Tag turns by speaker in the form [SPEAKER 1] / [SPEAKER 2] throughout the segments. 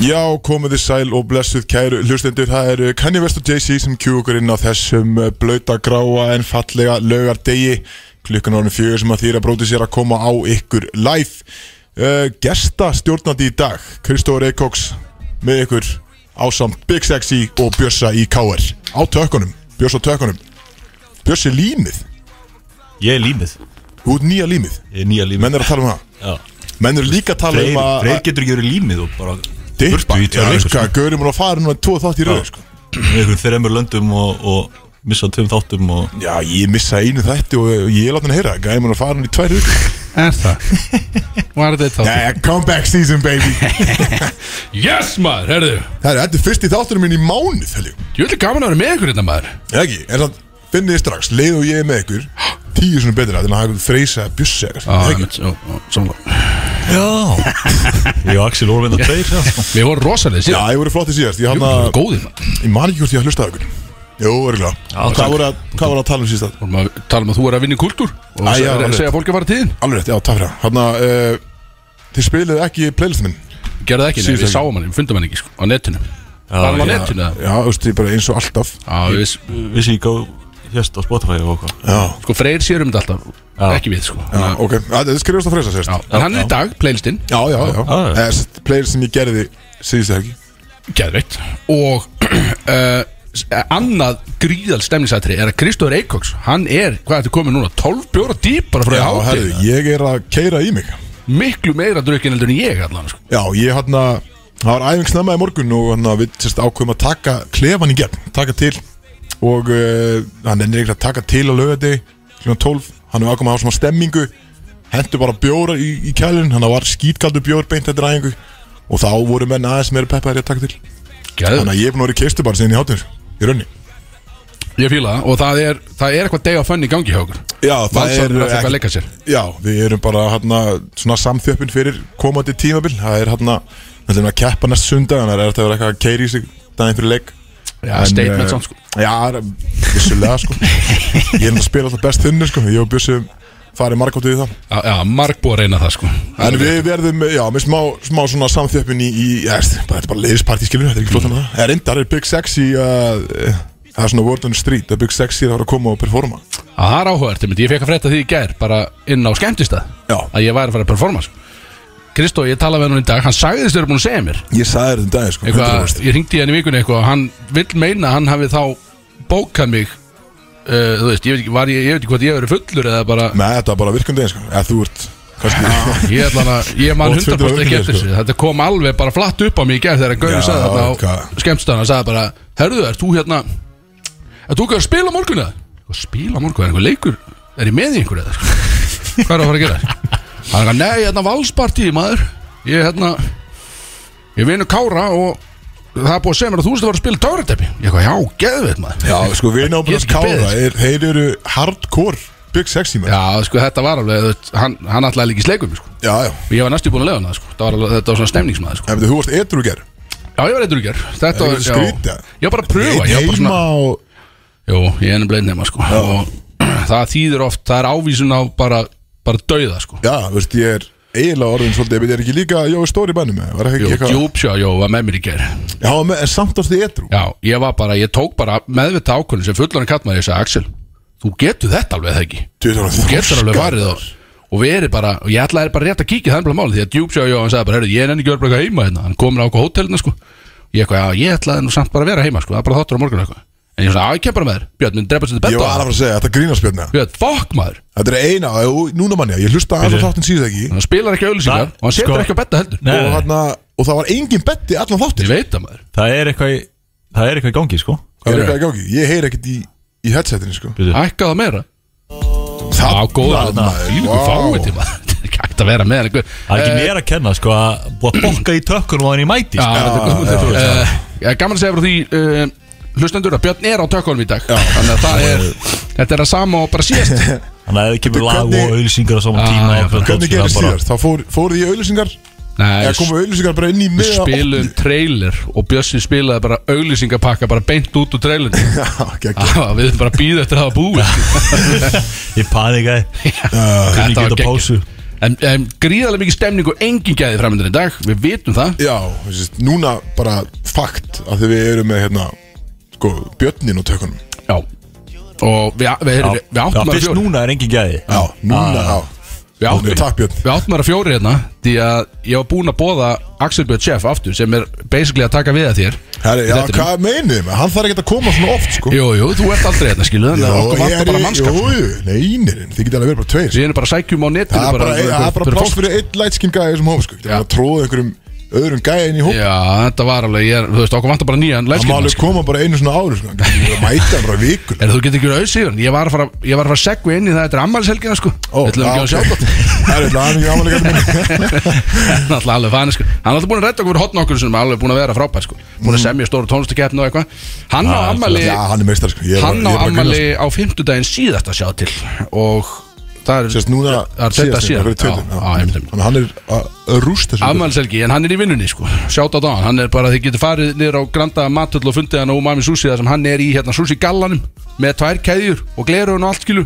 [SPEAKER 1] Já, komiði sæl og blessuð kæru hlustendur, það eru Kanye West og Jay-Z sem kjú okkur inn á þessum eh, blauta gráa en fallega lögar degi klukkan ánum fjögur sem að þýra bróti sér að koma á ykkur live uh, Gesta stjórnandi í dag Kristóður Eikóks með ykkur ásamt Big Sexy og Bjössa í KR á tökunum, Bjössa á tökunum Bjössi límið,
[SPEAKER 2] Ég er límið
[SPEAKER 1] út nýja límið
[SPEAKER 2] Ég er nýja límið
[SPEAKER 1] menn er að tala um það
[SPEAKER 2] Já.
[SPEAKER 1] menn eru líka að tala
[SPEAKER 2] Freyr,
[SPEAKER 1] um að
[SPEAKER 2] Freyr getur ekki verið límið og bara
[SPEAKER 1] Dippa,
[SPEAKER 2] í
[SPEAKER 1] já,
[SPEAKER 2] sko. tvær vikur,
[SPEAKER 1] rikka, gaurið mér að fara núna tvo þátt í röð sko.
[SPEAKER 2] sko. Með ykkur þreymur löndum og, og missa tveim þáttum og
[SPEAKER 1] Já, ég missa einu þætti og ég láta hann heyra Gæði mér að fara hann í tvær vikur
[SPEAKER 3] Er það? Var þetta þá?
[SPEAKER 1] Yeah, comeback season baby
[SPEAKER 3] Yes maður, herðu
[SPEAKER 1] Það er þetta er fyrsti þátturinn minn í mánuð held ég.
[SPEAKER 3] Ég vil gaman að vera með ykkur hérna maður
[SPEAKER 1] Eða ekki, en þannig finnið þið strax Leið og ég er með ykkur Tíu svona betra Þannig að hafa ykkur freysa að bjussa
[SPEAKER 3] Já,
[SPEAKER 1] eitthvað, eða ekki?
[SPEAKER 3] einmitt, já, já, sammála.
[SPEAKER 2] Já Ég og Axel vorum þetta tveir já, sko.
[SPEAKER 3] Við vorum rosalega
[SPEAKER 1] Já,
[SPEAKER 3] síðan
[SPEAKER 1] ég voru flotti síðast Ég,
[SPEAKER 3] Við
[SPEAKER 1] hana,
[SPEAKER 3] vorum góðið maður
[SPEAKER 1] ég man ekki hvort ég að hlusta ykkur Jú, örgulega
[SPEAKER 2] takk.
[SPEAKER 1] Hvað voru að, hvað voru að tala um síðast
[SPEAKER 3] Vorum að tala um að þú er að vinna í kultúr Og
[SPEAKER 1] Æ,
[SPEAKER 3] Æ,
[SPEAKER 1] já, alveg.
[SPEAKER 3] segja fólki að fara tíðin
[SPEAKER 1] Alveg rétt, já, takk fyrir það Þannig að uh, þið spilið ekki playlist minn
[SPEAKER 3] Gerði það ekki, nei,
[SPEAKER 1] Síðustu
[SPEAKER 3] við
[SPEAKER 1] helgi.
[SPEAKER 3] sáum hann, við fundum hann ekki sko, á netinu Var hann á
[SPEAKER 2] já.
[SPEAKER 3] netinu eða?
[SPEAKER 1] Já, þú veist, ég bara eins og alltaf
[SPEAKER 3] Já, við,
[SPEAKER 2] Vissi ég gá hérst á Spotify og hvað
[SPEAKER 1] Já,
[SPEAKER 3] sko Freyr sér um þetta alltaf Ekki við sko
[SPEAKER 1] já
[SPEAKER 3] Þannig að-
[SPEAKER 1] ok Það er skrifast að freysa sérst
[SPEAKER 3] Já, en hann er í dag, playlistinn,
[SPEAKER 1] Já, já, já Ah.
[SPEAKER 2] Já, já.
[SPEAKER 1] Það er sett player sem ég gerði síðustu helgi
[SPEAKER 3] geðveitt Og uh, annað gríðal stemningsættri er að Kristóður Eikóks Hann er, hvað þetta komið núna, 12 bjóra dýpar frá
[SPEAKER 1] Já,
[SPEAKER 3] hátíð.
[SPEAKER 1] herðu, ég er að keira í mig
[SPEAKER 3] miklu meira drukkin heldur en ég allan sko.
[SPEAKER 1] Já, ég hann að Það var æfing snemma í morgun og hann að við sérst ákveðum að taka klefan í gegn, taka til og uh, hann ennir ekkert að taka til á lögati kl. 12, hann er ákveðum að hafa svona stemmingu hendur bara bjóra í, í kælun hann var skítkaldur bjór beint eftir æfingu og þá voru menn aðeins meira peppaðir að taka til
[SPEAKER 3] Geðveikt.
[SPEAKER 1] þannig að ég er búin að vera í keistu bara síðan í hátur í raunni
[SPEAKER 3] ég fíla það og það er, það er eitthvað day of fun í gangi hjá okkur
[SPEAKER 1] Já,
[SPEAKER 3] Valsarinn er alltaf eitthvað að leika sér
[SPEAKER 1] Já, við erum bara hérna, svona samþjöppin fyrir komandi tímabil Það er hérna, við ætlum að keppa næst sundag Þannig að þetta verður eitthvað að keiri í sig daginn fyrir leik
[SPEAKER 3] Já,
[SPEAKER 1] En,
[SPEAKER 3] statement
[SPEAKER 1] eh,
[SPEAKER 3] samt, sko.
[SPEAKER 1] Já, það er vissulega sko Ég er að spila alltaf best þunni sko Ég og Bjössi farið margátt við það
[SPEAKER 3] já, já, marg búið að reyna það sko
[SPEAKER 1] En við verðum, já, með smá, smá svona samþjöppin í, í já, þetta er bara- þetta er bara leiðisparti skilur Þetta er ekki flott hann
[SPEAKER 3] Mm.
[SPEAKER 1] það En reyndar er Big Sexy að eh, Það er svona word on the street að Big Sexy er að fara að koma og performa
[SPEAKER 3] Að það er áhugavert, einmitt. ég fekk að frétta því í gær bara inn á skemmtistað
[SPEAKER 1] Já.
[SPEAKER 3] að ég væri að fara að performa sko. Kristó, ég talaði við hann í dag, hann sagðist þau eru búin að segja mér
[SPEAKER 1] Ég sagði þér þetta um daginn sko
[SPEAKER 3] eitthvað,
[SPEAKER 1] 100%.
[SPEAKER 3] ég ringdi í hann í vikunni eitthvað og hann vill meina að hann hafi þá bókað mig uh, þú veist, ég veit ekki, var ég, ég veit ekki hvort ég hefur fullur eða bara,
[SPEAKER 1] Nei, þetta var bara virkundið sko Eða þú ert, kannski
[SPEAKER 3] ég er þannig að ég man
[SPEAKER 1] Og tvö hundruð
[SPEAKER 3] 100%
[SPEAKER 1] öðruvísi,
[SPEAKER 3] ekki eftir
[SPEAKER 1] sko.
[SPEAKER 3] þessu þetta kom alveg bara flatt upp á mig í gerð þegar Gauri
[SPEAKER 1] Já,
[SPEAKER 3] sagði þarna á
[SPEAKER 1] hvað?
[SPEAKER 3] skemmstæðan hann sagði bara, herðu, er þú hérna er þú ekki að spila morgun eða? Eitthvað, spila morgun, er einhver leikur er ég með í einhverju eða? sko? hvað er að fara að gera? hann er að, nei, hérna valspartíð maður ég er hérna ég vinu Kára og það er búið að segja mér að þú veist að fara að spila törutæpi ég eitthvað, já, geðveit maður
[SPEAKER 1] Já, sko, við náum bara að
[SPEAKER 3] Ég get ekki beðið,
[SPEAKER 1] kára
[SPEAKER 3] sko.
[SPEAKER 1] er, Þeir eru hardcore Big Sexy menn Já,
[SPEAKER 3] já, sko, þetta var alveg, þú veist, hann, hann ætlaði líka í sleikum sko.
[SPEAKER 1] já, já.
[SPEAKER 3] og ég var næstu búin að lega hana sko. þetta, var alveg, þetta var svona stemningsmaður sko.
[SPEAKER 1] En veitu, þú varst edru ger
[SPEAKER 3] Já, ég var eitthvað ger Þetta
[SPEAKER 1] Það er
[SPEAKER 3] var,
[SPEAKER 1] ekki
[SPEAKER 3] já
[SPEAKER 1] skrýta.
[SPEAKER 3] Ég var bara að pröfa Ég var bara
[SPEAKER 1] Heima
[SPEAKER 3] svona
[SPEAKER 1] og
[SPEAKER 3] Jú, ég er ennum nema sko Og það þýðir oft Það er ávísun á bara Bara dauða sko
[SPEAKER 1] Já, þú veist, ég er eiginlega orðin svolítið Við erum ekki líka, já, við stóri bænum eða? Var ekki
[SPEAKER 3] Jú,
[SPEAKER 1] eitthvað
[SPEAKER 3] djúpsjá, jú, var með mér í ger
[SPEAKER 1] Já, með- en samt ástu edru
[SPEAKER 3] Já, ég var bara Ég tók bara meðvita ákvörðin Sem fullan að kattmaður Ég sagði, Axel Þú getur þetta alveg það ekki
[SPEAKER 1] Þú veist, það var
[SPEAKER 3] Þú getur alveg
[SPEAKER 1] þroska.
[SPEAKER 3] varðið á Og við erum bara Og ég ætlaði bara rétt að kíkja Það er bara mál Því að djúpsjá, jú, hann sagði bara Herru, ég er enn ekki að vera bara eitthvað heima hérna Hann komin á okkur hótelina sko Ég eitthvað, já, ég ætlaði nú samt bara að vera heima sko Það er bara þáttur á morgun og eitthvað En ég svona, á, ég kem bara með þér Björn, minn drepa sér til
[SPEAKER 1] Ég
[SPEAKER 3] betta
[SPEAKER 1] var alveg að segja, þetta grínast björna
[SPEAKER 3] Björn, fokk maður
[SPEAKER 1] Þetta er eina, og núna manni, ég hlusta allan þáttin síðan ekki
[SPEAKER 3] Hann spilar ekki
[SPEAKER 2] Nei,
[SPEAKER 3] auðlýsingar og hann setur
[SPEAKER 2] sko.
[SPEAKER 3] ekki á betta heldur
[SPEAKER 2] Nei.
[SPEAKER 1] og, hana, og það var engin betti allan
[SPEAKER 3] Ég
[SPEAKER 1] þáttin
[SPEAKER 3] veit það maður
[SPEAKER 2] Það er eitthvað í- Það er eitthvað í gangi sko
[SPEAKER 1] Það er
[SPEAKER 3] Ég-
[SPEAKER 1] eitthvað í gangi, ég heyr ekkert í, í headsetinu sko.
[SPEAKER 3] Hækka það meira Á
[SPEAKER 1] Þarna,
[SPEAKER 3] góða þetta
[SPEAKER 1] maður,
[SPEAKER 3] Fylgur
[SPEAKER 1] vá.
[SPEAKER 3] fáið til maður Þetta er ekki hægt að vera með hann einhver eh,
[SPEAKER 2] Það er
[SPEAKER 1] Eh.
[SPEAKER 2] ekki mér að kenna sko að búa að bokka í tökkunum á hann í mæti sko.
[SPEAKER 3] mér Ég er eh, gaman að segja frá því eh, Hlustendur að Björn er á tökkunum í dag Þannig að það er Þetta er að sama og bara síðast
[SPEAKER 2] Þannig að ef það kemur
[SPEAKER 1] Hvernig-
[SPEAKER 2] lag og auðlýsingar á saman
[SPEAKER 3] Ah,
[SPEAKER 2] tíma og eitthvað
[SPEAKER 1] Hvernig
[SPEAKER 2] dót,
[SPEAKER 1] gerist
[SPEAKER 2] það er bara-
[SPEAKER 1] síðast? Þá fór- fóruð ég auðlýsingar
[SPEAKER 3] Nei,
[SPEAKER 1] Eða komu auðlýsingar bara inn í
[SPEAKER 3] við
[SPEAKER 1] miða
[SPEAKER 3] spilum trailer Og Björnsi spilaði bara auglýsingapakka Bara beint út úr trailerinu
[SPEAKER 1] Já, geggjað.
[SPEAKER 3] Ah, Við sko. erum bara að býða eftir að hafa búið
[SPEAKER 2] Ég panikaði
[SPEAKER 3] Þetta
[SPEAKER 2] Hvernig
[SPEAKER 3] var
[SPEAKER 2] geta
[SPEAKER 3] geggjað.
[SPEAKER 2] pásu
[SPEAKER 3] En, en gríðarlega mikið stemning og engin gæði framöndan í dag Við vitum það
[SPEAKER 1] Já, þessi, núna bara fakt að því við erum með hérna, sko, björnin og tökunum
[SPEAKER 3] Já Og við, við, við, við, við áttum að
[SPEAKER 2] fyrst
[SPEAKER 3] fjóri
[SPEAKER 2] núna er engin gæði
[SPEAKER 1] Já,
[SPEAKER 3] Ah.
[SPEAKER 1] núna, já
[SPEAKER 3] Við áttum,
[SPEAKER 1] Takk, Björn.
[SPEAKER 3] við áttum að fjóri hérna Því að ég var búinn að bóða Axel Björn Chef aftur Sem er basically að taka við að þér
[SPEAKER 1] Herri, já,
[SPEAKER 3] Þetta er-
[SPEAKER 1] hvað meinið þið? Hann þarf ekki að koma svona oft, sko
[SPEAKER 3] Jú, jú, þú ert aldrei hérna skilu Þannig að okkur vantar bara mannskap
[SPEAKER 1] Jú, jú, neinir, þið geta alveg verið bara tveir sko.
[SPEAKER 3] Við erum bara að sækjum á netinu
[SPEAKER 1] Það er bara, það er bara
[SPEAKER 3] fyrir
[SPEAKER 1] pláss
[SPEAKER 3] fólk.
[SPEAKER 1] fyrir einn lightskin gæði sem hóf, sko Það
[SPEAKER 3] Já.
[SPEAKER 1] er að tróða einhverjum öðrum gæðin í hóf
[SPEAKER 3] Já, þetta var alveg, ég er, þú veist, okkur vantar bara nýjan
[SPEAKER 1] Það má alveg
[SPEAKER 3] læskinn
[SPEAKER 1] koma bara einu svona ári, sko Það er að mæta bara vikul
[SPEAKER 3] Er þú getur ekki verið auðsíðan? Ég var að fara, ég var að fara að segja inn í það, þetta er ammælishelgina sko
[SPEAKER 1] Ó,
[SPEAKER 3] Þetta er ekki að sjá það
[SPEAKER 1] Það er eitthvað aðeins gaman að geta
[SPEAKER 3] Hann er alltaf alveg fann sko. Hann er alltaf búin að redda okkur hotn okkur sem er alveg búin að vera frábær sko. Búin að semja stóru tónlistakeppni og eitthvað Hann á ammali
[SPEAKER 1] Mm. Já, hann er meistar, sko Ég er bara-
[SPEAKER 3] Hann á
[SPEAKER 1] ég er bara að grínast. sko.
[SPEAKER 3] ammali á fimmtudaginn síðast að sjá til Og það er
[SPEAKER 1] Sérst núna
[SPEAKER 3] Það er þetta síðan.
[SPEAKER 1] Það er
[SPEAKER 3] Já, já, einmitt, einmitt.
[SPEAKER 1] tveitun Hann er að rústa þessu
[SPEAKER 3] Afmælishelgi, en hann er í vinnunni sko Sjátt á hann, hann er bara þið getur farið niður á Granda Matöll og fundið hann á Umami Sushi þar sem hann er í hérna Sushi Gallanum með tvær keðjur og glerun og allt skilu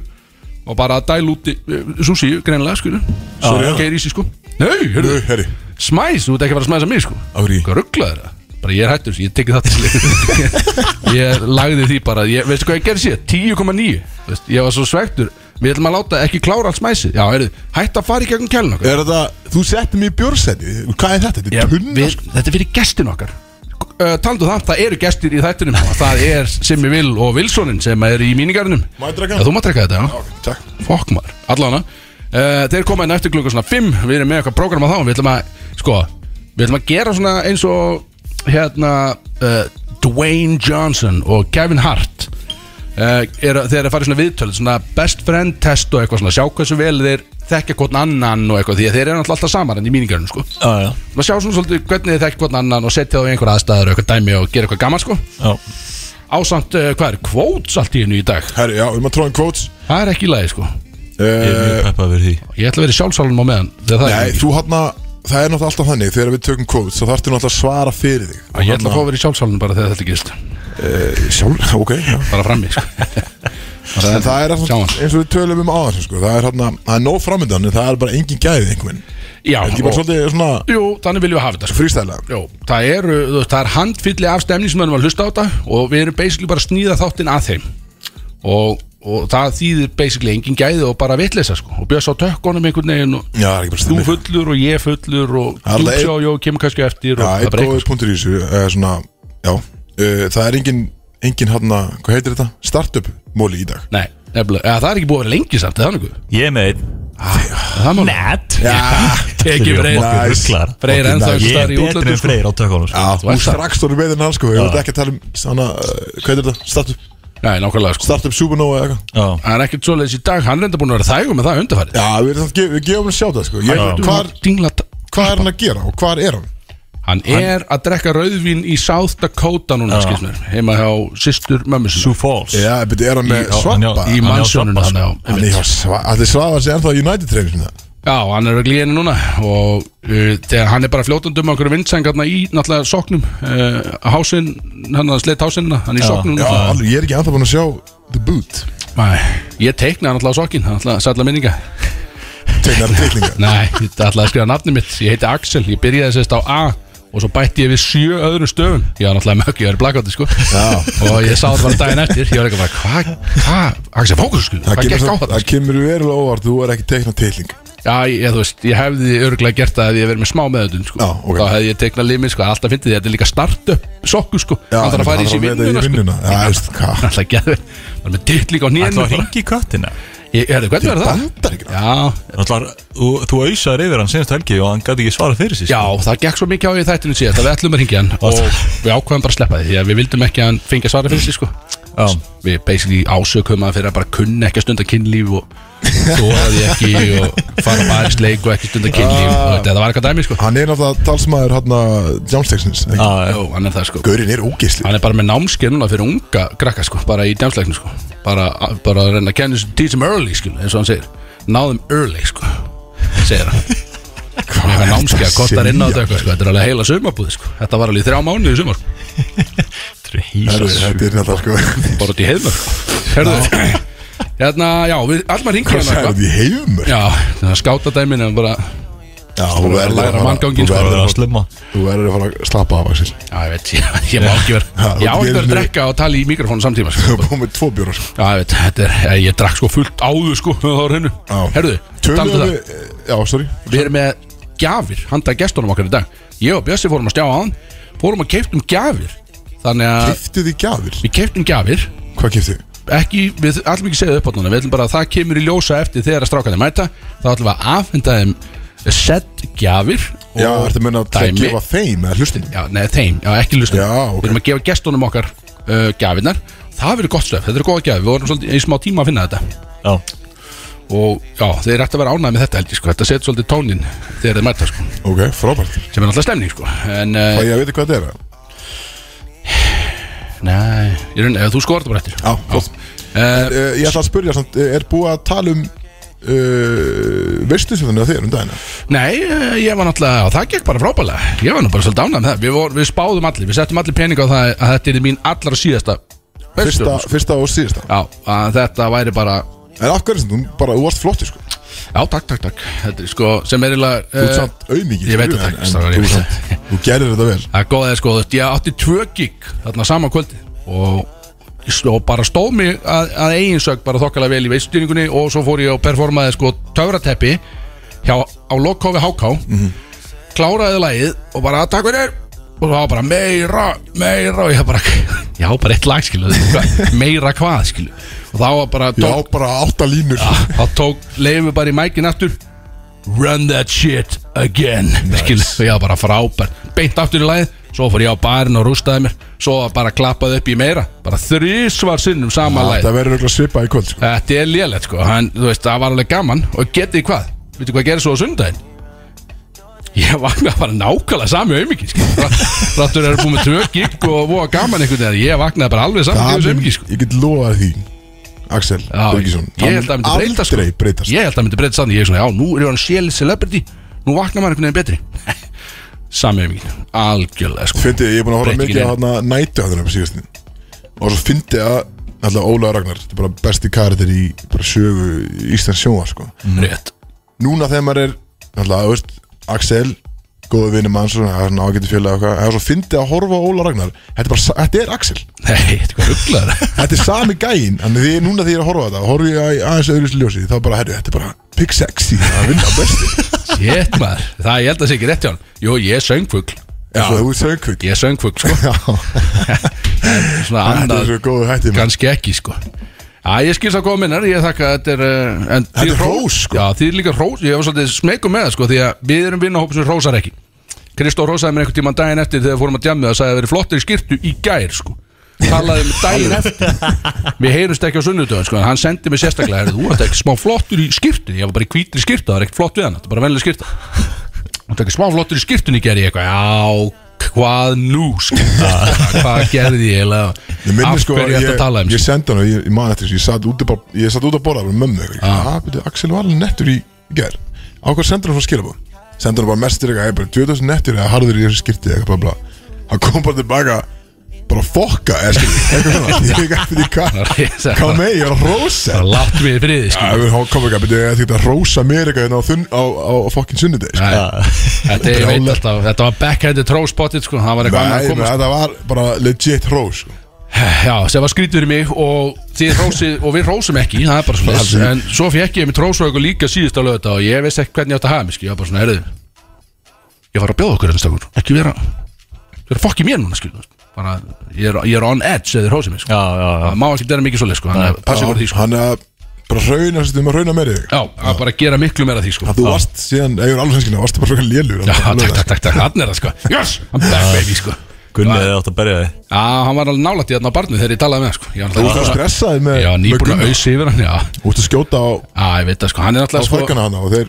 [SPEAKER 3] og bara að dæla út í eh, Sushi greinilega skilu Svo er
[SPEAKER 1] já.
[SPEAKER 3] hann í sig sko Nei, hörru,
[SPEAKER 1] Nú, herri,
[SPEAKER 3] smæs, þú ert ekki að fara að smæsa mig sko
[SPEAKER 1] ári
[SPEAKER 3] Hvað rugglaður það? Bara ég er hættur, ég tekið það til leik Ég lagði því bara, ég, veistu hvað ég gerði sér? 10,9 Veist, Ég var svo svegtur Við ætlum að láta ekki klára allt smæsið Já, heyrðu, hætt að fara í gegnum kælun okkar
[SPEAKER 1] Er þetta, þú settir mig í björnsæti Hvað er þetta? Þetta
[SPEAKER 3] Já,
[SPEAKER 1] er tunna
[SPEAKER 3] við,
[SPEAKER 1] sko.
[SPEAKER 3] Þetta er fyrir gestin okkar uh, Taldu það, það eru gestir í þættinum Það er Simmi Vil og Vilsonin sem er í mínigarnum
[SPEAKER 1] Má ég drekka?
[SPEAKER 3] Já, Þú maður drekka þetta, já
[SPEAKER 1] Ok, Takk
[SPEAKER 3] Fokk maður, allana uh, Þeir koma inn eftir klukkan svona 5 Við erum með eitthvað prógrama þá Við ætlum að, sko Við ætlum að gera svona eins og Hérna uh, Dwayne Johnson og Kevin Hart uh, er, að- Þeir eru að fara í svona viðtölu Svona best friend test og eitthvað svona Sjá hversu vel þeir þekkja hvort annan og eitthvað Því að þeir eru náttúrulega alltaf saman enn í míningarnum, sko
[SPEAKER 2] Já, já,
[SPEAKER 3] maður sjá svona svolítið hvernig þið þekkt hvort annan og setja þá í einhver aðstæður og eitthvað dæmi og gera eitthvað gaman sko
[SPEAKER 2] já
[SPEAKER 3] ásamt uh, hvað er kvóts allt í hennu í dag
[SPEAKER 1] Herri, já, um við maður tróðum kvóts
[SPEAKER 3] það er ekki í lagi sko
[SPEAKER 2] Ég er mjög
[SPEAKER 1] Eh,
[SPEAKER 2] peppað fyrir því
[SPEAKER 3] ég ætla að vera í sjálfsálunum á meðan þegar það
[SPEAKER 1] Nei,
[SPEAKER 3] er
[SPEAKER 1] þú hann Það er náttúrulega alltaf þannig Þegar við tökum kvóts Þá þarftu náttúrulega að svara fyrir þig
[SPEAKER 3] Ég ætla að fá að vera í sjálfsálunum bara þegar þetta gerist
[SPEAKER 1] að Sjálf, Hérna- ok já.
[SPEAKER 3] bara frammi sko
[SPEAKER 1] En það er alltaf-
[SPEAKER 3] Sjáum hann.
[SPEAKER 1] eins og við tölum um áðan sko. Það er hérna, það er nóg framöndan En það er bara engin gæðið einhvern veginn.
[SPEAKER 3] já
[SPEAKER 1] Er Ekki bara
[SPEAKER 3] og,
[SPEAKER 1] svolítið svona
[SPEAKER 3] jú þannig viljum við hafa þetta sko
[SPEAKER 1] frístæðlega
[SPEAKER 3] Jó, það er, það er handfylli af stemningsmönnum að hlusta á þetta og við erum basically bara að sníða þáttinn að þeim og, og það þýðir basically engin gæði og bara vitleysa sko og bjösa á tökkunum einhvern veginn og
[SPEAKER 1] Já, það er ekki bara
[SPEAKER 3] þú
[SPEAKER 1] stemning.
[SPEAKER 3] fullur og ég fullur og
[SPEAKER 1] Það er
[SPEAKER 3] þú
[SPEAKER 1] alveg-
[SPEAKER 3] sjá, jó, kemur kannski eftir og
[SPEAKER 1] Já,
[SPEAKER 3] það
[SPEAKER 1] einn
[SPEAKER 3] breykur
[SPEAKER 1] góður punktur í þessu er svona, já, uh, það er engin, engin hann að, hvað heitir þetta? Startup móli í dag
[SPEAKER 3] Nei, nefnilega, eða, það er ekki búið að vera lengi samt, eða þannig
[SPEAKER 2] Ég er með einn
[SPEAKER 3] Það má
[SPEAKER 2] Net
[SPEAKER 3] tekið freyr
[SPEAKER 1] Nice.
[SPEAKER 3] Freyr
[SPEAKER 1] Nice.
[SPEAKER 3] ennþá einhvers
[SPEAKER 2] Ég er
[SPEAKER 3] staðar í
[SPEAKER 2] betri
[SPEAKER 3] útlöndum,
[SPEAKER 2] en
[SPEAKER 3] sko.
[SPEAKER 2] Freyr á tökunum sko.
[SPEAKER 1] Já,
[SPEAKER 3] þú
[SPEAKER 1] þú
[SPEAKER 3] ert það.
[SPEAKER 1] strax orðið með þennan sko, ég veit ekki að tala um, svona, uh, hvað heitir þetta? Startup,
[SPEAKER 3] Nei, nákvæmlega sko
[SPEAKER 1] startup supernova eða eitthvað
[SPEAKER 2] Já
[SPEAKER 3] Það er ekkert svoleiðis í dag, hann er enda búin að vera þægum með það undarfærið
[SPEAKER 1] Já, við, erum samt, ge- við gefum hann sjá það sko, ég, hvar,
[SPEAKER 3] Dinglat
[SPEAKER 1] hvað er hann að gera og hvað er hann?
[SPEAKER 3] Hann er að drekka rauðvín í South Dakota núna, skils mér Heima hjá systur mömmu
[SPEAKER 2] Sioux
[SPEAKER 3] sinni
[SPEAKER 2] Falls
[SPEAKER 1] Já, beti, er hann með
[SPEAKER 2] Í- hann
[SPEAKER 1] svappa?
[SPEAKER 2] já,
[SPEAKER 3] Í
[SPEAKER 2] hann er á
[SPEAKER 3] mannsjónunum
[SPEAKER 2] Svampa,
[SPEAKER 3] hann
[SPEAKER 2] sko.
[SPEAKER 3] já
[SPEAKER 1] Hann
[SPEAKER 3] einmitt.
[SPEAKER 1] er hjá svappa, allir svafa sér ennþá í United hérna. treyfinu sinna
[SPEAKER 3] Já, hann er að glíða henni núna og uh, þegar hann er bara fljótandi um okkur vindsengarna í náttúrulega soknum uh, hásinn, hann að sleitt hásinnina hann er í soknum
[SPEAKER 1] Já,
[SPEAKER 3] núna
[SPEAKER 1] alveg, ég er ekki ennþá búin að sjá The Boot
[SPEAKER 3] Nei, ég teiknaði náttúrulega sokkin, hann ætlaði að sætla minninga
[SPEAKER 1] Tegnar teikningar
[SPEAKER 3] Nei, ég ætlaði að skrifa nafni mitt, ég heiti Axel, ég byrjaði sérst á A og svo bætti ég við sjö öðrum stöfum ég var náttúrulega mögg, ég var í blakkvátti sko
[SPEAKER 1] Já.
[SPEAKER 3] og ég sá þetta bara daginn eftir ég var ekki bara, hvað, hvað, Axel fókus sko,
[SPEAKER 1] Það
[SPEAKER 3] hvað
[SPEAKER 1] kemur
[SPEAKER 3] gekk á
[SPEAKER 1] samt-
[SPEAKER 3] þetta
[SPEAKER 1] það kemur verulega óvart, þú er ekki teikna teikning
[SPEAKER 3] Já, ég, þú veist, ég hefði örgulega gert það ef ég verið með smá meðutun, sko
[SPEAKER 1] Já, ok.
[SPEAKER 3] Þá hefði ég teiknað limið, sko, alltaf fyndið því, þetta er líka startup sokku, sko
[SPEAKER 1] Já,
[SPEAKER 3] Hann þarf að fara í
[SPEAKER 1] hann
[SPEAKER 3] þessi
[SPEAKER 1] þarf að meta í
[SPEAKER 3] vinnuna, sko
[SPEAKER 1] vinnuna. Já, veist, hvað?
[SPEAKER 3] Hann ætlaði að geða Það er með ditt líka á
[SPEAKER 2] Það
[SPEAKER 3] nénu
[SPEAKER 2] var hringi í köttina
[SPEAKER 3] Ég hefði, hvernig verður það?
[SPEAKER 1] Bandar ekki
[SPEAKER 3] Já,
[SPEAKER 2] Ætlar, þú, þú auðsaður yfir hann senast helgi og hann gæti ekki svara fyrir sko. sér
[SPEAKER 3] já, það gekk svo mikið á í þættinu síðast að við ætlum að ringja hann og við ákvæðum bara að sleppa því því að við vildum ekki að hann fengi að svara fyrir sig, sko
[SPEAKER 2] Já.
[SPEAKER 3] Við basically ásökum að fyrir að bara kunna ekki að stunda kynlíf og þóraði ekki og fara bara í sleik og ekki stunda kynlíf og þetta var eitthvað dæmi, sko
[SPEAKER 1] Hann er náttúrulega talsmaður hérna hann að Jónstegsins
[SPEAKER 2] Já, já.
[SPEAKER 3] Jó, hann er það, sko
[SPEAKER 1] Gaurinn er ógisli
[SPEAKER 3] Hann er bara með námskeið núna fyrir unga krakka sko, bara í dæmsleikinu sko bara, bara að reyna að kenna þessum teach them early sko, eins og hann segir, náðum early sko segir hann
[SPEAKER 1] Hvað
[SPEAKER 3] eitthvað námskeið
[SPEAKER 1] að
[SPEAKER 3] kostar inn á
[SPEAKER 1] segja?
[SPEAKER 3] þetta eitthvað sko, þetta er alveg heila sumabúð sko þetta var alveg í þrjá mánuði í sumar sko.
[SPEAKER 2] Þetta er
[SPEAKER 1] Herru,
[SPEAKER 2] heisa
[SPEAKER 1] Þetta er náttúrulega sko
[SPEAKER 3] bara út í heimur sko. Herðu, Hérna, já, við, Almar ringur
[SPEAKER 1] Hvað sagði
[SPEAKER 3] hérna
[SPEAKER 1] þetta í heimur?
[SPEAKER 3] Já, það skáta dæmin en bara
[SPEAKER 1] Já, þú
[SPEAKER 3] bara
[SPEAKER 1] verður
[SPEAKER 3] læra
[SPEAKER 1] að fara-
[SPEAKER 3] mannganginn,
[SPEAKER 1] þú
[SPEAKER 3] sko.
[SPEAKER 2] Það
[SPEAKER 1] verður
[SPEAKER 2] er
[SPEAKER 1] að
[SPEAKER 2] að slemma
[SPEAKER 1] Þú verður að fara að slappa af Axel.
[SPEAKER 3] Já, ég veit, ég, ég má ekki vera
[SPEAKER 1] Já,
[SPEAKER 3] Ég á
[SPEAKER 1] þú
[SPEAKER 3] ekki verið að
[SPEAKER 1] gerir-
[SPEAKER 3] drekka og tala í mikrofónu samtíma
[SPEAKER 1] Þú
[SPEAKER 3] sko.
[SPEAKER 1] er búin með tvo bjórar
[SPEAKER 3] Já, ég veit, þetta er, ég, ég drakk sko fullt áður sko Það var hennu
[SPEAKER 1] Já.
[SPEAKER 3] Herðu,
[SPEAKER 1] Tölum
[SPEAKER 3] taldu um það
[SPEAKER 1] við Já, sorry
[SPEAKER 3] Við erum með gjafir handa gestunum okkar í dag Ég og Bjössi fórum að stjá á hann Fórum að keiptum gjafir Þannig að
[SPEAKER 1] Giftið í gjafir
[SPEAKER 3] við keiptum gjafir
[SPEAKER 1] Hvað giftið?
[SPEAKER 3] ekki, við ætlum ekki að segja upp á núna Við ætlum bara að það kemur í ljósa eftir þegar að strákarnir mæta Þá ætlum við að afhenda þeim Sett gjafir og
[SPEAKER 1] Já, ertu að munna að
[SPEAKER 3] dæmi.
[SPEAKER 1] gefa þeim eða hlustin
[SPEAKER 3] Já, nei, þeim, já, ekki lustum
[SPEAKER 1] Já, ok.
[SPEAKER 3] Við erum að gefa gestunum okkar uh, gjafinnar Það verður gott stöf, þetta er góða gjafir Við vorum svolítið í smá tíma að finna þetta
[SPEAKER 2] Já,
[SPEAKER 3] Og já, þeir ættu að vera ánægð með þetta helgi sko. Þetta setur svolítið tónin þegar þeir mæta sko.
[SPEAKER 1] Ok, frábært
[SPEAKER 3] Sem er alltaf stemning sko. En,
[SPEAKER 1] Það
[SPEAKER 3] uh,
[SPEAKER 1] ég veit hvað þetta er eða?
[SPEAKER 3] nei, ég raun, ef þú skorar þetta bara eftir
[SPEAKER 1] Já, flott.
[SPEAKER 3] uh,
[SPEAKER 1] Eh, Ég ætla að spyrja samt eh, Er búið að tala um uh, Veistu sem þannig að þér um dagina?
[SPEAKER 3] Nei, eh, ég var náttúrulega, það gekk bara frábælega Ég var nú bara svolítið ánægð með það Við, vor, við spáðum allir, við settum allir pening á það að þetta er mín allra síðasta
[SPEAKER 1] Fyrsta,
[SPEAKER 3] veistlun, sko.
[SPEAKER 1] fyrsta og síðasta
[SPEAKER 3] Já, að þetta væri bara
[SPEAKER 1] En af hverju sem þú bara, þú varst flotti sko Þú
[SPEAKER 3] Já, takk, takk, takk Þetta er sko, sem er eiginlega
[SPEAKER 1] ert
[SPEAKER 3] eh,
[SPEAKER 1] samt auðmikið
[SPEAKER 3] ég veit það, takk, strákar, ég
[SPEAKER 1] Þú,
[SPEAKER 3] veit
[SPEAKER 1] samt- þú gerir þetta vel
[SPEAKER 3] Það er góð eða sko, þú veist, ég átti tvö gig þarna sama kvöldi og, og bara stóð mig að, að eiginsög bara þokkalega vel í veiststýringunni og svo fór ég og performaði sko töfrateppi hjá, á Lokofi HK kláraði lagið og bara takk fyrir og það var bara meira, meira og ég bara, já bara eitt lag skilu meira hvað skilu og þá var bara
[SPEAKER 1] Já,
[SPEAKER 3] tók,
[SPEAKER 1] bara átta línur sko.
[SPEAKER 3] þá tók leifu bara í mækin aftur Run that shit again nice. og ég var bara frábær beint aftur í lagið, svo fór ég á barinn og rústaði mér svo bara klappaði upp í meira bara þrísvar sinnum sama lagið
[SPEAKER 1] Þetta verður örugglega svipað í kvöld sko.
[SPEAKER 3] þetta er lélegt sko en þú veist, það var alveg gaman og getið þið hvað, veitu hvað gerði svo á sundaginn ég vaknaði bara nákvæmlega sami auðmikið sko ráttur er búin með tvö gig og voða gaman einhvern veginn ég vaknaði bara alveg sami
[SPEAKER 1] Það
[SPEAKER 3] auðmikið sko
[SPEAKER 1] Ég get lofað því Axel
[SPEAKER 3] Já,
[SPEAKER 1] Birgisson
[SPEAKER 3] ég held að það myndi breytast, sko.
[SPEAKER 1] Aldrei breytast
[SPEAKER 3] Ég held að það myndi breyta sannig Ég er svona, já, nú er hann sjæl celebrity Nú vaknar maður einhvern veginn betri Samið mikið, algjörlega sko
[SPEAKER 1] Fyndi, ég er búin að horfa
[SPEAKER 3] Breytti
[SPEAKER 1] mikið
[SPEAKER 3] ekki
[SPEAKER 1] á hana nætu hana síðast og svo fyndi að alltaf Óla Ragnar, þetta er bara besti karakter í bara sögu Íslands sjóa sko.
[SPEAKER 3] Rétt
[SPEAKER 1] núna þegar maður er alltaf, veist, Axel góða vinni mann, svona, það er svona ágæti félag og eitthvað, en svo fyndi að horfa á Óla Ragnar þetta er bara, sa- þetta er Axel,
[SPEAKER 3] Nei, þetta er hvað rugglaður
[SPEAKER 1] þetta er sami gæin þannig því núna þegar ég er að horfa á þetta, horfi ég að- aðeins öðru ljósi, þá bara, herru, þetta er bara pig sexy að vinna á besti
[SPEAKER 3] Sétt maður, það ég held að sé ekki rétt hjá hann Jú, ég er söngfugl
[SPEAKER 1] já, þú er sögkvik
[SPEAKER 3] Ég er söngfugl, sko
[SPEAKER 1] já,
[SPEAKER 3] Svona
[SPEAKER 1] þetta er
[SPEAKER 3] annað,
[SPEAKER 1] svo góðu hætti maður.
[SPEAKER 3] kannski ekki, sko Já, ég skil það góða minnar, ég þakka að þetta er uh, en
[SPEAKER 1] Þetta
[SPEAKER 3] þið
[SPEAKER 1] er
[SPEAKER 3] hró-
[SPEAKER 1] hrós, sko.
[SPEAKER 3] Já, þið er líka hrós, ég var svolítið smegum með það sko Því að við erum vinnahópur sem hrósar ekki Kristó hrósaði mér einhvern tímann daginn eftir Þegar við fórum að djamið og sagði að verið flottir í skirtu í gær sko Talaði um daginn eftir Við heyrumst ekki á sunnudöðun sko En hann sendi mér sérstaklega heyrðu, Þú ert ekki smá flottur í skirtu Ég var bara í hvítri skirtu, það var ekkert flott við hann Þetta er bara venlega skirta Þú ert ekki smá flottur í skirtunni gerði ég eitthvað Já, hvað nú skirta Hvað gerði ég eiginlega?
[SPEAKER 1] Ég minni
[SPEAKER 3] Af
[SPEAKER 1] sko
[SPEAKER 3] hverju ertu að tala um
[SPEAKER 1] ég, ég sendi hann og ég, ég man eftir þessu, ég satt út, bara, ég satt út að borða með mömmu eitthvað, ah. ah, beti, Axel var alveg nettur í í gær á hvað sendi hann frá skilabóð sendi hann bara mestir eitthvað, ég bara 2000 nettur eða harður í þessu skirti eitthvað bla bla hann kom bara tilbaka bara fokka eða skilur, eitthvað svona ég veit ekki hvað,
[SPEAKER 3] Ég sagði
[SPEAKER 1] hvað
[SPEAKER 3] bara-
[SPEAKER 1] með ég var að Ah, rósa
[SPEAKER 3] bara látt mig í friði sko.
[SPEAKER 1] Já, hann kom ekki að byrja að þetta rósa mér eitthvað hérna á, þunn- á, á, á fokkin sunnudeg sko.
[SPEAKER 3] þetta, ég veit
[SPEAKER 1] Brjálæði.
[SPEAKER 3] alltaf, þetta var backhanded throw spotted sko. það var eitthvað
[SPEAKER 1] Nei,
[SPEAKER 3] annað að
[SPEAKER 1] menn,
[SPEAKER 3] koma sko.
[SPEAKER 1] þetta var bara legit rós sko.
[SPEAKER 3] já, sem var skrítur í mig og, þið hrósið- og við rósum ekki það er bara
[SPEAKER 1] Blessuð.
[SPEAKER 3] svona en svo fekk ég mér trósvögu líka síðust á lögða og ég veist ekki hvernig ég átt að hafa mig sko. ég var bara svona, herðu ég var að bjóða okkur hérna stakur ekki vera vera fokki mér núna skil bara, ég, er, ég er on edge eða hrósið mig sko.
[SPEAKER 2] já, já, já.
[SPEAKER 3] það má ekki vera mikið svolítið sko. þannig að passi voru því sko.
[SPEAKER 1] Ah, hann er bara rauna, sem að rauna meiri
[SPEAKER 3] já, að bara gera miklu meira af því sko.
[SPEAKER 1] Að þú varst síðan, ef ég er alveg sænskina, varst bara svona lélur
[SPEAKER 3] já, takk, takk, takk, takk, hann er það sko yes, I'm back baby sko
[SPEAKER 2] Gunnið þið átt að berja þið
[SPEAKER 3] Já, hann var alveg nálætt í þarna á barnu þegar ég talaði með hann sko. Ég
[SPEAKER 1] Þú
[SPEAKER 3] var
[SPEAKER 1] ert
[SPEAKER 3] náttúrulega-
[SPEAKER 1] að stressaði með
[SPEAKER 3] Já, nýbúin að
[SPEAKER 1] með Gunnar.
[SPEAKER 3] auðs yfir hann, já
[SPEAKER 1] Þú ert að skjóta á,
[SPEAKER 3] Já, ég veit það sko, hann er
[SPEAKER 1] á
[SPEAKER 3] náttúrulega sko
[SPEAKER 1] sparkana hana og þeir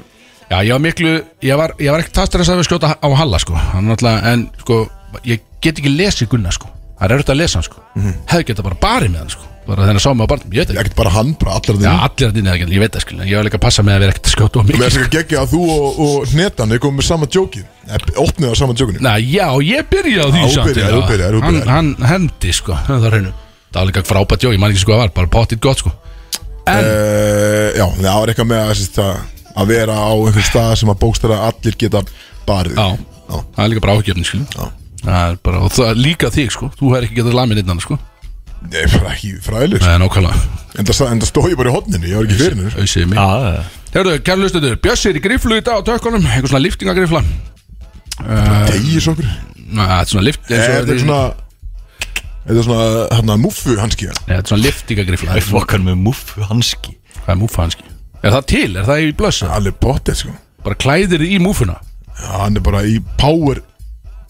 [SPEAKER 3] Já, ég var miklu, ég var, ég var ekkert það stressað við að skjóta á Halla sko Hann er náttúrulega, en sko, ég get ekki lesið Gunnar sko Það er auðvitað að lesa hann sko
[SPEAKER 1] Mhm.
[SPEAKER 3] Hefði getað bara barið með hann sko Bara þegar hann sá mig á barnum, ég veit það ekki
[SPEAKER 1] ekkert bara hann, bara allar
[SPEAKER 3] Já,
[SPEAKER 1] þeim
[SPEAKER 3] allir að dýna það ekki, ég veit það skil en Ég var líka að passa með að vera ekkert að skjóta á
[SPEAKER 1] Mér
[SPEAKER 3] mig
[SPEAKER 1] er sér að gegja að þú og, og hnetan er komið með sama djóki Opnið á sama djókinu
[SPEAKER 3] Næ, já, ég byrjaði á því
[SPEAKER 1] Já, þú byrjaði,
[SPEAKER 3] já.
[SPEAKER 1] þú byrjaði, þú
[SPEAKER 3] Hann,
[SPEAKER 1] byrjaði.
[SPEAKER 3] hann hendi sko, það var hreinu Það var líka frábært jó, ég man ekki sko að var, bara pottit gott sko En,
[SPEAKER 1] uh, Já, það var eitthvað með að, sérst, að, að vera á einhver stað sem að bókstara allir geta barið
[SPEAKER 3] já, það er líka bara áhugjöfni, skilur
[SPEAKER 1] Já.
[SPEAKER 3] Það er bara, og það líka þig, sko Þú hefur ekki getað lamið neitt annars, sko
[SPEAKER 1] Nei, bara ekki fræðileg
[SPEAKER 3] Nei, nákvæmlega
[SPEAKER 1] En það stóð ég bara í hodninu, ég var ekki fyrir hennu
[SPEAKER 3] Auðsýði mig
[SPEAKER 2] Já,
[SPEAKER 3] Hérðu, kæra hlustendur, Bjössi er í griflu í dag á tökkunum Eitthvað svona liftingagrifla
[SPEAKER 1] Degis okkur Eh,
[SPEAKER 3] Næ, þetta er svona lift eins og
[SPEAKER 1] Þetta er svona Þetta er svona, hérna, muffu hanski
[SPEAKER 3] Nei, þetta er svona liftingagrifla
[SPEAKER 2] það er fokkar með muffu hanski
[SPEAKER 3] Hvað er múfa hanski? Er það til? Er það í blössa?
[SPEAKER 1] Allir potið, sko
[SPEAKER 3] Bara klæðir þið í múfuna
[SPEAKER 1] Já, Hann er bara í power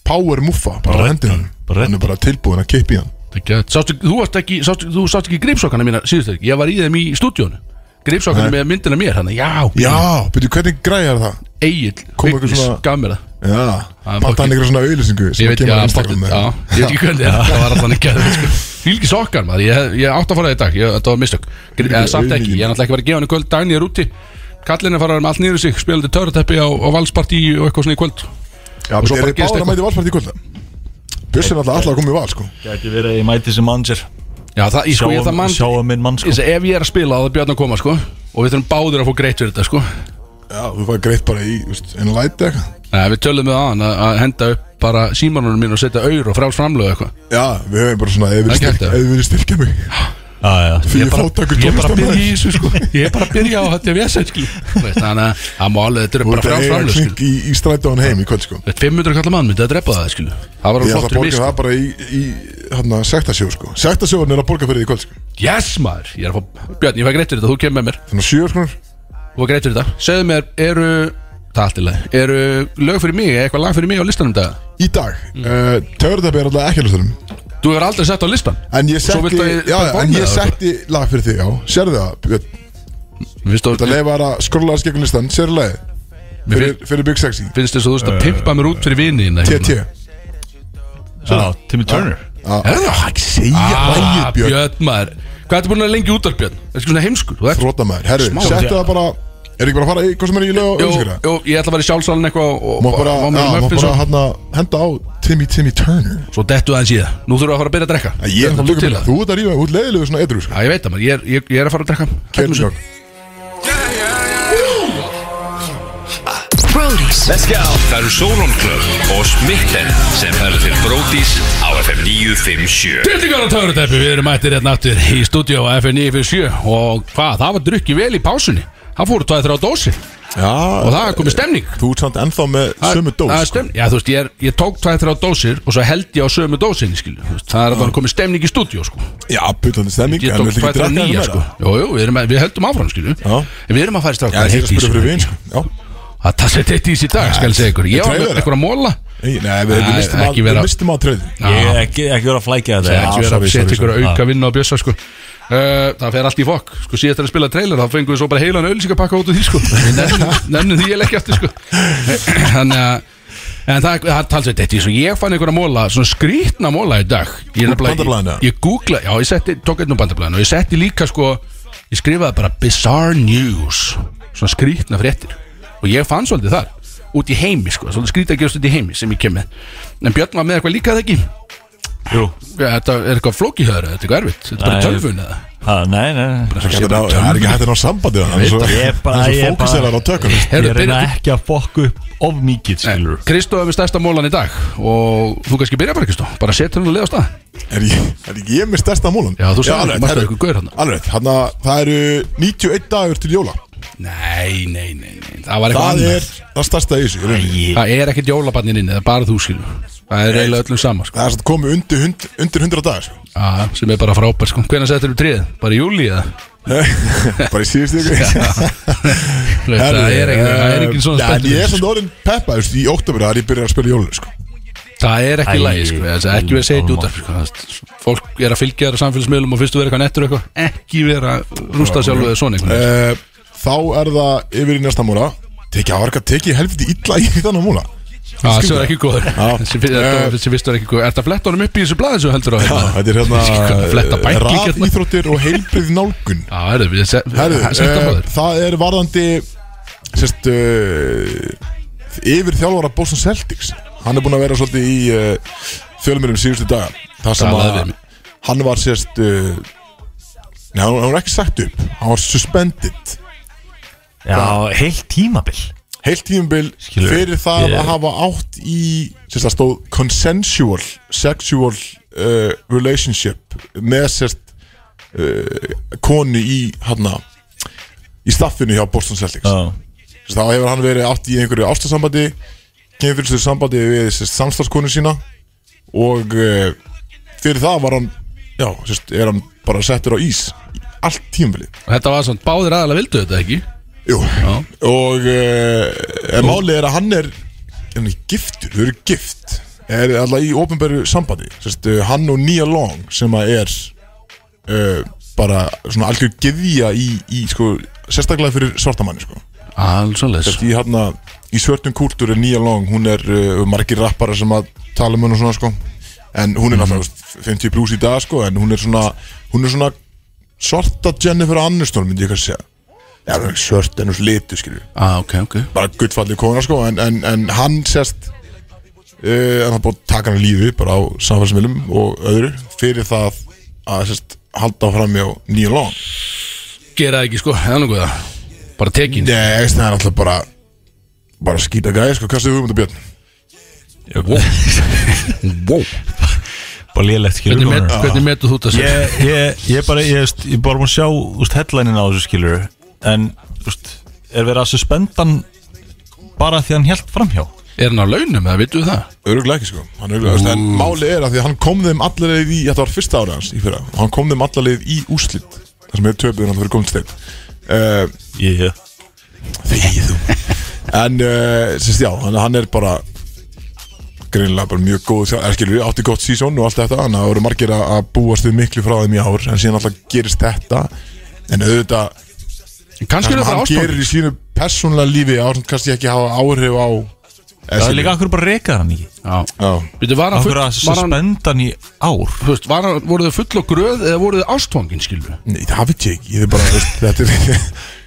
[SPEAKER 1] Power muffa, bara á hendinu
[SPEAKER 2] bara
[SPEAKER 1] Hann er bara tilbúin að kippa í hann
[SPEAKER 3] Það er ekki að- sástu, Þú varst ekki, sástu, þú sást ekki gripsokkana mína síðust ekki Ég var í þeim í stúdíónu Gripsokkana með myndina mér hann Já,
[SPEAKER 1] Já, byrju, hvernig græjar það?
[SPEAKER 3] Egil,
[SPEAKER 1] Kom eitthvað svona-
[SPEAKER 3] gaf mér það
[SPEAKER 1] Já,
[SPEAKER 3] er
[SPEAKER 1] panta hann
[SPEAKER 3] pottþétt.
[SPEAKER 1] einhverja svona auðlýsingu sem
[SPEAKER 3] Ég veit,
[SPEAKER 1] kemur
[SPEAKER 3] já,
[SPEAKER 1] á
[SPEAKER 3] pottet,
[SPEAKER 1] Instagram eða-
[SPEAKER 3] já, ég veit ekki hvernig Það var alltaf ekki að Fylgi sokkar maður, ég, ég átt að fara í dag ég, Þetta var mistök, Gr- eða samt ekki Ég er náttúrulega ekki verið að gefa henni í kvöld, dagni er úti Kallin er farað um allt nýru sig, spilandi töruteppi á, á valspartí og eitthvað svona í kvöld
[SPEAKER 1] Já,
[SPEAKER 3] svo
[SPEAKER 1] betur,
[SPEAKER 3] bara
[SPEAKER 1] er þið
[SPEAKER 3] gerist
[SPEAKER 1] báðar að
[SPEAKER 3] eitthvað.
[SPEAKER 1] mæti valsparti í kvölda? Bjössi er alltaf alltaf að koma í val, sko
[SPEAKER 2] Gæti verið að ég mæti sem manager
[SPEAKER 3] Já, það, ég sko, ég það
[SPEAKER 2] Sjáum
[SPEAKER 3] mann
[SPEAKER 2] sjáum minn mann sko
[SPEAKER 3] Ég segi, ef ég er að spila á það Björn að koma, sko Og við þurfum báðir að fá greitt fyrir þetta, sko
[SPEAKER 1] Já, þú fæði greitt bara í, veist, einu læti eitthvað
[SPEAKER 3] Nei, Við tölum við aðan að að henda upp bara símanunum mín og setja auður og fráls framlögu eitthvað
[SPEAKER 1] Já, við höfum bara svona, ef
[SPEAKER 3] Það er ekki hægt, eða?
[SPEAKER 1] við viljið styrkja mig
[SPEAKER 2] Já, já
[SPEAKER 1] Fyrir fátakur
[SPEAKER 3] Ég er bara að byrja í
[SPEAKER 1] tónlistamæður
[SPEAKER 3] þessu, sko Ég er bara að byrja á þetta vesen, skilur. Þú veist, Þannig að það má alveg, þetta eru
[SPEAKER 1] Þú
[SPEAKER 3] bara
[SPEAKER 1] ert að
[SPEAKER 3] fráls
[SPEAKER 1] eiga
[SPEAKER 3] framlögu, skilur.
[SPEAKER 1] klink í, í strætóan heim í kvöld, sko
[SPEAKER 3] Þetta 500 kallar mann myndi að drepa það, skilu Það var
[SPEAKER 1] Ég
[SPEAKER 3] alveg
[SPEAKER 1] ætla að borga
[SPEAKER 3] flottur sko. misk
[SPEAKER 1] það bara í, í hérna, sektasjóð, sko Sektasjóðan er að borga fyrir því í kvöld, sko
[SPEAKER 3] Yes, maður Ég er að fá Björn, ég fæ greitt fyrir þetta, þú kemur með mér
[SPEAKER 1] Þannig að sjö, sko
[SPEAKER 3] Þú fæ greitt fyrir þetta Segðu mér, eru Það er allt í lagi Eru lög fyrir mig, eitthvað lag fyrir mig á listanum dag
[SPEAKER 1] Í dag, mm. uh, Törðabbi er alltaf ekki að hlusta um
[SPEAKER 3] Þú hefur aldrei sett á listan
[SPEAKER 1] En ég
[SPEAKER 3] Svo viltu
[SPEAKER 1] setti,
[SPEAKER 3] að ég
[SPEAKER 1] já,
[SPEAKER 3] performi
[SPEAKER 1] en ég
[SPEAKER 3] það,
[SPEAKER 1] setti lag fyrir því, já Sérðu það, Björn?
[SPEAKER 3] Mm. Mér finnst
[SPEAKER 1] Það
[SPEAKER 3] þú-
[SPEAKER 1] leiði bara að skrolla þess gegn listan, sérðu lagið?
[SPEAKER 3] Mér
[SPEAKER 1] Fyrir,
[SPEAKER 3] finnst-
[SPEAKER 1] fyrir Big Sexy
[SPEAKER 3] finnst þess að þú veist að pimpa mér út fyrir vini þína, hérna.
[SPEAKER 1] TT
[SPEAKER 2] Já, Timmy Turner
[SPEAKER 3] Er það?
[SPEAKER 1] ekki segja
[SPEAKER 3] Ah,
[SPEAKER 1] lagið Ah, Björn
[SPEAKER 3] Björn, maður Hvað ertu búin að vera lengi út af Björn? Það er svona heimskur Þú ert-
[SPEAKER 1] Þrótamæður, herru,
[SPEAKER 3] Smá.
[SPEAKER 1] settu það bara Er ekki bara að fara í hvað sem er í lög og
[SPEAKER 3] Jú,
[SPEAKER 1] öllskara?
[SPEAKER 3] jú, ég ætla að vera í sjálfsalinn eitthvað og- og-
[SPEAKER 1] Má bara,
[SPEAKER 3] og- og-
[SPEAKER 1] já,
[SPEAKER 3] og-
[SPEAKER 1] má
[SPEAKER 3] og-
[SPEAKER 1] bara
[SPEAKER 3] og-
[SPEAKER 1] hérna henda á Timmy Timmy Turner
[SPEAKER 3] Svo dettu aðeins í það Nú þurfum við að fara að byrja að drekka
[SPEAKER 1] Að Ég er
[SPEAKER 3] Þetta
[SPEAKER 1] það
[SPEAKER 3] tók
[SPEAKER 1] líka
[SPEAKER 3] til
[SPEAKER 1] bara,
[SPEAKER 3] það.
[SPEAKER 1] þú ert að rífa, þú ert leiðilegu svona edru sko
[SPEAKER 3] Já, ég veit það, maður, ég er- ég- ég er að fara að drekka Kæmum
[SPEAKER 1] Kjörnum
[SPEAKER 3] þessu.
[SPEAKER 1] sjokk
[SPEAKER 4] Brody's
[SPEAKER 5] Let's go Það eru Solon Club og Smitten sem færðu til Brótis á FM 957
[SPEAKER 3] Tiltingar og törutæpi, við erum mættir hérna aftur í stúdíu á FN957 og hvað, það var drukkið vel í pásunni það fóru tvæði þrjá dósi og
[SPEAKER 1] Já,
[SPEAKER 3] það er komið stemning
[SPEAKER 1] þú ert samt ennþá með
[SPEAKER 3] Það-
[SPEAKER 1] sömu
[SPEAKER 3] það
[SPEAKER 1] dós sko.
[SPEAKER 3] er stemning, já þú veist, ég, er, ég tók tvæði þrjá dósir og svo held ég á sömu dósinni, skilju Þú veist, það er að það er komið stemning í stúdíu, sko
[SPEAKER 1] Já, puttandi stemming
[SPEAKER 3] ég
[SPEAKER 1] en
[SPEAKER 3] tók
[SPEAKER 1] viltu ekki
[SPEAKER 3] tvæði þrjá
[SPEAKER 1] drekka
[SPEAKER 3] nýja,
[SPEAKER 1] meira?
[SPEAKER 3] sko jú, jú, við, erum, að- við heldum áfram, skilju
[SPEAKER 1] Já.
[SPEAKER 3] en við erum að fara í
[SPEAKER 1] Já,
[SPEAKER 3] stráka
[SPEAKER 1] það er að spyrja fyrir vin sko. Já,
[SPEAKER 3] það það sett eitt í sig í dag, skal ég segja ykkur ég var
[SPEAKER 1] Trailer,
[SPEAKER 3] með ykkur að móla
[SPEAKER 1] Nei, nei, við við
[SPEAKER 3] Nei,
[SPEAKER 1] mistum á-
[SPEAKER 3] ekki
[SPEAKER 1] við
[SPEAKER 3] vera-
[SPEAKER 1] mistum á tröðin
[SPEAKER 2] Ég er ekki, ekki verið að flækja
[SPEAKER 3] Það er
[SPEAKER 2] þetta
[SPEAKER 3] ekki verið að
[SPEAKER 1] sorry,
[SPEAKER 3] setja
[SPEAKER 1] sorry, Ah.
[SPEAKER 3] ykkur
[SPEAKER 2] sorry.
[SPEAKER 3] auka vinna á bjössa sko Uh, það fer allt í fokk, sko síðast þegar að spila trailer þá fengum við svo bara heilan auðlýsingapakka út úr því sko Við nefnum, nefnum því ég leggja aftur sko þannig að en það, það talsveit eitt í svo ég fann einhverja móla, svona skrýtna móla í dag ég, er nefnilega-
[SPEAKER 1] Bandablaðinu, eða?
[SPEAKER 3] ég, ég googla, já ég setti, tók einn úr bandablaðinu og ég setti líka sko, ég skrifaði bara bizarre news, svona skrýtna fréttir og ég fann svolítið þar út í heimi sko, svolítið skrýta að gerast út í heimi sem ég kem með, en Björn var með eitthvað líka það ekki
[SPEAKER 2] Jú
[SPEAKER 3] Ja, Þetta er eitthvað flókihöður, þetta er eitthvað erfitt Þetta er bara
[SPEAKER 2] Nei.
[SPEAKER 3] tölvun eða
[SPEAKER 2] Ha, Nei, nei, nei
[SPEAKER 1] Það er ekki hægt að ná sambandi hann Hann er svo-
[SPEAKER 2] Ég er bara-
[SPEAKER 1] hann er
[SPEAKER 2] ég
[SPEAKER 1] svo
[SPEAKER 2] er bara-
[SPEAKER 1] fókuseraður á tökum
[SPEAKER 3] Heyrðu,
[SPEAKER 2] Ég reyna
[SPEAKER 3] byrja-
[SPEAKER 2] ekki að fokka upp of mikið, skilur
[SPEAKER 3] Kristó er við stærsta mólan í dag og þú kannski byrja bara Kristó, bara setja hann og leiða á stað
[SPEAKER 1] Er ég, er ég með stærsta múlan?
[SPEAKER 3] Já, þú sagðir,
[SPEAKER 1] alveg,
[SPEAKER 3] markaði
[SPEAKER 1] herru,
[SPEAKER 3] ykkur gaur þarna.
[SPEAKER 1] Alveg, hann að það eru 91 dagur til jóla
[SPEAKER 3] Nei, nei, nei, nei, það var eitthvað
[SPEAKER 1] Það
[SPEAKER 3] annað
[SPEAKER 1] er það stærsta í þessu í rauninni.
[SPEAKER 2] Ég
[SPEAKER 3] Það er ekkert jólabannin inn, það er bara þú skilur Það er eiginlega öllum sama sko.
[SPEAKER 1] Það er satt komið undir, hund, undir 100 dagar sko.
[SPEAKER 3] ah, sem er bara frábær sko. Hvernig settur þú tríð? Bara í júli eða?
[SPEAKER 1] Bara í síðustu ykkur
[SPEAKER 3] Þú veist, Það er ekkert- það er ekkert svona
[SPEAKER 1] eh, En ég er
[SPEAKER 3] spenntur
[SPEAKER 1] samt orðin peppa veist, Í óttubur það er ég byrjað að spila jóla sko.
[SPEAKER 3] Það er ekki
[SPEAKER 2] Æ,
[SPEAKER 3] lægi, sko, það er ekki verið að segja þetta út af, sko, það er- Fólk er að fylgja þér á samfélagsmiðlum og fyrstu vera eitthvað nettur eitthvað Ekki vera að rústa sjálfu eða svona einhvern veginn.
[SPEAKER 1] Eh, Þá er það yfir í næsta múla Tekið að varga, tekið helviti illa í þannig múla
[SPEAKER 3] Já, þessi var ekki góður
[SPEAKER 1] Já.
[SPEAKER 3] Þessi fyrst-
[SPEAKER 1] Eh.
[SPEAKER 3] Þessi fyrst var ekki góður Er þetta flett honum upp í þessu blaði sem þú heldur á hérna?
[SPEAKER 1] Þetta er
[SPEAKER 3] Ég kann að fletta
[SPEAKER 1] hérna
[SPEAKER 3] bækling
[SPEAKER 1] Ráð
[SPEAKER 3] hérna.
[SPEAKER 1] íþróttir og heilbrið nálgun
[SPEAKER 3] Já, herðu, við se-
[SPEAKER 1] Herru,
[SPEAKER 3] ha- setta
[SPEAKER 1] eh,
[SPEAKER 3] maður
[SPEAKER 1] það er varðandi sérst, uh, yfir þjálfara Boston Celtics hann er búinn að vera svolítið í uh, fjölmjörnum síðustu daga það sem
[SPEAKER 3] Talaði við
[SPEAKER 1] að hann var sérst uh, eh, Nei, hann hann var ekki sagt upp Hann var suspended
[SPEAKER 4] Já, heilt tímabil
[SPEAKER 1] Heilt tímabil
[SPEAKER 4] Skilur.
[SPEAKER 1] fyrir það
[SPEAKER 4] Ég-
[SPEAKER 1] að hafa átt í sem það stóð consensual sexual uh, relationship með sérst uh, konu í hana í staffinu hjá Boston Celtics
[SPEAKER 2] Já,
[SPEAKER 1] Sérst, þá hefur hann verið átt í einhverju ástasambandi kynfyrstur sambandi við sérst, samstarfskonu sína og uh, fyrir það var hann já, sérst, er hann bara settur á ís í allt tímfili
[SPEAKER 3] Þetta var svona, báðir aðalega vildu þetta ekki
[SPEAKER 1] Jú, og uh, málið er að hann er hann er giftur, þau eru gift er alltaf í ofinberu sambandi Sest, uh, hann og Nia Long sem að er uh, bara svona algjör geðja í, í sko, sérstaklega fyrir svartamanni sko.
[SPEAKER 3] Alls og les
[SPEAKER 1] Sest, í, hana, í svörtum kúltúr er Nia Long hún er uh, margir rappara sem að tala um henn og svona sko. en hún er náttúrulega þú veist, 50 pluss í dag sko, en hún er svona, hún er svona svarta Jennifer Aniston myndi ég kannski segja Já, hún er ekki svört en hún slitu skilur
[SPEAKER 3] ah, ok, ok
[SPEAKER 1] bara guttfallið kona sko en, en, en hann sérst uh, en hann búið að taka hann í lífi bara á samfélsmiðlum og öðru fyrir það að sérst halda fram hjá nýja lón
[SPEAKER 3] Gera það ekki sko, eða nokkuð það Bara tekin
[SPEAKER 1] Nei, veist, það er alltaf bara bara skýta gæði sko, hvað stuðu hugmyndu Björn?
[SPEAKER 3] wow.
[SPEAKER 2] bara lélegt skilur
[SPEAKER 3] Hvernig, met, hvernig metu þú þetta sér?
[SPEAKER 2] ég, ég, ég bara, ég, veist, ég bara múið að sjá úst, headlinein á þessu skilur en úst, er verið að suspenda hann bara því hann held framhjá
[SPEAKER 3] Er hann á launum eða vittu það?
[SPEAKER 1] Öruglega ekki sko hann öruglega, veist, en máli er að því að hann kom þeim allarleið í þetta var fyrsta ára hans í fyrra og hann kom þeim allarleið í úslit þar sem hefur töpuðin alltaf fyrir góðnsteinn uh,
[SPEAKER 2] ég,
[SPEAKER 1] Þegið þú En, uh, sérst, já, hann, hann er bara greinilega bara mjög góð þjá- eða skilur, átti gott sísón og allt þetta þannig að það voru margir að að búast við miklu frá þeim í ár en síðan alltaf gerist þetta en auðvitað, það
[SPEAKER 3] Kannski er
[SPEAKER 1] sem
[SPEAKER 3] það
[SPEAKER 1] hann
[SPEAKER 3] ástofn
[SPEAKER 1] gerir í sínu persónlega lífi á sem kannski ekki hafa áhrif á eða
[SPEAKER 2] það er
[SPEAKER 1] skilur-
[SPEAKER 2] líka akkur bara rekað hann ekki
[SPEAKER 3] Já
[SPEAKER 1] Já,
[SPEAKER 3] Býttu, var hann full
[SPEAKER 2] akkur að
[SPEAKER 3] var hann,
[SPEAKER 2] suspenda hann í ár
[SPEAKER 3] þú veist, var hann, voru þau full og gröð eða voru þau ástfangin, skilur
[SPEAKER 1] nei, það veit ég ekki ég er bara, veist, þetta er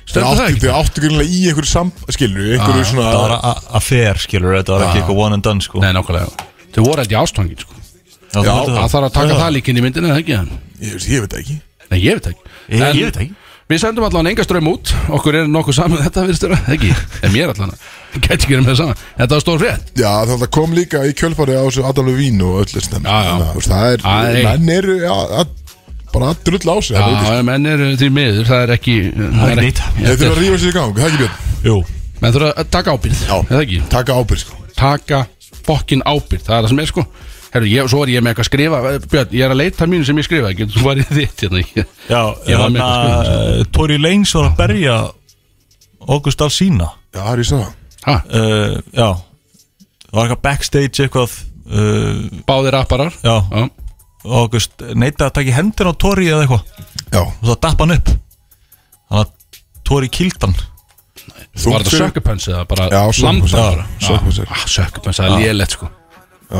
[SPEAKER 1] Þau
[SPEAKER 3] Stendur það
[SPEAKER 1] áttu,
[SPEAKER 3] ekki?
[SPEAKER 1] þau áttu greinlega í einhverju sam... skilur, einhverju svona
[SPEAKER 2] það var affair skilur, þetta var ekki eitthvað one and done sko
[SPEAKER 3] Nei, nákvæmlega Þau voru held í ástfangin, sko
[SPEAKER 2] Já, þú heldur
[SPEAKER 3] Það
[SPEAKER 2] það.
[SPEAKER 3] þarf að taka
[SPEAKER 2] Já.
[SPEAKER 3] það líka inn í myndinu, eða ekki hann?
[SPEAKER 1] ég, veist, ég veit það ekki
[SPEAKER 3] Nei, ég veit ekki
[SPEAKER 2] Ég-
[SPEAKER 3] En
[SPEAKER 2] ég veit ekki.
[SPEAKER 3] Við sendum allan enga ströym út Okkur er nokkuð saman þetta virðist vera Ekki, en mér allan Gæti ekki verið með það saman Þetta var stór frétt
[SPEAKER 1] Já, þannig að það kom líka í kjölfari á þessu Adam Levine og öllu stem
[SPEAKER 3] Já, já.
[SPEAKER 1] Það er,
[SPEAKER 3] Það er-
[SPEAKER 1] menn eru já, að, bara að drull á sig það veit ég.
[SPEAKER 3] Já, menn eru því miður Það er ekki Það
[SPEAKER 2] er nýtt.
[SPEAKER 1] Þeir þurfa að rífa sér í gang, það er ekki björn
[SPEAKER 2] Jú.
[SPEAKER 3] Menn þurfa að taka ábyrð
[SPEAKER 1] Já.
[SPEAKER 3] Eða ekki
[SPEAKER 1] Taka ábyrg sko
[SPEAKER 3] Taka fokkin ábyrð Það er það sem er sko Herru, ég, svo er ég með eitthvað að skrifa Björn, ég er að leita mínu sem ég skrifa Getur þú farið í þitt hérna Ég-
[SPEAKER 2] já,
[SPEAKER 3] Ég var með
[SPEAKER 2] þannig
[SPEAKER 3] eitthvað
[SPEAKER 2] að eh, Tory Lanez var að berja August Alsina
[SPEAKER 1] Já, það er ég sá það
[SPEAKER 3] Ha,
[SPEAKER 2] uh, já það var eitthvað backstage eitthvað uh,
[SPEAKER 3] báðir apparar
[SPEAKER 2] já, August neita að taka í hendin á Tori eða eitthvað
[SPEAKER 1] Já,
[SPEAKER 2] og svo dappa hann upp þannig að Tori kildan
[SPEAKER 1] þú
[SPEAKER 3] Var þetta sökkupöns eða bara
[SPEAKER 1] Já, sökkupöns,
[SPEAKER 3] landa
[SPEAKER 1] já,
[SPEAKER 3] bara?
[SPEAKER 1] sökkupöns, já.
[SPEAKER 3] Ah, Sökkupöns, það er lélegt sko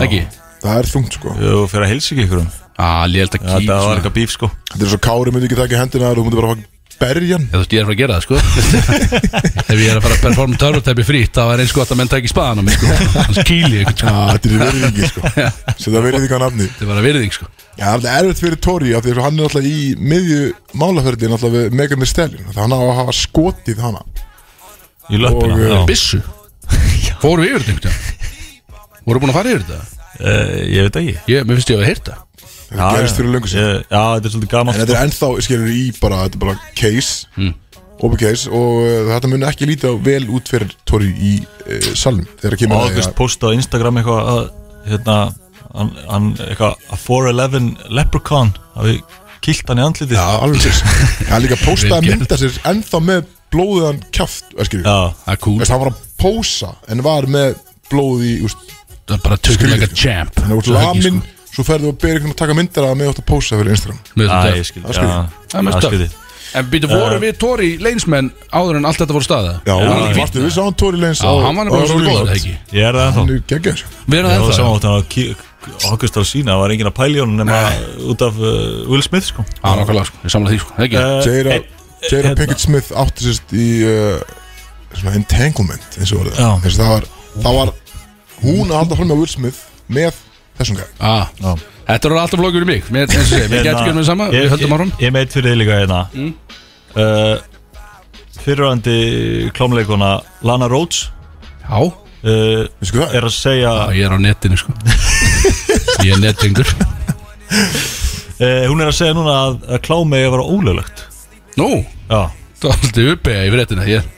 [SPEAKER 3] Ekki?
[SPEAKER 1] Það er þungt sko
[SPEAKER 2] og fyrir að heilsa ekki ykkur um
[SPEAKER 3] Ah, lélegt að kýta
[SPEAKER 2] þetta var eitthvað bíf sko
[SPEAKER 1] Þetta er svo Kári myndi ekki taka í hendina þér, Þú myndi bara fá berjan
[SPEAKER 3] Ég, þú veist, ég er að fara að gera það, sko Ef ég er að fara að performa törnutæpi frýtt Það var eins gott að menn tæki spaðan á mig, sko Hans kýli, ykkur, sko
[SPEAKER 1] Já, þetta er verið ekki sko Svo það verið ekki að nafni
[SPEAKER 3] Þetta var að virðing, sko
[SPEAKER 1] Já, það er erfitt fyrir Tori af Því að hann er alltaf í miðju málaferðin Alltaf við Megan Thee Stallion Þannig að hann á að hafa skotið hana
[SPEAKER 2] í
[SPEAKER 1] Og,
[SPEAKER 3] eh,
[SPEAKER 2] löppina já.
[SPEAKER 3] Bissu Fórum við yfir þetta, ykkur Voru búin að fara yfir þetta?
[SPEAKER 2] uh, ég veit ekki
[SPEAKER 3] Ég, mér finnst ég að vera heyrta
[SPEAKER 1] Það gerist fyrir löngu sér
[SPEAKER 2] Ég- já, þetta er svolítið
[SPEAKER 1] En
[SPEAKER 2] gaman
[SPEAKER 1] þetta er ennþá, skilur, í bara, þetta er bara case
[SPEAKER 3] Hmm.
[SPEAKER 1] Open case Og uh, þetta mun ekki líta vel út fyrir Tori í uh, salnum Þegar það kemur að-
[SPEAKER 2] August posta á Instagram eitthvað að hérna hann, hann eitthvað að 411 leprechaun hafi kilt hann í andlitið
[SPEAKER 1] Já, alveg sér Það er líka að posta að
[SPEAKER 3] Vel gert.
[SPEAKER 1] mynda sér ennþá með blóðuðan kjaft eh, Eskir
[SPEAKER 2] já,
[SPEAKER 3] Það er cool,
[SPEAKER 1] Þess að hann var að pósa en var með blóð í úst,
[SPEAKER 3] það er bara tökur like a champ
[SPEAKER 1] Þannig að út
[SPEAKER 3] Það er ekki,
[SPEAKER 1] lamin Svo ferðu og byrja einhvern að taka myndar að með átt að pósa fyrir Instagram
[SPEAKER 3] sko. Mér
[SPEAKER 2] Æ,
[SPEAKER 3] finnst
[SPEAKER 2] ég
[SPEAKER 3] þetta.
[SPEAKER 1] Það
[SPEAKER 2] skil, já,
[SPEAKER 1] skil ég.
[SPEAKER 3] Það er mest
[SPEAKER 2] skil
[SPEAKER 3] töff.
[SPEAKER 2] ég.
[SPEAKER 3] En býtu, voru við Tóri leinsmenn áður en allt þetta voru staða?
[SPEAKER 1] Eh. Já,
[SPEAKER 3] já,
[SPEAKER 1] varstu við sáum Tori Lenz
[SPEAKER 3] Já, hann var bara svo góð, eða ekki?
[SPEAKER 2] ég er það ennþá
[SPEAKER 1] Hann er sko. geggjær
[SPEAKER 3] Við
[SPEAKER 2] Já,
[SPEAKER 3] erum
[SPEAKER 2] það
[SPEAKER 3] það
[SPEAKER 2] sem
[SPEAKER 3] ennþá,
[SPEAKER 2] átt hann að August á sína var enginn að pæli honum nema út af uh, Will Smith sko
[SPEAKER 3] já, nákvæmlega, sko, ég samla því, sko, eða ekki?
[SPEAKER 2] Eh.
[SPEAKER 1] Jada
[SPEAKER 2] einn-
[SPEAKER 1] Jada
[SPEAKER 2] hérna.
[SPEAKER 1] Pinkett Smith átti sérst í uh, svona entanglement eins og
[SPEAKER 2] Já.
[SPEAKER 1] orðið Þess að það var það var hún að halda fram með Will Smith með þessum gæð
[SPEAKER 3] Ah, Þetta eru alltaf vlogur um mig Mér, eins og segja, mér getur ekki um það sama Við höldum árum
[SPEAKER 2] Hérna, Ég, ég meit fyrir þig líka hérna mm. uh, Fyrirandi klómleikona Lana Rhodes
[SPEAKER 3] Já,
[SPEAKER 2] uh,
[SPEAKER 1] Vissu hvað það er?
[SPEAKER 2] er að segja
[SPEAKER 3] já, ég er á netinu sko Ég er nettingur
[SPEAKER 2] uh, Hún er að segja núna að, að klámi er að vera ólöglegt
[SPEAKER 3] Nú,
[SPEAKER 2] Já
[SPEAKER 3] það er alltaf uppega í fréttina Ég er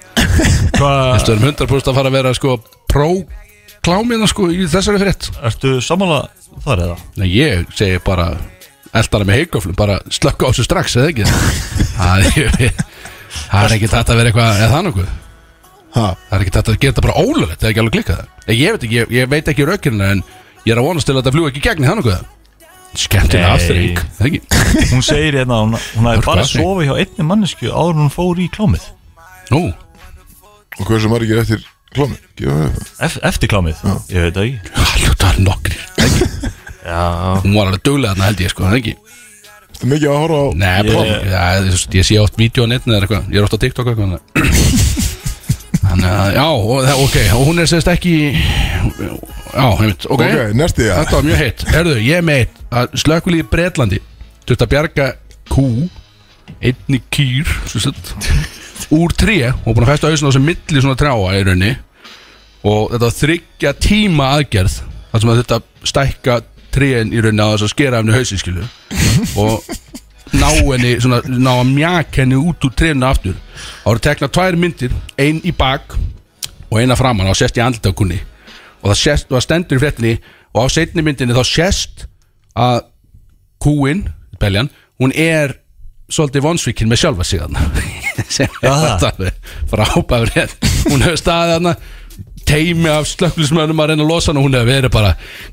[SPEAKER 2] Hvað,
[SPEAKER 3] stöðum 100% að fara að vera sko Pró-klámiðna sko í þessari frétt
[SPEAKER 2] ertu sammála þar eða?
[SPEAKER 3] Nei, ég segi bara Eldana með heikoflum, bara slökka á þessu strax Eða ekki Það er- það er ekki þetta að vera eitthvað Eða það nokkuð
[SPEAKER 1] Ha,
[SPEAKER 3] Það er ekki þetta að gera þetta bara ólöflegt, það er ekki alveg klikkað Ég, ég veit ekki, ég, ég veit ekki raukirna en ég er að vonast til að þetta fljú ekki í gegn í þannig hvað Skemmtina
[SPEAKER 2] Nei.
[SPEAKER 3] afturreik, það ekki
[SPEAKER 2] Hún segir hérna að hún, hún hafi
[SPEAKER 3] Hörku
[SPEAKER 2] bara
[SPEAKER 3] afni.
[SPEAKER 2] sofið hjá einni mannesku áður en hún fór í klámið
[SPEAKER 3] Nú,
[SPEAKER 1] og hversu margir eftir eh, klómi? Gefa það upp.
[SPEAKER 2] Ef, Eftir klámið, ég veit það ekki
[SPEAKER 3] hlutar nokkrir það ekki?
[SPEAKER 2] Já,
[SPEAKER 3] Hún var alveg duglega þarna held ég sko, það ekki
[SPEAKER 1] Þetta er mikið að horfa á
[SPEAKER 3] Nei,
[SPEAKER 2] Ég-
[SPEAKER 3] bara, ég, ég, ég, ég sé oft vídeo á netinu eða eitthvað, ég er oft á TikTok eitthvað þannig að- Þannig að, já, og, það- ok, og hún er sérst ekki Já, heimitt, ok,
[SPEAKER 1] Ok, næsti ja.
[SPEAKER 3] Þetta var mjög heitt Herðu, ég er með eitt að slökulíði Bretlandi Þurft að bjarga kú Einni kýr sem sagt, Úr tré Og búin að festa hausinn á sem milli svona trjáa í raunni Og þetta var þryggja tíma aðgerð Þar sem að þetta stækka tréin í raunni á þess að skera henni hausin skilu Og ná henni svona, Ná að mjaka henni út úr trénu aftur Það voru tekna tvær myndir Ein í bak og eina framann og sést í andlitakunni og það, sést, og það stendur í fréttinni og á seinni myndinni þá sést að kúin, beljan, hún er svolítið vonsvíkin með sjálfa sig þarna sem er
[SPEAKER 2] Já, það.
[SPEAKER 3] þetta frábæður hún hefur staðið þarna teimi af slökkulismönnum að reyna að losa hann og hún hefur verið bara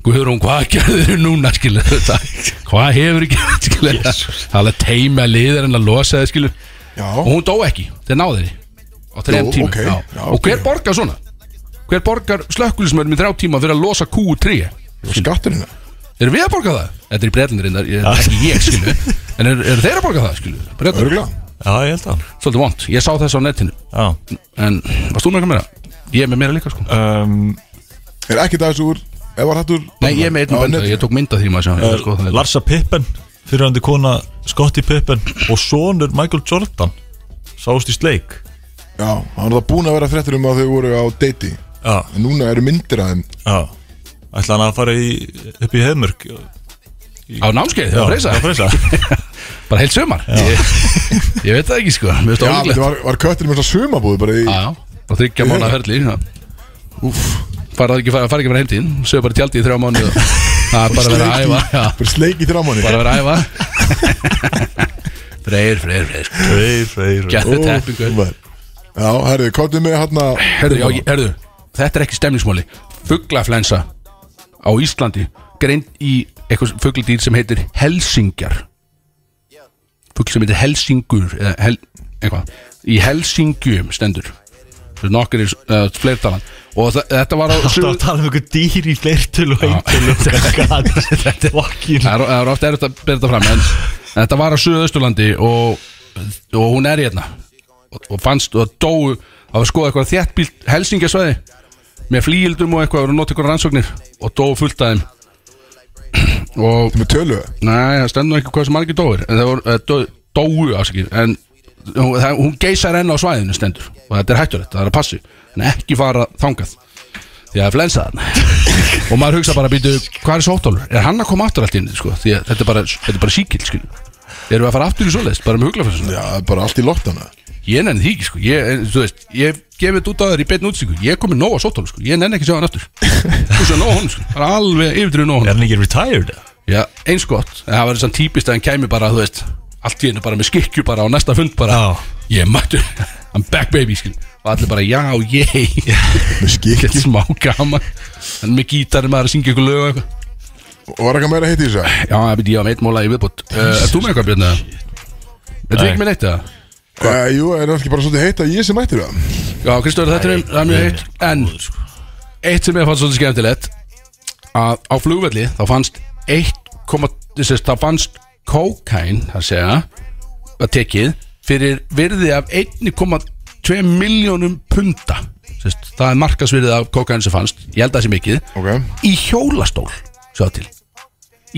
[SPEAKER 3] Guðrún, hvað gerður þau núna skilu þetta hvað hefur þau gerð skilu það er alveg teimi að liða reyna að losa þau skilu
[SPEAKER 1] Já,
[SPEAKER 3] og hún dó ekki, þeir náði henni á þrejum
[SPEAKER 1] Nú,
[SPEAKER 3] tímum
[SPEAKER 1] ok,
[SPEAKER 3] já.
[SPEAKER 1] já,
[SPEAKER 3] og hver
[SPEAKER 1] ok.
[SPEAKER 3] borgar svona? hver borgar slökkulismörnum í þrjá tíma fyrir að losa kúu trí?
[SPEAKER 1] og skatturinn það.
[SPEAKER 3] erum við að borga það? þetta er í breytlandirindar, þetta er ekki ég skilu en eru er þeir að borga það skilu? Bretland,
[SPEAKER 1] Örgulega
[SPEAKER 2] já, ég held að
[SPEAKER 3] svolítið vond, ég sá þess á netinu
[SPEAKER 2] Já,
[SPEAKER 3] en varst þú með eitthvað meira? ég er með meira líka sko
[SPEAKER 2] um,
[SPEAKER 1] Er ekki það úr Ef var hættur
[SPEAKER 3] nei, ég er
[SPEAKER 1] Já,
[SPEAKER 3] með einn benda,
[SPEAKER 1] netinu.
[SPEAKER 3] ég tók mynda því maður sem ég sko það
[SPEAKER 2] Eh, Larsa Pippen fyrirandi kona Scottie Pippen og sonur Michael Jordan sást í sleik
[SPEAKER 1] Já, hann er það búin að vera fréttur um að þau voru á deiti
[SPEAKER 2] Já,
[SPEAKER 1] En núna eru myndir að þeim
[SPEAKER 2] já Ætla hann að fara í, upp í heimörk
[SPEAKER 3] á námskeið, það var freysa
[SPEAKER 2] Já, freysa
[SPEAKER 3] bara heilt sömar ég, ég veit það ekki sko, mér finnst
[SPEAKER 1] Já, þetta
[SPEAKER 3] það ólíklegt.
[SPEAKER 1] var, var kötturinn með þess að sumabúð bara í
[SPEAKER 3] Já, já, og þryggja mánu að ferli já.
[SPEAKER 1] Úff,
[SPEAKER 3] fara ekki, fara, fara ekki bara heimtíðin sögur bara í tjaldi í þrjá mánu og það er bara að vera að æfa já,
[SPEAKER 1] bara sleik í þrámanni
[SPEAKER 3] bara að vera að æfa freyr, freyr, sko. freyr
[SPEAKER 2] Freyr, freyr
[SPEAKER 3] gæðu teppingu
[SPEAKER 1] Já, herðu, kottum með hérna, hann að
[SPEAKER 3] herðu, já, ég- herðu, þetta er ekki stemningsmáli fuglaflensa á Íslandi greind í eitthvað fugladýr sem heitir Helsingjar fugl sem heitir Helsingur eða hel, eitthvað í Helsingjum stendur nokkur er uh, fleirtalan og þa- þetta var á
[SPEAKER 2] Það var
[SPEAKER 3] suð-
[SPEAKER 2] að tala um einhver dýr í fleirtölu og
[SPEAKER 3] Já.
[SPEAKER 2] eintölu Þetta er fokkin
[SPEAKER 3] Það er, það er ofta erfitt að bera þetta fram en þetta var á Suðausturlandi og, og hún er hérna og, og fannst og dóu að skoða eitthvað þjættbílt Helsingasvæði með flíildum og eitthvað og nota eitthvað rannsóknir og dóu fullt af þeim og
[SPEAKER 1] Með tölu
[SPEAKER 3] nei, það stendur nú ekki hvað sem margir dóir en það voru eh, dó, dóu ásakir en hún, það, hún geysar enn á svæðinu stendur og þetta er hættulegt, það er að passi en ekki fara þangað því að það er flensaðan og maður hugsa bara að býtu hvað er sóttálfur, er hann að koma aftur allt inn sko? því að þetta er bara, þetta er bara síkil skil. erum við að fara aftur í svoleiðist, bara með huglafelsuna
[SPEAKER 1] Já, bara allt í loftana
[SPEAKER 3] ég nenni því ekki, sko. ég, en, þú veist ég gefið þetta út á þér í beinu útsíku, ég komið nóg á sóttálfur sko. ég nenni ekki að sjá hann aftur þú séu nóg á honum, sko. bara alveg yfirdrið nóg á
[SPEAKER 2] Er
[SPEAKER 3] honum
[SPEAKER 2] hann ekki retired?
[SPEAKER 3] já, eins gott, en það var þessan típist að hann kæmi bara, þú veist, allt í hennu bara með skikju bara á næsta fund bara,
[SPEAKER 2] Já.
[SPEAKER 3] ég er mættur, I'm back baby skil. og allir bara, já, yeah
[SPEAKER 1] Með skikki
[SPEAKER 3] ekkert smá gaman en með gítari maður að syngja ykkur lög og eitthvað
[SPEAKER 1] Og var eitthvað meira að heiti í þessu
[SPEAKER 3] já, það byrja ég á meitt móla í viðbútt uh, er þú með eitthvað Björn eða? er þú
[SPEAKER 2] Nei.
[SPEAKER 3] ekki með neitt eða?
[SPEAKER 1] uh, Jú, er það ekki bara svolítið heitt að ég sem mættir það
[SPEAKER 3] já, Kristóður, þetta er, það er mjög heitt en eitt sem ég fannst svolítið skemmtilegt að á flugvelli þá fannst 1, þess, þá fannst kókain, það segja að tekið fyrir virði af 1,2 miljónum punda Sest, það er markasvirðið af kókain sem fannst ég held að það sé mikið
[SPEAKER 1] Ok
[SPEAKER 3] í hjólastól sjá til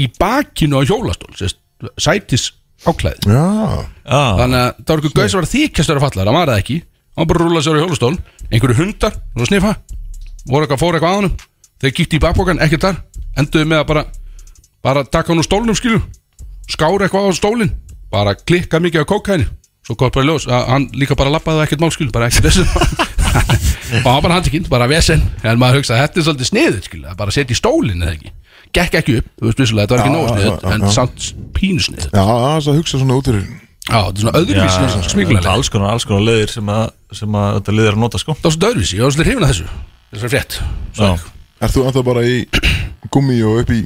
[SPEAKER 3] í bakinu á hjólastól sérst, sætis áklæði
[SPEAKER 1] Já,
[SPEAKER 2] Já,
[SPEAKER 3] þannig að það var einhver gauð sem var að þykjast vera fallar hann var það ekki, hann bara rúlaði sér á hjólastól einhverju hundar, það var að sniffa voru eitthvað, fóru eitthvað að honum þeir kíkti í bakbókan, ekkert þar enduðu með að bara bara taka hann úr stólnum skilju skára eitthvað á stólinn bara klikka mikið á kókæni svo kom bara í ljós að hann líka bara labbaði ekkert mál skilju bara ekkert þessu og hann bara handikinn, bara vesen en maður hugsaði, þetta er svolítið sniðið skilju að bara setja í stólinn eða ekki gekk ekki upp, þú veist vissulega, þetta var ekki
[SPEAKER 1] Já,
[SPEAKER 3] nóg
[SPEAKER 1] já, já,
[SPEAKER 3] sniðið en
[SPEAKER 1] já.
[SPEAKER 3] samt pínu sniðið
[SPEAKER 1] já, það að hugsa svona út fyrir
[SPEAKER 3] Já, þetta er svona öðruvísi smíkulega
[SPEAKER 2] alls konar, alls konar leðir sem, að, sem að þetta leðir að nota sko
[SPEAKER 3] Það var svona öðruvísi, ég var svolítið hrifin að þessu Þessar frétt
[SPEAKER 2] Já,
[SPEAKER 1] Er þú ennþá bara í gummi og upp í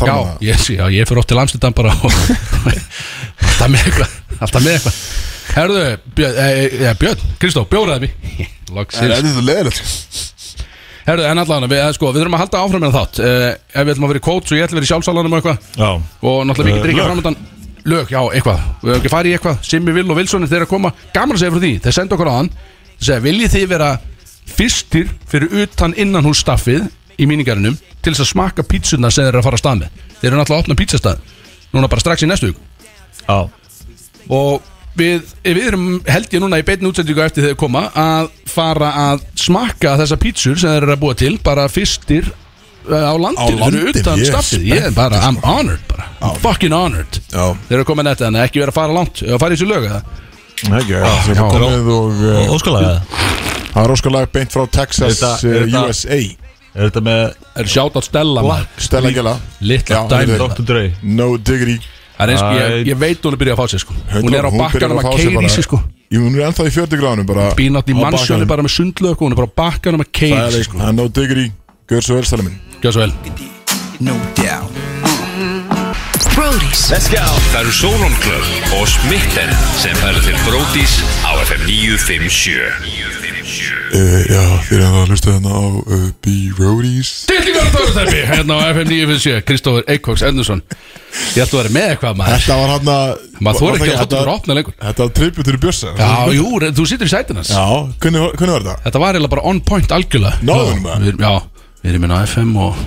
[SPEAKER 3] Já,
[SPEAKER 1] þarna?
[SPEAKER 3] ég, já, ég fyrir oft til Amstendam bara og, Alltaf með eitthvað Alltaf með eitthvað Herðu, Björn, e, e, Björn Kristó, bjóraði mig
[SPEAKER 1] Það
[SPEAKER 3] Loksins
[SPEAKER 1] er Eh, sko. þetta leðilegt
[SPEAKER 3] Herðu, en allan, við, eh, sko, við þurfum að halda áfram með þátt uh, Ef við ætlum að vera í kóts og ég ætlum að vera í sjálfsalanum og eitthvað
[SPEAKER 2] já,
[SPEAKER 3] Og náttúrulega
[SPEAKER 2] Eh,
[SPEAKER 3] mikið drikja
[SPEAKER 2] lög.
[SPEAKER 3] framöndan Lög, já, eitthvað Við höfum ekki farið í eitthvað Simmi Vill og Vilsson er þeir að koma Gaman að segja frá því Þeir senda okkur á hann Þeir segja, viljið þið vera fyrstir fyrir utan innan hús staffið í míningarunum til þess að smakka pítsuna sem þeir eru að fara að stað með Þeir eru náttúrulega að opna pítsastað Núna bara strax í næstu hug
[SPEAKER 2] já,
[SPEAKER 3] og við, við erum held ég núna í beinni útsendingu eftir þegar koma að fara að smakka þessa pítsur sem þeir eru að búa til bara fyrstir uh, á landinu
[SPEAKER 1] Á
[SPEAKER 3] fyrir
[SPEAKER 1] landinu, ég
[SPEAKER 3] utan
[SPEAKER 1] er
[SPEAKER 3] staffið
[SPEAKER 1] spenntur,
[SPEAKER 3] ég er bara, I'm honored bara I'm fucking honored
[SPEAKER 1] Já.
[SPEAKER 3] þeir eru að koma með þetta en ekki vera að fara langt og fara í þessu lög eða?
[SPEAKER 1] Ekki, já, það er bara komið og
[SPEAKER 2] og
[SPEAKER 1] eh,
[SPEAKER 2] óskalega
[SPEAKER 1] það er óskalag beint frá Texas,
[SPEAKER 2] Er þetta- er
[SPEAKER 1] eh,
[SPEAKER 2] þetta-
[SPEAKER 1] USA
[SPEAKER 2] Er þetta með
[SPEAKER 3] er sjátt á Stella maður.
[SPEAKER 1] Stella Gjela
[SPEAKER 3] litla
[SPEAKER 1] Já,
[SPEAKER 3] dæmi
[SPEAKER 1] heyrðu.
[SPEAKER 2] Dr. Dre
[SPEAKER 1] No Diggery
[SPEAKER 3] Það er eins og ég,
[SPEAKER 2] Æ.
[SPEAKER 3] ég veit hún er byrjað að fá sér sko hún er á bakkanum að keiri í sig sko
[SPEAKER 1] Jú, hún er ennþá í 40 gráðunum bara
[SPEAKER 3] bínátt í
[SPEAKER 1] á
[SPEAKER 3] mannsjónu
[SPEAKER 1] bakkanum.
[SPEAKER 3] bara með sundlöku hún er bara á bakkanum að keiri
[SPEAKER 1] Það
[SPEAKER 3] sig
[SPEAKER 1] er
[SPEAKER 3] sko
[SPEAKER 1] sko No Diggery, gör svo vel stæla minn
[SPEAKER 3] gjá svo vel
[SPEAKER 6] Brody's
[SPEAKER 5] Það eru Solon Club og Smitten sem færa til Brótis á FM 957
[SPEAKER 1] uh, Já, þér er ennþá að hlusta þarna á uh, B-Roadies
[SPEAKER 3] Dillingar og Dörðarbi, hérna á FM 957 Kristófur Eikóks Endursson Ég ætti að vera með eitthvað maður
[SPEAKER 1] Þetta var hann að
[SPEAKER 3] Maður
[SPEAKER 1] var
[SPEAKER 3] þóra ekki
[SPEAKER 1] það
[SPEAKER 3] að fóta úr
[SPEAKER 1] þetta-
[SPEAKER 3] opna lengur
[SPEAKER 1] Þetta var trippið til Björsa
[SPEAKER 3] Já, jú, re- þú situr í sætin hans
[SPEAKER 1] Já, hvernig, var- hvernig var þetta?
[SPEAKER 3] Þetta var eiginlega bara on point algjörlega
[SPEAKER 1] Náðum
[SPEAKER 3] Já,
[SPEAKER 1] maður.
[SPEAKER 3] við erum- Já, við erum inn á FM og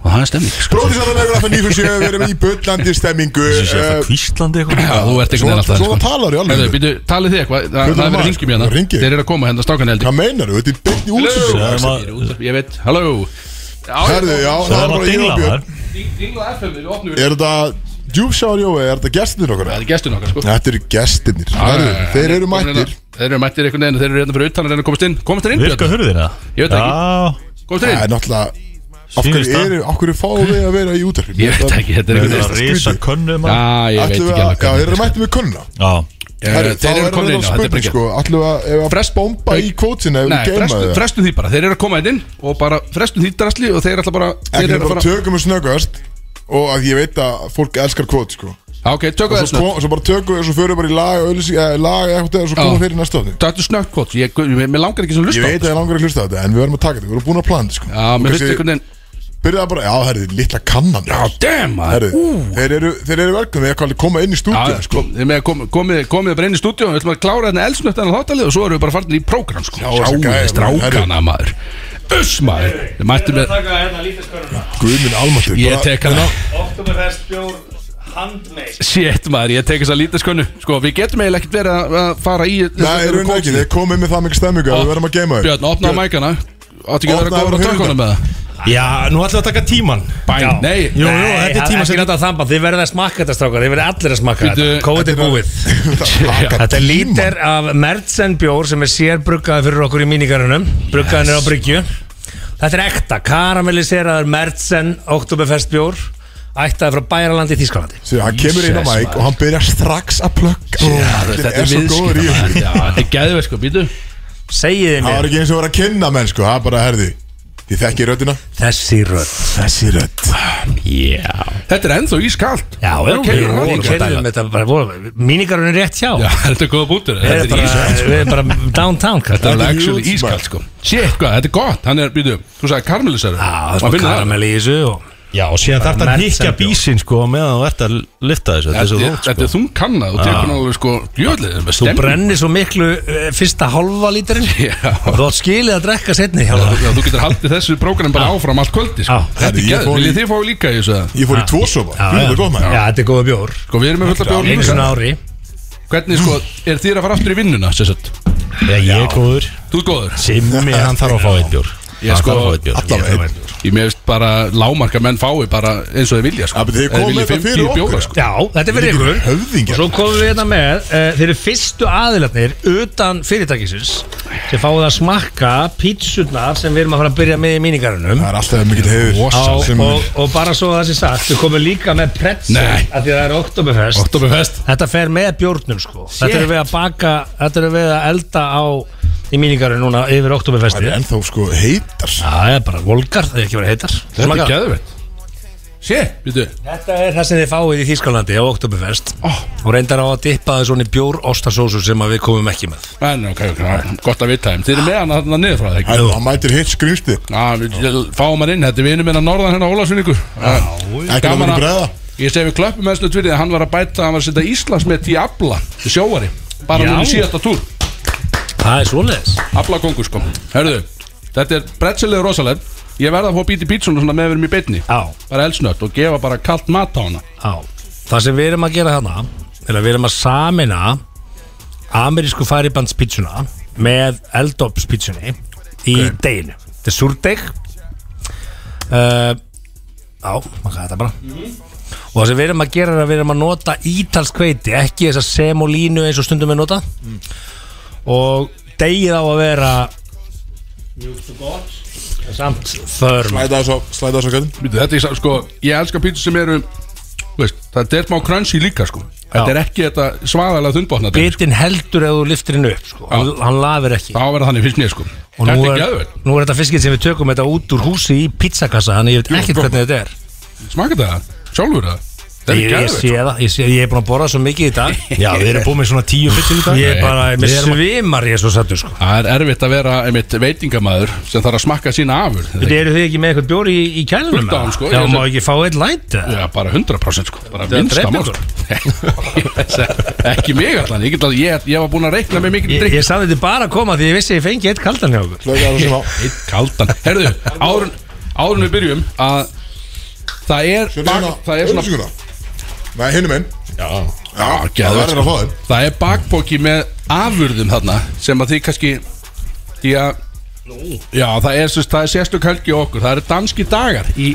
[SPEAKER 3] og það er stemning sko.
[SPEAKER 1] Bróðis að það leikur að það nýfum séu Við erum í bullandi stemmingu
[SPEAKER 2] Þessi sé
[SPEAKER 1] eh,
[SPEAKER 2] alltaf kvíslandi
[SPEAKER 3] Já,
[SPEAKER 2] eitthvað
[SPEAKER 3] þú ert einhvern veginn
[SPEAKER 1] Svo-
[SPEAKER 3] alltaf sko.
[SPEAKER 1] svo talar ég alveg.
[SPEAKER 3] Hefðu, býtu, talið þið eitthvað Það
[SPEAKER 1] Hvernig
[SPEAKER 3] það er verið
[SPEAKER 1] maður?
[SPEAKER 3] ringjum hérna
[SPEAKER 1] Hringi.
[SPEAKER 3] Þeir eru að koma hérna, stákan heldur
[SPEAKER 1] Hvað meinar þú? Þetta er beint í
[SPEAKER 2] Hello.
[SPEAKER 1] útsendingu
[SPEAKER 2] maður-
[SPEAKER 3] Ég veit, halló
[SPEAKER 1] Herðu, já, það
[SPEAKER 2] Það
[SPEAKER 1] er
[SPEAKER 2] var að
[SPEAKER 1] bara ég
[SPEAKER 2] dingla
[SPEAKER 1] og Björn
[SPEAKER 2] maður
[SPEAKER 3] Dingla FM, við opnum við
[SPEAKER 1] Er þetta djúpsjáður jói? Er þetta gestinir okkur?
[SPEAKER 3] Það er gestun okkar sko
[SPEAKER 1] Þetta eru gestinir Herðu, þeir eru mættir
[SPEAKER 3] Þeir eru mættir einhvern veginn Þeir eru hérna fyrir utan að reyna að komast inn Komast þeir inn
[SPEAKER 2] Virka
[SPEAKER 3] Björn?
[SPEAKER 2] hurðina
[SPEAKER 3] Ég veit það
[SPEAKER 2] ekki
[SPEAKER 3] Komast þeir
[SPEAKER 1] Það
[SPEAKER 3] inn?
[SPEAKER 1] er náttúrulega Af
[SPEAKER 2] Sýnist
[SPEAKER 1] hverju
[SPEAKER 2] það.
[SPEAKER 1] eru, af hverju fáum við að vera í útarfinu?
[SPEAKER 3] Ég veit ekki, þetta er
[SPEAKER 2] Það er
[SPEAKER 3] einhvern
[SPEAKER 2] að
[SPEAKER 1] Skrítið.
[SPEAKER 2] risa könnu
[SPEAKER 3] Já,
[SPEAKER 2] maður
[SPEAKER 3] ég veit ekki alveg
[SPEAKER 1] Já, þeir
[SPEAKER 3] hvað
[SPEAKER 1] eru mættið með kunna
[SPEAKER 2] Já
[SPEAKER 3] Herru, Þeir eru komin inn á, þetta er bara
[SPEAKER 1] spurning
[SPEAKER 3] ekki
[SPEAKER 1] sko Ætlum við að, ef að
[SPEAKER 3] Frest-
[SPEAKER 1] frest bomba í kvótin Ef
[SPEAKER 3] Nei,
[SPEAKER 1] við geima
[SPEAKER 3] frestu,
[SPEAKER 1] það
[SPEAKER 3] frestum því bara, þeir eru að koma inn og bara frestum því drasli og þeir ætla bara þeir
[SPEAKER 1] Ekki
[SPEAKER 3] eru að
[SPEAKER 1] bara
[SPEAKER 3] fara
[SPEAKER 1] tökum við snöggast Og að ég veit að fólk elskar kvót sko
[SPEAKER 3] Já, ok, tökum
[SPEAKER 1] Og
[SPEAKER 3] það
[SPEAKER 1] svo,
[SPEAKER 3] snögt
[SPEAKER 1] kom, svo bara tökum við, svo förum við bara í lag og auðlýsing- eh, Lag eða eitthvað og svo komum
[SPEAKER 3] Já.
[SPEAKER 1] við fyrir í næsta ofni
[SPEAKER 3] Tökum snögt kvot, ég, ég, mér- mér langar ekki sem
[SPEAKER 1] Ég
[SPEAKER 3] hlusta á
[SPEAKER 1] veit að
[SPEAKER 3] þetta.
[SPEAKER 1] ég langar að hlusta á þetta En við verðum að taka þetta, við verðum búin að plana þetta sko
[SPEAKER 3] Já,
[SPEAKER 1] Og
[SPEAKER 3] mér finnst
[SPEAKER 1] kannski
[SPEAKER 3] einhvern veginn
[SPEAKER 1] Byrjaði bara, já, herri, litla kannan
[SPEAKER 3] Já, damn, maður
[SPEAKER 1] Herri, þeir eru, þeir eru velkomin, við erum að koma inn í
[SPEAKER 3] Já,
[SPEAKER 1] stúdíu
[SPEAKER 3] sko, þeir með kom, komið, komið bara inn í stúdíu og við ætlum að klára þetta elsnöttan og þáttalið og svo erum við bara farin í prógram sko.
[SPEAKER 1] Já, þessa
[SPEAKER 3] Sjáu,
[SPEAKER 1] gæja,
[SPEAKER 3] strákana maður Uss maður, þeir mættu með
[SPEAKER 7] taka hérna lífesköruna
[SPEAKER 1] Guðminn Almatur
[SPEAKER 3] Ég tek hana
[SPEAKER 7] Oktoberfest bjór handmade
[SPEAKER 3] Shit maður, ég tek þess að lítið skönnu Sko, við getum eiginlega ekkert verið að- að fara í
[SPEAKER 1] Nei, eru hún ekki, þeir komið með það mikið stemmingu að Við verðum að geima þér
[SPEAKER 3] Björn, ah, opnaðu mækana Áttu ekki að vera
[SPEAKER 1] Opnaðu
[SPEAKER 3] góður að
[SPEAKER 1] bara
[SPEAKER 3] tökkunum með það
[SPEAKER 4] Já, nú ætlum við að taka tíman
[SPEAKER 3] Bæn, nei
[SPEAKER 4] Jú, jú, þetta er tíma
[SPEAKER 7] sem
[SPEAKER 4] sem þetta að þamba Þið verða að smakka þetta strákar, þið verða allir að smakka
[SPEAKER 3] Bíddu,
[SPEAKER 4] þetta Kóðið er búið Þetta er lítir af Mertsen bjór sem er sér bruggaði fyrir okkur í mínigarunum Bruggaðin er á bryggju Þetta er ekta, karamelliseraður Mertsen Oktoberfest bjór Ættaði frá Bæralandi í Þískalandi
[SPEAKER 1] Sér, hann kemur inn á
[SPEAKER 4] Jesus,
[SPEAKER 1] mæk og hann byrjar strax að plugga
[SPEAKER 3] Já,
[SPEAKER 1] Þetta er svo góður í
[SPEAKER 3] maður.
[SPEAKER 1] þessu
[SPEAKER 3] Já, Þetta er geðveit sko, býtu
[SPEAKER 4] Segiði
[SPEAKER 1] Það var
[SPEAKER 4] mér,
[SPEAKER 1] ekki eins og vera að kynna menn, sko, það er bara, herði Þið þekki röddina
[SPEAKER 4] þessi rödd
[SPEAKER 1] Þessi rödd
[SPEAKER 4] Já
[SPEAKER 3] Þetta er ennþá ískalt
[SPEAKER 4] Já,
[SPEAKER 3] Það
[SPEAKER 4] við
[SPEAKER 3] keyrir hann
[SPEAKER 4] vorum
[SPEAKER 3] líka.
[SPEAKER 4] kerðum þetta bara vorum Mínigarun er rétt hjá
[SPEAKER 3] Já, þetta er góða búndur
[SPEAKER 4] Við
[SPEAKER 3] Þetta
[SPEAKER 4] erum
[SPEAKER 3] er
[SPEAKER 4] bara,
[SPEAKER 3] ískalt
[SPEAKER 4] við erum bara downtown
[SPEAKER 3] Þetta er
[SPEAKER 4] kallar.
[SPEAKER 1] Þetta er
[SPEAKER 3] alveg actually
[SPEAKER 1] huge,
[SPEAKER 4] Ah,
[SPEAKER 3] ískalt sko Shit, hvað, þetta er gott, hann er, býtu Þú sagði karmelisar
[SPEAKER 4] Já, það er smá karamell í þessu og
[SPEAKER 8] Já, og síðan þarf þetta að
[SPEAKER 4] Mertsen
[SPEAKER 8] hýkja
[SPEAKER 4] bjór.
[SPEAKER 8] bísinn sko meðan þú ert að lifta þessu Þetta er svo
[SPEAKER 3] Þetta
[SPEAKER 8] þótt
[SPEAKER 3] þetta er
[SPEAKER 8] sko
[SPEAKER 3] þung kannað og tekur hann alveg sko Jöðlið,
[SPEAKER 4] Þú brennir svo miklu eh, fyrsta hálfa líturinn
[SPEAKER 3] Já.
[SPEAKER 4] Þú átt skilið að drekka setni hjá
[SPEAKER 3] Já, þú getur haldið þessu prógram bara áfram allt kvöldi sko.
[SPEAKER 4] Já.
[SPEAKER 3] Þetta
[SPEAKER 1] Herri,
[SPEAKER 3] er
[SPEAKER 1] ég
[SPEAKER 3] gæð,
[SPEAKER 1] fór í-
[SPEAKER 3] viljið þið fá líka í þessu eða?
[SPEAKER 1] Ég fór í tvo sopa, þú er gott maður
[SPEAKER 4] Já, þetta er góða bjór
[SPEAKER 3] Sko, við erum með fulla bjór
[SPEAKER 4] Einu
[SPEAKER 3] líka
[SPEAKER 4] svona ári
[SPEAKER 3] Hvernig sko, er þér að fara aftur í vinnuna, sérsett?
[SPEAKER 8] Já, ég er góður
[SPEAKER 3] Þú ert góður
[SPEAKER 8] Simmi, hann þarf að fá eitt bjór
[SPEAKER 3] Ég
[SPEAKER 8] Hann
[SPEAKER 3] sko-
[SPEAKER 8] þarf að fá eitt bjór
[SPEAKER 1] Allavega einn.
[SPEAKER 3] Ég meðist bara lámarka menn fái bara eins og þeir vilja sko
[SPEAKER 1] Já, betur þið
[SPEAKER 3] Ef þeir
[SPEAKER 1] komið
[SPEAKER 3] vilja
[SPEAKER 1] þetta
[SPEAKER 3] 50
[SPEAKER 1] fyrir okkur,
[SPEAKER 3] bjóra,
[SPEAKER 1] ja.
[SPEAKER 3] sko.
[SPEAKER 4] Já, þetta er fyrir
[SPEAKER 1] Ég er
[SPEAKER 4] ykkur
[SPEAKER 1] ekki höfðingjar.
[SPEAKER 4] Og svo komum við hérna með uh, Þeir eru fyrstu aðilarnir utan fyrirtækisins sem fáið að smakka pítsurnar sem við erum að fara að byrja með í míningarunum
[SPEAKER 1] Það er alltaf mikill hefur
[SPEAKER 4] Á,
[SPEAKER 1] sem
[SPEAKER 4] og, og bara svo að það sé sagt Við komum líka með pretzel
[SPEAKER 3] Nei.
[SPEAKER 4] af Því að það er Oktoberfest
[SPEAKER 3] Oktoberfest
[SPEAKER 4] Þetta fer með bjórnum sko Þetta eru við að baka Þetta eru við að elda á Í míningarunum núna yfir
[SPEAKER 1] Það
[SPEAKER 4] Oktoberfesti
[SPEAKER 1] er ennþá sko heitar
[SPEAKER 4] Það er bara volgar Það er ekki verið heitar
[SPEAKER 3] Þetta er
[SPEAKER 4] Smakka.
[SPEAKER 3] gæðvett Sé, býtu
[SPEAKER 4] Þetta er það sem þið fáið í Þýskalandi á Oktoberfest
[SPEAKER 3] Oh.
[SPEAKER 4] og reyndar á að dippa það svona í bjór ostasósu sem að við komum ekki með
[SPEAKER 3] En ok, ok, ok, gott að vita þeim Þið eru með hann þarna niður frá það ekki?
[SPEAKER 1] Það mætir hitt skrýmsti
[SPEAKER 3] Já, við við fáum hann inn, þetta er vinur minna norðan hérna Ólasvinningur
[SPEAKER 1] Ekki að vera bregða
[SPEAKER 3] Ég segi við klöppum með snutt fyrir því að hann var að bæta hann var að setja Íslands með til Abla til sjóari, bara
[SPEAKER 4] Já.
[SPEAKER 3] núna í síðasta túr
[SPEAKER 4] Það er svoleiðis
[SPEAKER 3] Abla kongur sko Herðu, þetta er brettsilega rosaleg Ég verða að fá að býti pítsun svona með verum í beinni
[SPEAKER 4] Já,
[SPEAKER 3] bara elsnött og gefa bara kalt mat á hana
[SPEAKER 4] já Það sem við erum að gera þarna er að við erum að samina amerísku faribandspítsuna með eldopspítsunni í okay. deginu Þetta er súrdeg uh, Já, maður kæði þetta bara Og það sem við erum að gera er að við erum að nota ítalsk hveiti ekki þessa semolínu eins og stundum við nota og degið á að vera En samt þörm
[SPEAKER 1] Slæta það svo, slæta það svo gætum
[SPEAKER 3] Býtu, Þetta er sa- sko, ég elska pítsu sem eru þú veist, það er smá crunchy líka sko Þetta
[SPEAKER 4] Já.
[SPEAKER 3] er ekki þetta svaðalega þunnbotna dæmi, sko.
[SPEAKER 4] bitin heldur ef þú liftir hennu upp sko. hann, hann lafir ekki
[SPEAKER 3] Það á að vera þannig fyrst mér sko
[SPEAKER 4] og
[SPEAKER 3] Þetta
[SPEAKER 4] nú
[SPEAKER 3] er
[SPEAKER 4] er,
[SPEAKER 3] gæðveld,
[SPEAKER 4] nú er þetta fiskit sem við tökum þetta út úr húsi í pizzakassa þannig ég veit ekkert hvernig þetta er
[SPEAKER 3] smaka það sjálfur það Þetta er sko.
[SPEAKER 4] ég, ég
[SPEAKER 3] gæðveld
[SPEAKER 4] sé það, ég, sé, ég er búin að borða svo mikið í dag
[SPEAKER 8] sko. Já, við erum búið með svona tíu pittil í dag
[SPEAKER 4] ég er bara, mér
[SPEAKER 8] Við erum að-
[SPEAKER 4] svimar ég er svo sattur sko
[SPEAKER 3] Það er erfitt að vera einmitt veitingamæður sem þarf að smakka sína afur
[SPEAKER 4] Þetta eru þið ekki með eitthvað bjóri í, í kælunum?
[SPEAKER 3] Fullt af honum, sko.
[SPEAKER 4] Já,
[SPEAKER 3] Ég
[SPEAKER 4] má
[SPEAKER 3] sé-
[SPEAKER 4] ekki fá eitt læt eða?
[SPEAKER 3] Já, bara 100% sko bara
[SPEAKER 4] Þetta er að
[SPEAKER 3] minnsta
[SPEAKER 4] drepa
[SPEAKER 3] mál, sko. Ekki mig allan ég, get alveg- ég, ég var búin að reikna með mikil
[SPEAKER 4] Ég,
[SPEAKER 3] drikk
[SPEAKER 4] ég sagði þetta bara að koma því ég vissi að ég fengi eitt kaldan hjá okkur
[SPEAKER 1] Slæta það sem á
[SPEAKER 3] Eitt kaldan Herðu, árun, árun við byrjum að það er,
[SPEAKER 1] Sérðu
[SPEAKER 3] bak,
[SPEAKER 1] hérna
[SPEAKER 3] það er svona
[SPEAKER 1] auglýsinguna? Nei, hinum einn Já,
[SPEAKER 3] geðveikt,
[SPEAKER 1] það verður að
[SPEAKER 3] sko.
[SPEAKER 1] fá þeim
[SPEAKER 3] það er bakpóki með afurðum þarna sem að þið kannski því að Já, það er, sérst, það er sérstök helgi hjá okkur Það eru danski dagar í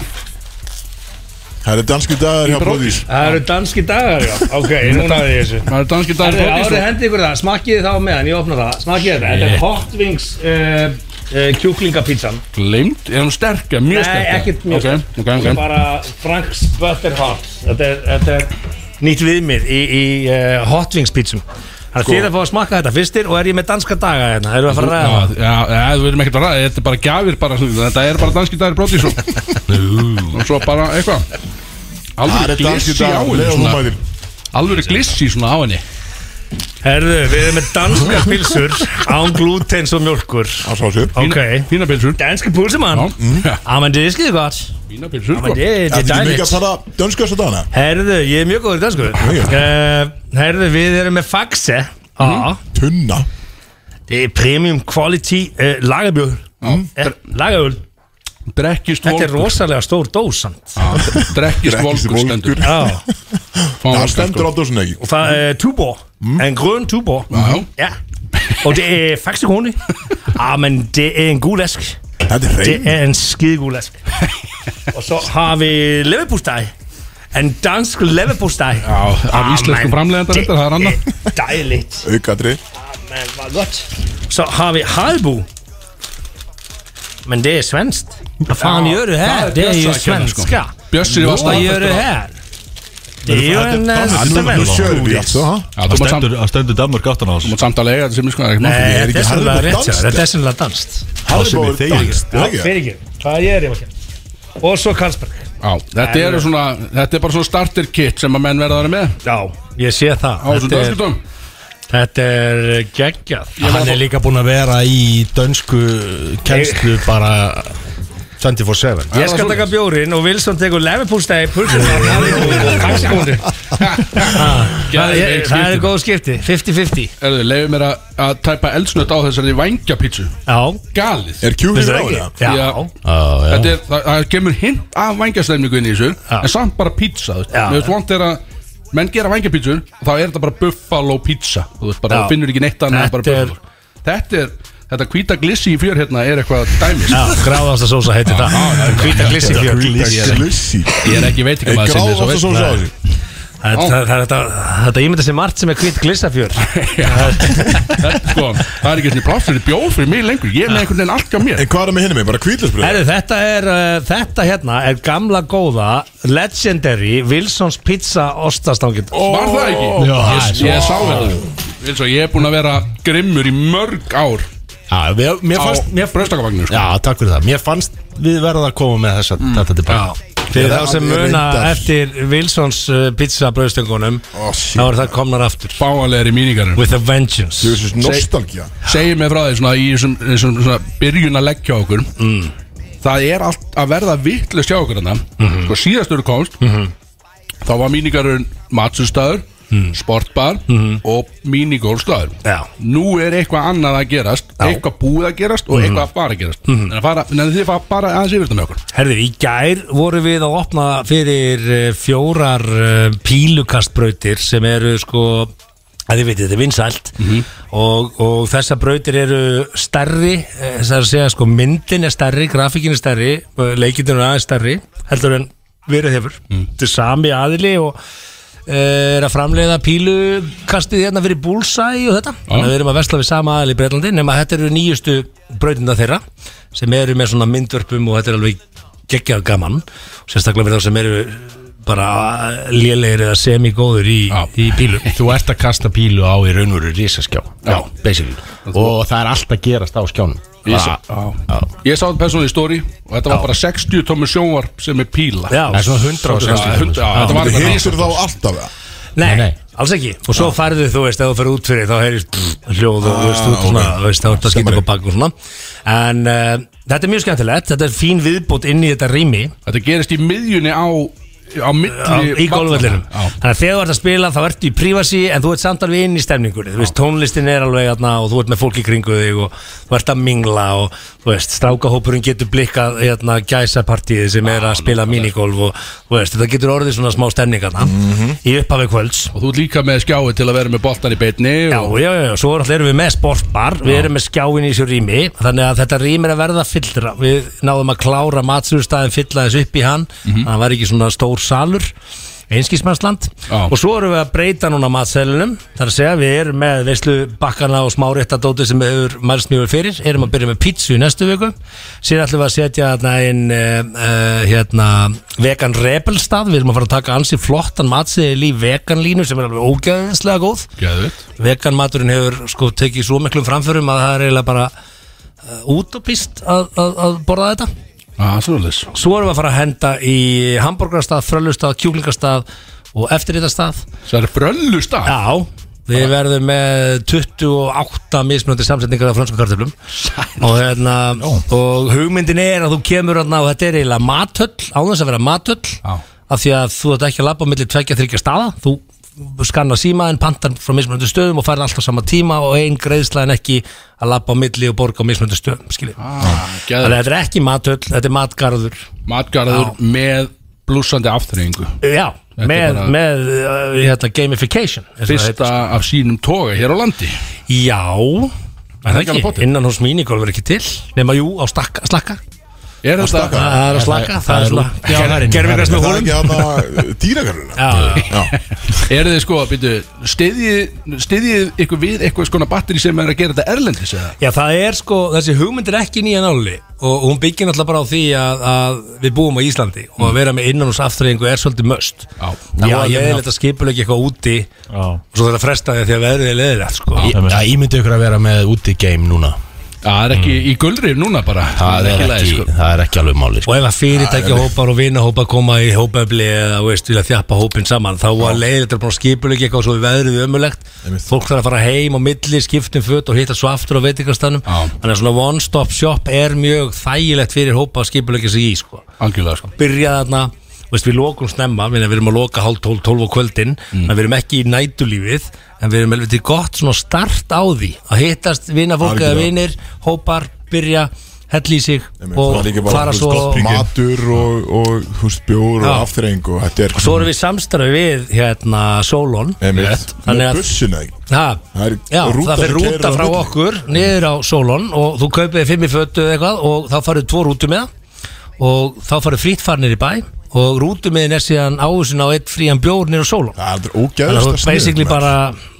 [SPEAKER 1] Það er danski dagar hjá Brodís
[SPEAKER 4] Það eru danski dagar, já Ok, ég náði ég þessu
[SPEAKER 3] Það eru danski dagar í
[SPEAKER 4] Árið
[SPEAKER 3] Brodís og-
[SPEAKER 4] hendi ykkur það, smakkiði þá meðan, ég opna það Smakkiði þetta, þetta er Hot Wings uh, uh, kjúklingapítsan
[SPEAKER 3] Gleymd, er hún sterka, mjög
[SPEAKER 4] Nei,
[SPEAKER 3] sterka
[SPEAKER 4] ekkert mjög
[SPEAKER 3] okay,
[SPEAKER 4] sterk.
[SPEAKER 3] okay,
[SPEAKER 4] Hún er
[SPEAKER 3] okay.
[SPEAKER 4] Bara Frank's Butter Hot Þetta er, þetta er nýtt viðmið í, í uh, Hot Wings pítsum Það
[SPEAKER 1] Sko-
[SPEAKER 4] er þið að fá að smakka þetta fyrstir og er ég með danska daga hérna Erum við að fara að ræða það?
[SPEAKER 3] Já, já, já, við erum ekkert að ræða, þetta er bara gjafir bara, svona, þetta er bara danski dagir brotið svo og svo bara eitthvað
[SPEAKER 1] Það
[SPEAKER 3] alveg
[SPEAKER 1] er danski
[SPEAKER 3] glissi á
[SPEAKER 1] dagar
[SPEAKER 3] henni
[SPEAKER 1] Leða hún
[SPEAKER 3] svona,
[SPEAKER 1] mætir
[SPEAKER 3] alveg glissi svona á henni
[SPEAKER 4] Herðu, við erum með danska pilsur án glútens og mjölkur
[SPEAKER 1] Það sá sér
[SPEAKER 4] Ok
[SPEAKER 3] fína pilsur
[SPEAKER 4] Danski pulsumann
[SPEAKER 3] Já,
[SPEAKER 1] Mm.
[SPEAKER 3] já,
[SPEAKER 4] Amen, þið skilir gott
[SPEAKER 3] fína pilsur
[SPEAKER 4] Amen,
[SPEAKER 3] sko.
[SPEAKER 1] Það er
[SPEAKER 4] þið er
[SPEAKER 1] ekki mikið
[SPEAKER 4] dæligt
[SPEAKER 1] að tala dönska þessa dagana
[SPEAKER 4] Herðu, ég er mjög góður í dansku
[SPEAKER 1] já. Mhm.
[SPEAKER 4] uh, Herðu, við erum með faxe Já
[SPEAKER 1] Tunna
[SPEAKER 4] Det er premium quality uh, lagerbjörn mm. Lagerbjörn
[SPEAKER 3] drekkist
[SPEAKER 4] Þetta er
[SPEAKER 3] volgur
[SPEAKER 4] rosalega stór dósand
[SPEAKER 3] Já, drekkist volgur stendur
[SPEAKER 4] Já
[SPEAKER 3] Fá
[SPEAKER 1] Það
[SPEAKER 3] hann, sko.
[SPEAKER 1] stendur á dósun ekki
[SPEAKER 4] Og það er túbor eh, En grøn túbor
[SPEAKER 3] Mm. Já.
[SPEAKER 4] Ja Og det er faktisk grundigt Ah, men det er en god lask
[SPEAKER 1] Þetta er
[SPEAKER 4] Det
[SPEAKER 1] reyn
[SPEAKER 4] er en skidegod lask Og så har vi leverpostej En dansk leverpostej Ah,
[SPEAKER 3] Já, af íslenskum framleiðandar þetta, það er annað
[SPEAKER 4] er dejligt
[SPEAKER 1] Aukatri
[SPEAKER 4] Men var godt. Så har vi Harbo. Men det är svenskt. Vad fan gör du här?
[SPEAKER 3] Ja,
[SPEAKER 4] Det är ju
[SPEAKER 3] Björsa kan jag
[SPEAKER 4] svenska.
[SPEAKER 3] Bjössi var
[SPEAKER 4] Vad gör du
[SPEAKER 3] staðfestur á-
[SPEAKER 4] här? Det är ju en eh,
[SPEAKER 1] Nú
[SPEAKER 4] svensk.
[SPEAKER 1] sjörum við allt sko, ha?
[SPEAKER 3] Já,
[SPEAKER 2] Það
[SPEAKER 3] þú mátt samt-
[SPEAKER 2] stendur, það stendur Danmark aftan á
[SPEAKER 3] þú
[SPEAKER 2] þessu
[SPEAKER 3] mátt samt að lega þetta sem er sko það er ekkert mál.
[SPEAKER 1] är
[SPEAKER 4] Nej, det är
[SPEAKER 1] inte
[SPEAKER 4] sennilega
[SPEAKER 1] Harbo
[SPEAKER 4] rätt. ja.
[SPEAKER 1] danskt.
[SPEAKER 4] Det är sennilega danskt.
[SPEAKER 1] Það
[SPEAKER 2] sem ég þegi.
[SPEAKER 1] dansk
[SPEAKER 4] Ja,
[SPEAKER 1] er ekki?
[SPEAKER 4] Birgir, vad gör jag verkligen? Och så Karlsberg.
[SPEAKER 3] Já, Þetta eru svona, þetta er bara svona starter kit sem að menn verða að vera með
[SPEAKER 4] Já, ég sé það.
[SPEAKER 3] á þessum
[SPEAKER 4] Þetta er,
[SPEAKER 3] danskutum
[SPEAKER 4] þetta er geggjað.
[SPEAKER 8] Hann er líka búin að vera í dönsku kennslu bara 24-7
[SPEAKER 4] Ég skal taka bjórin og Wilson tekur levipúlstæði pulsur Ah, Það er- það er góð skipti 50-50
[SPEAKER 3] Erðu, leiðu mér að, að tæpa eldsnött á þessari vangjapítsu
[SPEAKER 4] Já
[SPEAKER 3] Galið
[SPEAKER 1] Er kjúkurinn á
[SPEAKER 4] ekki?
[SPEAKER 1] það?
[SPEAKER 4] Já,
[SPEAKER 3] Já. Þetta er, það, það kemur hint af vangjastemningu inn í þessu En samt bara pizza, þú veist
[SPEAKER 4] Já.
[SPEAKER 3] Mér veist vant er að menn gera vangjapítsu Þá er þetta bara buffalo pizza Þú veist, bara
[SPEAKER 4] Já.
[SPEAKER 3] þú finnur ekki neitt annað en bara
[SPEAKER 4] Þetta er-
[SPEAKER 3] buffalo. Þetta er, þetta hvíta glissi í fjör hérna er eitthvað dæmis
[SPEAKER 4] Já, gráðasta sósa heitir Ah, það Hvíta glissi fjör
[SPEAKER 1] Glissi
[SPEAKER 3] Ég er ekki veit ekki
[SPEAKER 1] Er
[SPEAKER 3] maður
[SPEAKER 1] gráð
[SPEAKER 3] sinni
[SPEAKER 1] ofta svo sá þessu?
[SPEAKER 4] Þetta ímynda sér margt sem er hvít glissafjör
[SPEAKER 3] Sko, það er ekki svona pláss fyrir bjóð fyrir mig lengur Ég er með einhvern veginn allt hjá mér
[SPEAKER 1] En hvað er það með hinni með? Bara kvíðlisbröð?
[SPEAKER 4] Herru, þetta er uh, Þetta hérna er gamla góða Legendary Wilsons Pizza Ostastangin
[SPEAKER 3] Var það ekki?
[SPEAKER 8] Já,
[SPEAKER 3] ég,
[SPEAKER 8] það er
[SPEAKER 3] ég sá þetta Eins og ég er búinn að vera grimmur í mörg ár
[SPEAKER 8] Já, mér, mér
[SPEAKER 3] á
[SPEAKER 8] fannst mér,
[SPEAKER 3] bröstakavagninu sko.
[SPEAKER 8] Já, takk fyrir það Mér fannst við verða að koma með þessa þetta tilbaka
[SPEAKER 4] Fyrir
[SPEAKER 1] Já,
[SPEAKER 4] þá sem
[SPEAKER 1] alveg
[SPEAKER 4] muna
[SPEAKER 1] reyndar.
[SPEAKER 4] eftir Wilsons uh, Pizza bröðstöngunum
[SPEAKER 1] Ó,
[SPEAKER 4] Þá
[SPEAKER 1] shit
[SPEAKER 4] er það komnar aftur
[SPEAKER 3] Fáanlegri míningarinn
[SPEAKER 4] With a vengeance
[SPEAKER 1] Þú veist, nostalgía
[SPEAKER 3] Segir mér frá því svona í þessum, þessum svona byrjun að leggja okkur mm. Það er allt að verða vittlust hjá okkur þarna
[SPEAKER 8] Mhm.
[SPEAKER 3] Sko síðastur komst Þá var míningarinn matsustaður
[SPEAKER 8] Mm.
[SPEAKER 3] Sportbar
[SPEAKER 8] Mhm.
[SPEAKER 3] og mínigólstaður
[SPEAKER 4] Já.
[SPEAKER 3] Nú er eitthvað annað að gerast Eitthvað búið að gerast
[SPEAKER 8] Mhm.
[SPEAKER 3] og eitthvað að fara að gerast mm -hmm. En að fara, en þið fara bara aðeins yfir þetta með okkur
[SPEAKER 4] Herðu, í gær voru við að opna fyrir eh, fjórar eh, pílukastbrautir sem eru sko að þið veitir, þetta er vinsælt og, og þessar brautir eru stærri, eh, það er að segja sko myndin er stærri, grafikin er stærri leikindin er aðeins stærri, heldur en verið hefur, þetta er sami aðili og eh, er að framleiða pílukastið hérna fyrir Bullseye og þetta, þannig að við erum að versla við sama aðili í Breitlandi, nema þetta eru nýjustu brautina þeirra, sem eru með svona myndvörpum og þetta er alveg geggjað gaman sérstaklega fyrir þá sem eru bara lélegir eða semigóður í, í pílu
[SPEAKER 8] Þú ert að kasta pílu á í raunveru risaskjá Já, basically Og það er allt að gerast á skjánum
[SPEAKER 3] Ég sá, ég sá þetta persónulega í stóri og þetta var bara 60 tómi sjónvarp sem er píla
[SPEAKER 4] Já,
[SPEAKER 8] Það er svona 100
[SPEAKER 3] Já, hund- já, þetta var
[SPEAKER 1] Þú
[SPEAKER 3] eitthvað
[SPEAKER 1] heilsur þá alltaf eða?
[SPEAKER 4] nei,
[SPEAKER 8] nei.
[SPEAKER 4] alls ekki og svo færðu þú veist, ef þú fyrir út fyrir þá heyrist hljóð og þú veist út
[SPEAKER 1] ok.
[SPEAKER 4] svona, þú veist, þá er þetta
[SPEAKER 1] Sem
[SPEAKER 4] skýtur
[SPEAKER 1] er-
[SPEAKER 4] upp á bakk og svona en uh, þetta er mjög skemmtilegt þetta er fín viðbót inn í þetta rými
[SPEAKER 3] Þetta gerist í miðjunni á á
[SPEAKER 4] á,
[SPEAKER 3] milli
[SPEAKER 4] í golfvellinum
[SPEAKER 3] vallana.
[SPEAKER 4] þannig að þegar þú ert að spila þá ertu í prífasi en þú ert samt alveg inn í stemningunni þú veist tónlistin er alveg aðna og þú ert með fólki kringu þig og þú ert að mingla og þú veist strákahópurinn getur blikkað hérna gæsapartíði sem er að spila minigolf og þú veist þetta getur orðið svona smá stemning aðna í upphafi kvölds
[SPEAKER 3] Og þú ert líka með skjái til að vera með boltan í beitni
[SPEAKER 4] Já,
[SPEAKER 3] og
[SPEAKER 4] já, já, já, svo náttúrulega erum við með sportbar Við erum með skjáin í þessu rými Þannig að þetta rými er að verða fyllra Við náðum að klára matsugustæðin fylla þessu upp í hann Þannig að það var ekki svona stór salur Einskismannsland
[SPEAKER 3] Já.
[SPEAKER 4] Og svo erum við að breyta núna matselinum Þannig að segja, við erum með veislu bakkana og smáréttadóti sem hefur mælst mjög fyrir Erum að byrja með pítsu í næstu viku Síðan ætlum við að setja hérna inn uh, uh, hérna, vegan rebelstað Við erum að fara að taka ansi flottan matseðil í veganlínu sem er alveg ógeðslega góð
[SPEAKER 3] Geðvitt
[SPEAKER 4] veganmaturinn hefur sko tekið svo miklum framförum að það er eiginlega bara uh, útopist að, að, að borða þetta
[SPEAKER 3] Já, svoleiðis
[SPEAKER 4] svo erum við að fara að henda í hambúrgarstað, frölustað, kjúklingastað og eftirritastað
[SPEAKER 3] Það er fröllust að
[SPEAKER 4] já, við verðum með 28 mismunandi samsetningar af frönskum kartöflum og, hérna, og hugmyndin er að þú kemur hérna og þetta er eiginlega matöll á þess að vera matöll
[SPEAKER 3] Já.
[SPEAKER 4] af því að þú ert ekki að labba á milli tvekja þryggja staða þú skanna símaðin, pantan frá mismunandi stöðum og færð alltaf sama tíma og ein greiðsla en ekki að labba á milli og borga á mismunandi stöðum skiljið.
[SPEAKER 3] Ah.
[SPEAKER 4] Þannig að
[SPEAKER 3] Geðvitt
[SPEAKER 4] þetta er ekki matöll, þetta er matgarður
[SPEAKER 3] Matgarður með blúsandi afturrengu
[SPEAKER 4] já,
[SPEAKER 3] Þetta er
[SPEAKER 4] með,
[SPEAKER 3] bara-
[SPEAKER 4] með uh, hérna, gamification eins og það heitir.
[SPEAKER 3] Fyrsta af sínum toga hér á landi
[SPEAKER 4] Já, er það
[SPEAKER 3] ekki alveg
[SPEAKER 4] ekki,
[SPEAKER 3] potið?
[SPEAKER 4] innan hos mínigolf er ekki til nema jú, á stakka, slakka
[SPEAKER 3] Er þetta
[SPEAKER 4] það er að slakka, það er svona gerfingar
[SPEAKER 1] Er
[SPEAKER 4] sem
[SPEAKER 1] það
[SPEAKER 4] hólum
[SPEAKER 1] ekki hana dýragarðurna?
[SPEAKER 4] Já,
[SPEAKER 3] Er þið sko, býtu, stiðjið stiðjið ykkur við eitthvað skona batteri sem er að gera þetta erlendis eða?
[SPEAKER 4] Já, það er sko, þessi hugmynd er ekki nýja náli og hún byggir náttúrulega bara á því að, að við búum á Íslandi og að vera með innan hos afturreyingu er svolítið möst
[SPEAKER 3] Já.
[SPEAKER 4] Já, ég er leitt að skipulegja eitthvað úti
[SPEAKER 2] Já.
[SPEAKER 4] og svo þarf að fresta því að því að veðrið er leiðilegt sko.
[SPEAKER 8] Já, ímyndi ykkur að vera með úti game núna
[SPEAKER 3] það er ekki í gullrið núna bara
[SPEAKER 8] það er
[SPEAKER 3] í lagi,
[SPEAKER 8] ekki,
[SPEAKER 3] sko.
[SPEAKER 8] það er ekki alveg máli sko.
[SPEAKER 4] Og ef að fyrirtækja hópar og vinahópar koma í hópefli eða veist, vilja þjappa hópin saman þá var leiðilegt að búin að skipulegja eitthvað og svo við veðrið ömulegt fólk þarf að fara heim á milli, skiptum föt og hitta svo aftur á veitingastanum
[SPEAKER 3] Já.
[SPEAKER 4] þannig að svona one stop shop er mjög þægilegt fyrir hópa að skipulegja sig í sko.
[SPEAKER 3] Algjörlega sko
[SPEAKER 4] byrja þarna veist, við lokum snemma, við við erum að loka hálf tólf, tólf á kvöldin,
[SPEAKER 1] Mm.
[SPEAKER 4] en við erum ekki í nætulífið, en við erum helviti gott svona start á því, að hittast vinna fólk eða
[SPEAKER 1] Algjörlega.
[SPEAKER 4] vinir, hópar, byrja hella í sig
[SPEAKER 1] Einmitt,
[SPEAKER 4] og
[SPEAKER 1] það er líka bara, þú
[SPEAKER 4] fara
[SPEAKER 1] veist,
[SPEAKER 4] svo
[SPEAKER 2] gott príkið.
[SPEAKER 1] Matur og, og húst bjór
[SPEAKER 4] Já.
[SPEAKER 1] og aftreng og þetta er
[SPEAKER 4] og svo erum við samstarfi við hérna Solon
[SPEAKER 1] Einmitt,
[SPEAKER 4] Þannig
[SPEAKER 1] með
[SPEAKER 4] að-
[SPEAKER 1] bussuna ekki
[SPEAKER 4] ha,
[SPEAKER 1] Það er
[SPEAKER 4] já,
[SPEAKER 1] rúta
[SPEAKER 4] það fyrir
[SPEAKER 1] sem keyrir
[SPEAKER 4] rúta
[SPEAKER 1] á
[SPEAKER 4] frá
[SPEAKER 1] milli.
[SPEAKER 4] okkur niður á Solon og þú kaupið fimm í fötu eða eitthvað og þá farið tvo rútu með það og þá farið frýtt farnir í bæ og rútumiðin er síðan áhersin á eitt frían bjór niður á Solon
[SPEAKER 1] Það er
[SPEAKER 4] þannig að þú
[SPEAKER 1] ógæðast
[SPEAKER 4] ert basically bara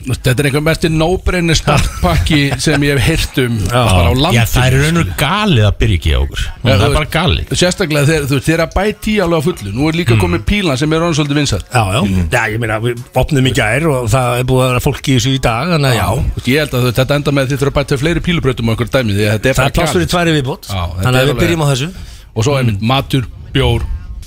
[SPEAKER 3] Þetta er einhver mest no-brainer startpakki sem ég hef heyrt um bara á landinu sko.
[SPEAKER 8] Já, það er raunur galið að byrja ekki á okkur Það er bara galið Mm.
[SPEAKER 3] Sérstaklega þegar þú veist, þeir eru að bæti í alveg á fullu Nú er líka komið pílan sem er rann svolítið vinsað
[SPEAKER 4] Já, já,
[SPEAKER 1] Mm.
[SPEAKER 4] já, ég meina, við opnum í gær og það er búið að vera fólk í þessu í dag, þannig að já,
[SPEAKER 3] Ég held að þú- þetta enda með að þið þurfa að bæta fleiri pílubrautum á einhver dæmi því að þetta er
[SPEAKER 4] það er
[SPEAKER 3] bara
[SPEAKER 4] plássur í
[SPEAKER 3] galið
[SPEAKER 4] tværi viðbót,
[SPEAKER 3] Já, þetta
[SPEAKER 4] þannig
[SPEAKER 3] er
[SPEAKER 4] að við
[SPEAKER 3] alveg-
[SPEAKER 4] byrjum á þessu.
[SPEAKER 3] Og
[SPEAKER 8] Mm.
[SPEAKER 3] svo einmitt matur, bjór,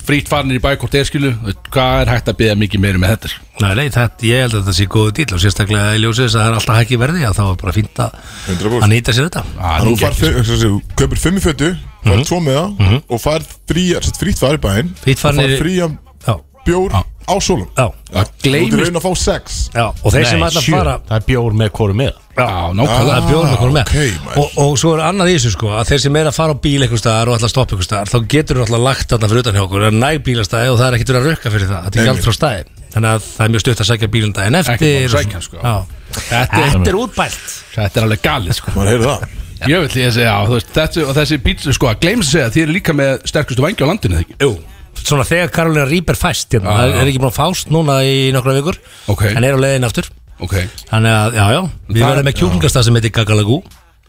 [SPEAKER 3] frýtt farinir í bækort eðskilu Hvað er hægt að byggja mikið meiri með þetta? sko?
[SPEAKER 4] Nei, nei, þetta, ég held að þetta sé góðu dýl og sérstaklega í ljósið þess að það er alltaf hækki í verði að það var bara fínt að,
[SPEAKER 1] 100%.
[SPEAKER 4] að nýta sér þetta
[SPEAKER 3] Ah,
[SPEAKER 1] Þannig að
[SPEAKER 3] nú
[SPEAKER 1] þú farð
[SPEAKER 3] gekk-
[SPEAKER 1] þau- sem sagt, þú kaupir fimm í fötu
[SPEAKER 4] Mhm.
[SPEAKER 1] farð tvo með það og farð frí, sem sagt, frítt farið bæinn
[SPEAKER 4] Frítt farið
[SPEAKER 1] og
[SPEAKER 4] niður-
[SPEAKER 1] farð frían
[SPEAKER 4] Já,
[SPEAKER 1] bjór á sólum
[SPEAKER 4] já,
[SPEAKER 1] Þú ert í raun að fá sex
[SPEAKER 4] já og þeir sem ætla að fara
[SPEAKER 8] Það er bjór með hvoru með
[SPEAKER 3] Já,
[SPEAKER 4] Það
[SPEAKER 3] nákvæmlega
[SPEAKER 4] er bjór með konum með
[SPEAKER 1] ok, maður.
[SPEAKER 4] og, og svo er annað í þessu sko að þeir sem er að fara á bíl einhvers staðar og ætla að stoppa einhvers staðar þá getur þú alltaf lagt þarna fyrir utan hjá okkur það er næg bílastæði og það er ekkert verið að rökka fyrir það þetta er
[SPEAKER 1] Einmitt.
[SPEAKER 4] gjald frá stæði þannig að það er mjög stutt að sækja bílinn daginn eftir
[SPEAKER 3] Ekki bara
[SPEAKER 4] og
[SPEAKER 3] sækja hann, sko.
[SPEAKER 4] svona. Já. Þetta er, útbælt
[SPEAKER 3] Þetta er alveg galið sko
[SPEAKER 1] maður heyrði það
[SPEAKER 3] Ég vil því að segja, já, þú veist, þessi, og þessi bíl, sko, að gleyms að segja að þið eru líka með sterkustu vangi á landinu, eða ekki?
[SPEAKER 4] Jú Svona þegar Karolina Rýber fæst hérna,
[SPEAKER 3] Já,
[SPEAKER 4] það
[SPEAKER 3] já.
[SPEAKER 4] er ekki búin að fást núna í nokkra vikur
[SPEAKER 3] Ok.
[SPEAKER 4] en er á leiðin aftur
[SPEAKER 3] Ok,
[SPEAKER 4] Þannig að, já, já, við
[SPEAKER 3] Það-
[SPEAKER 4] verðum með kjúklingastað sem heitir Gagalagú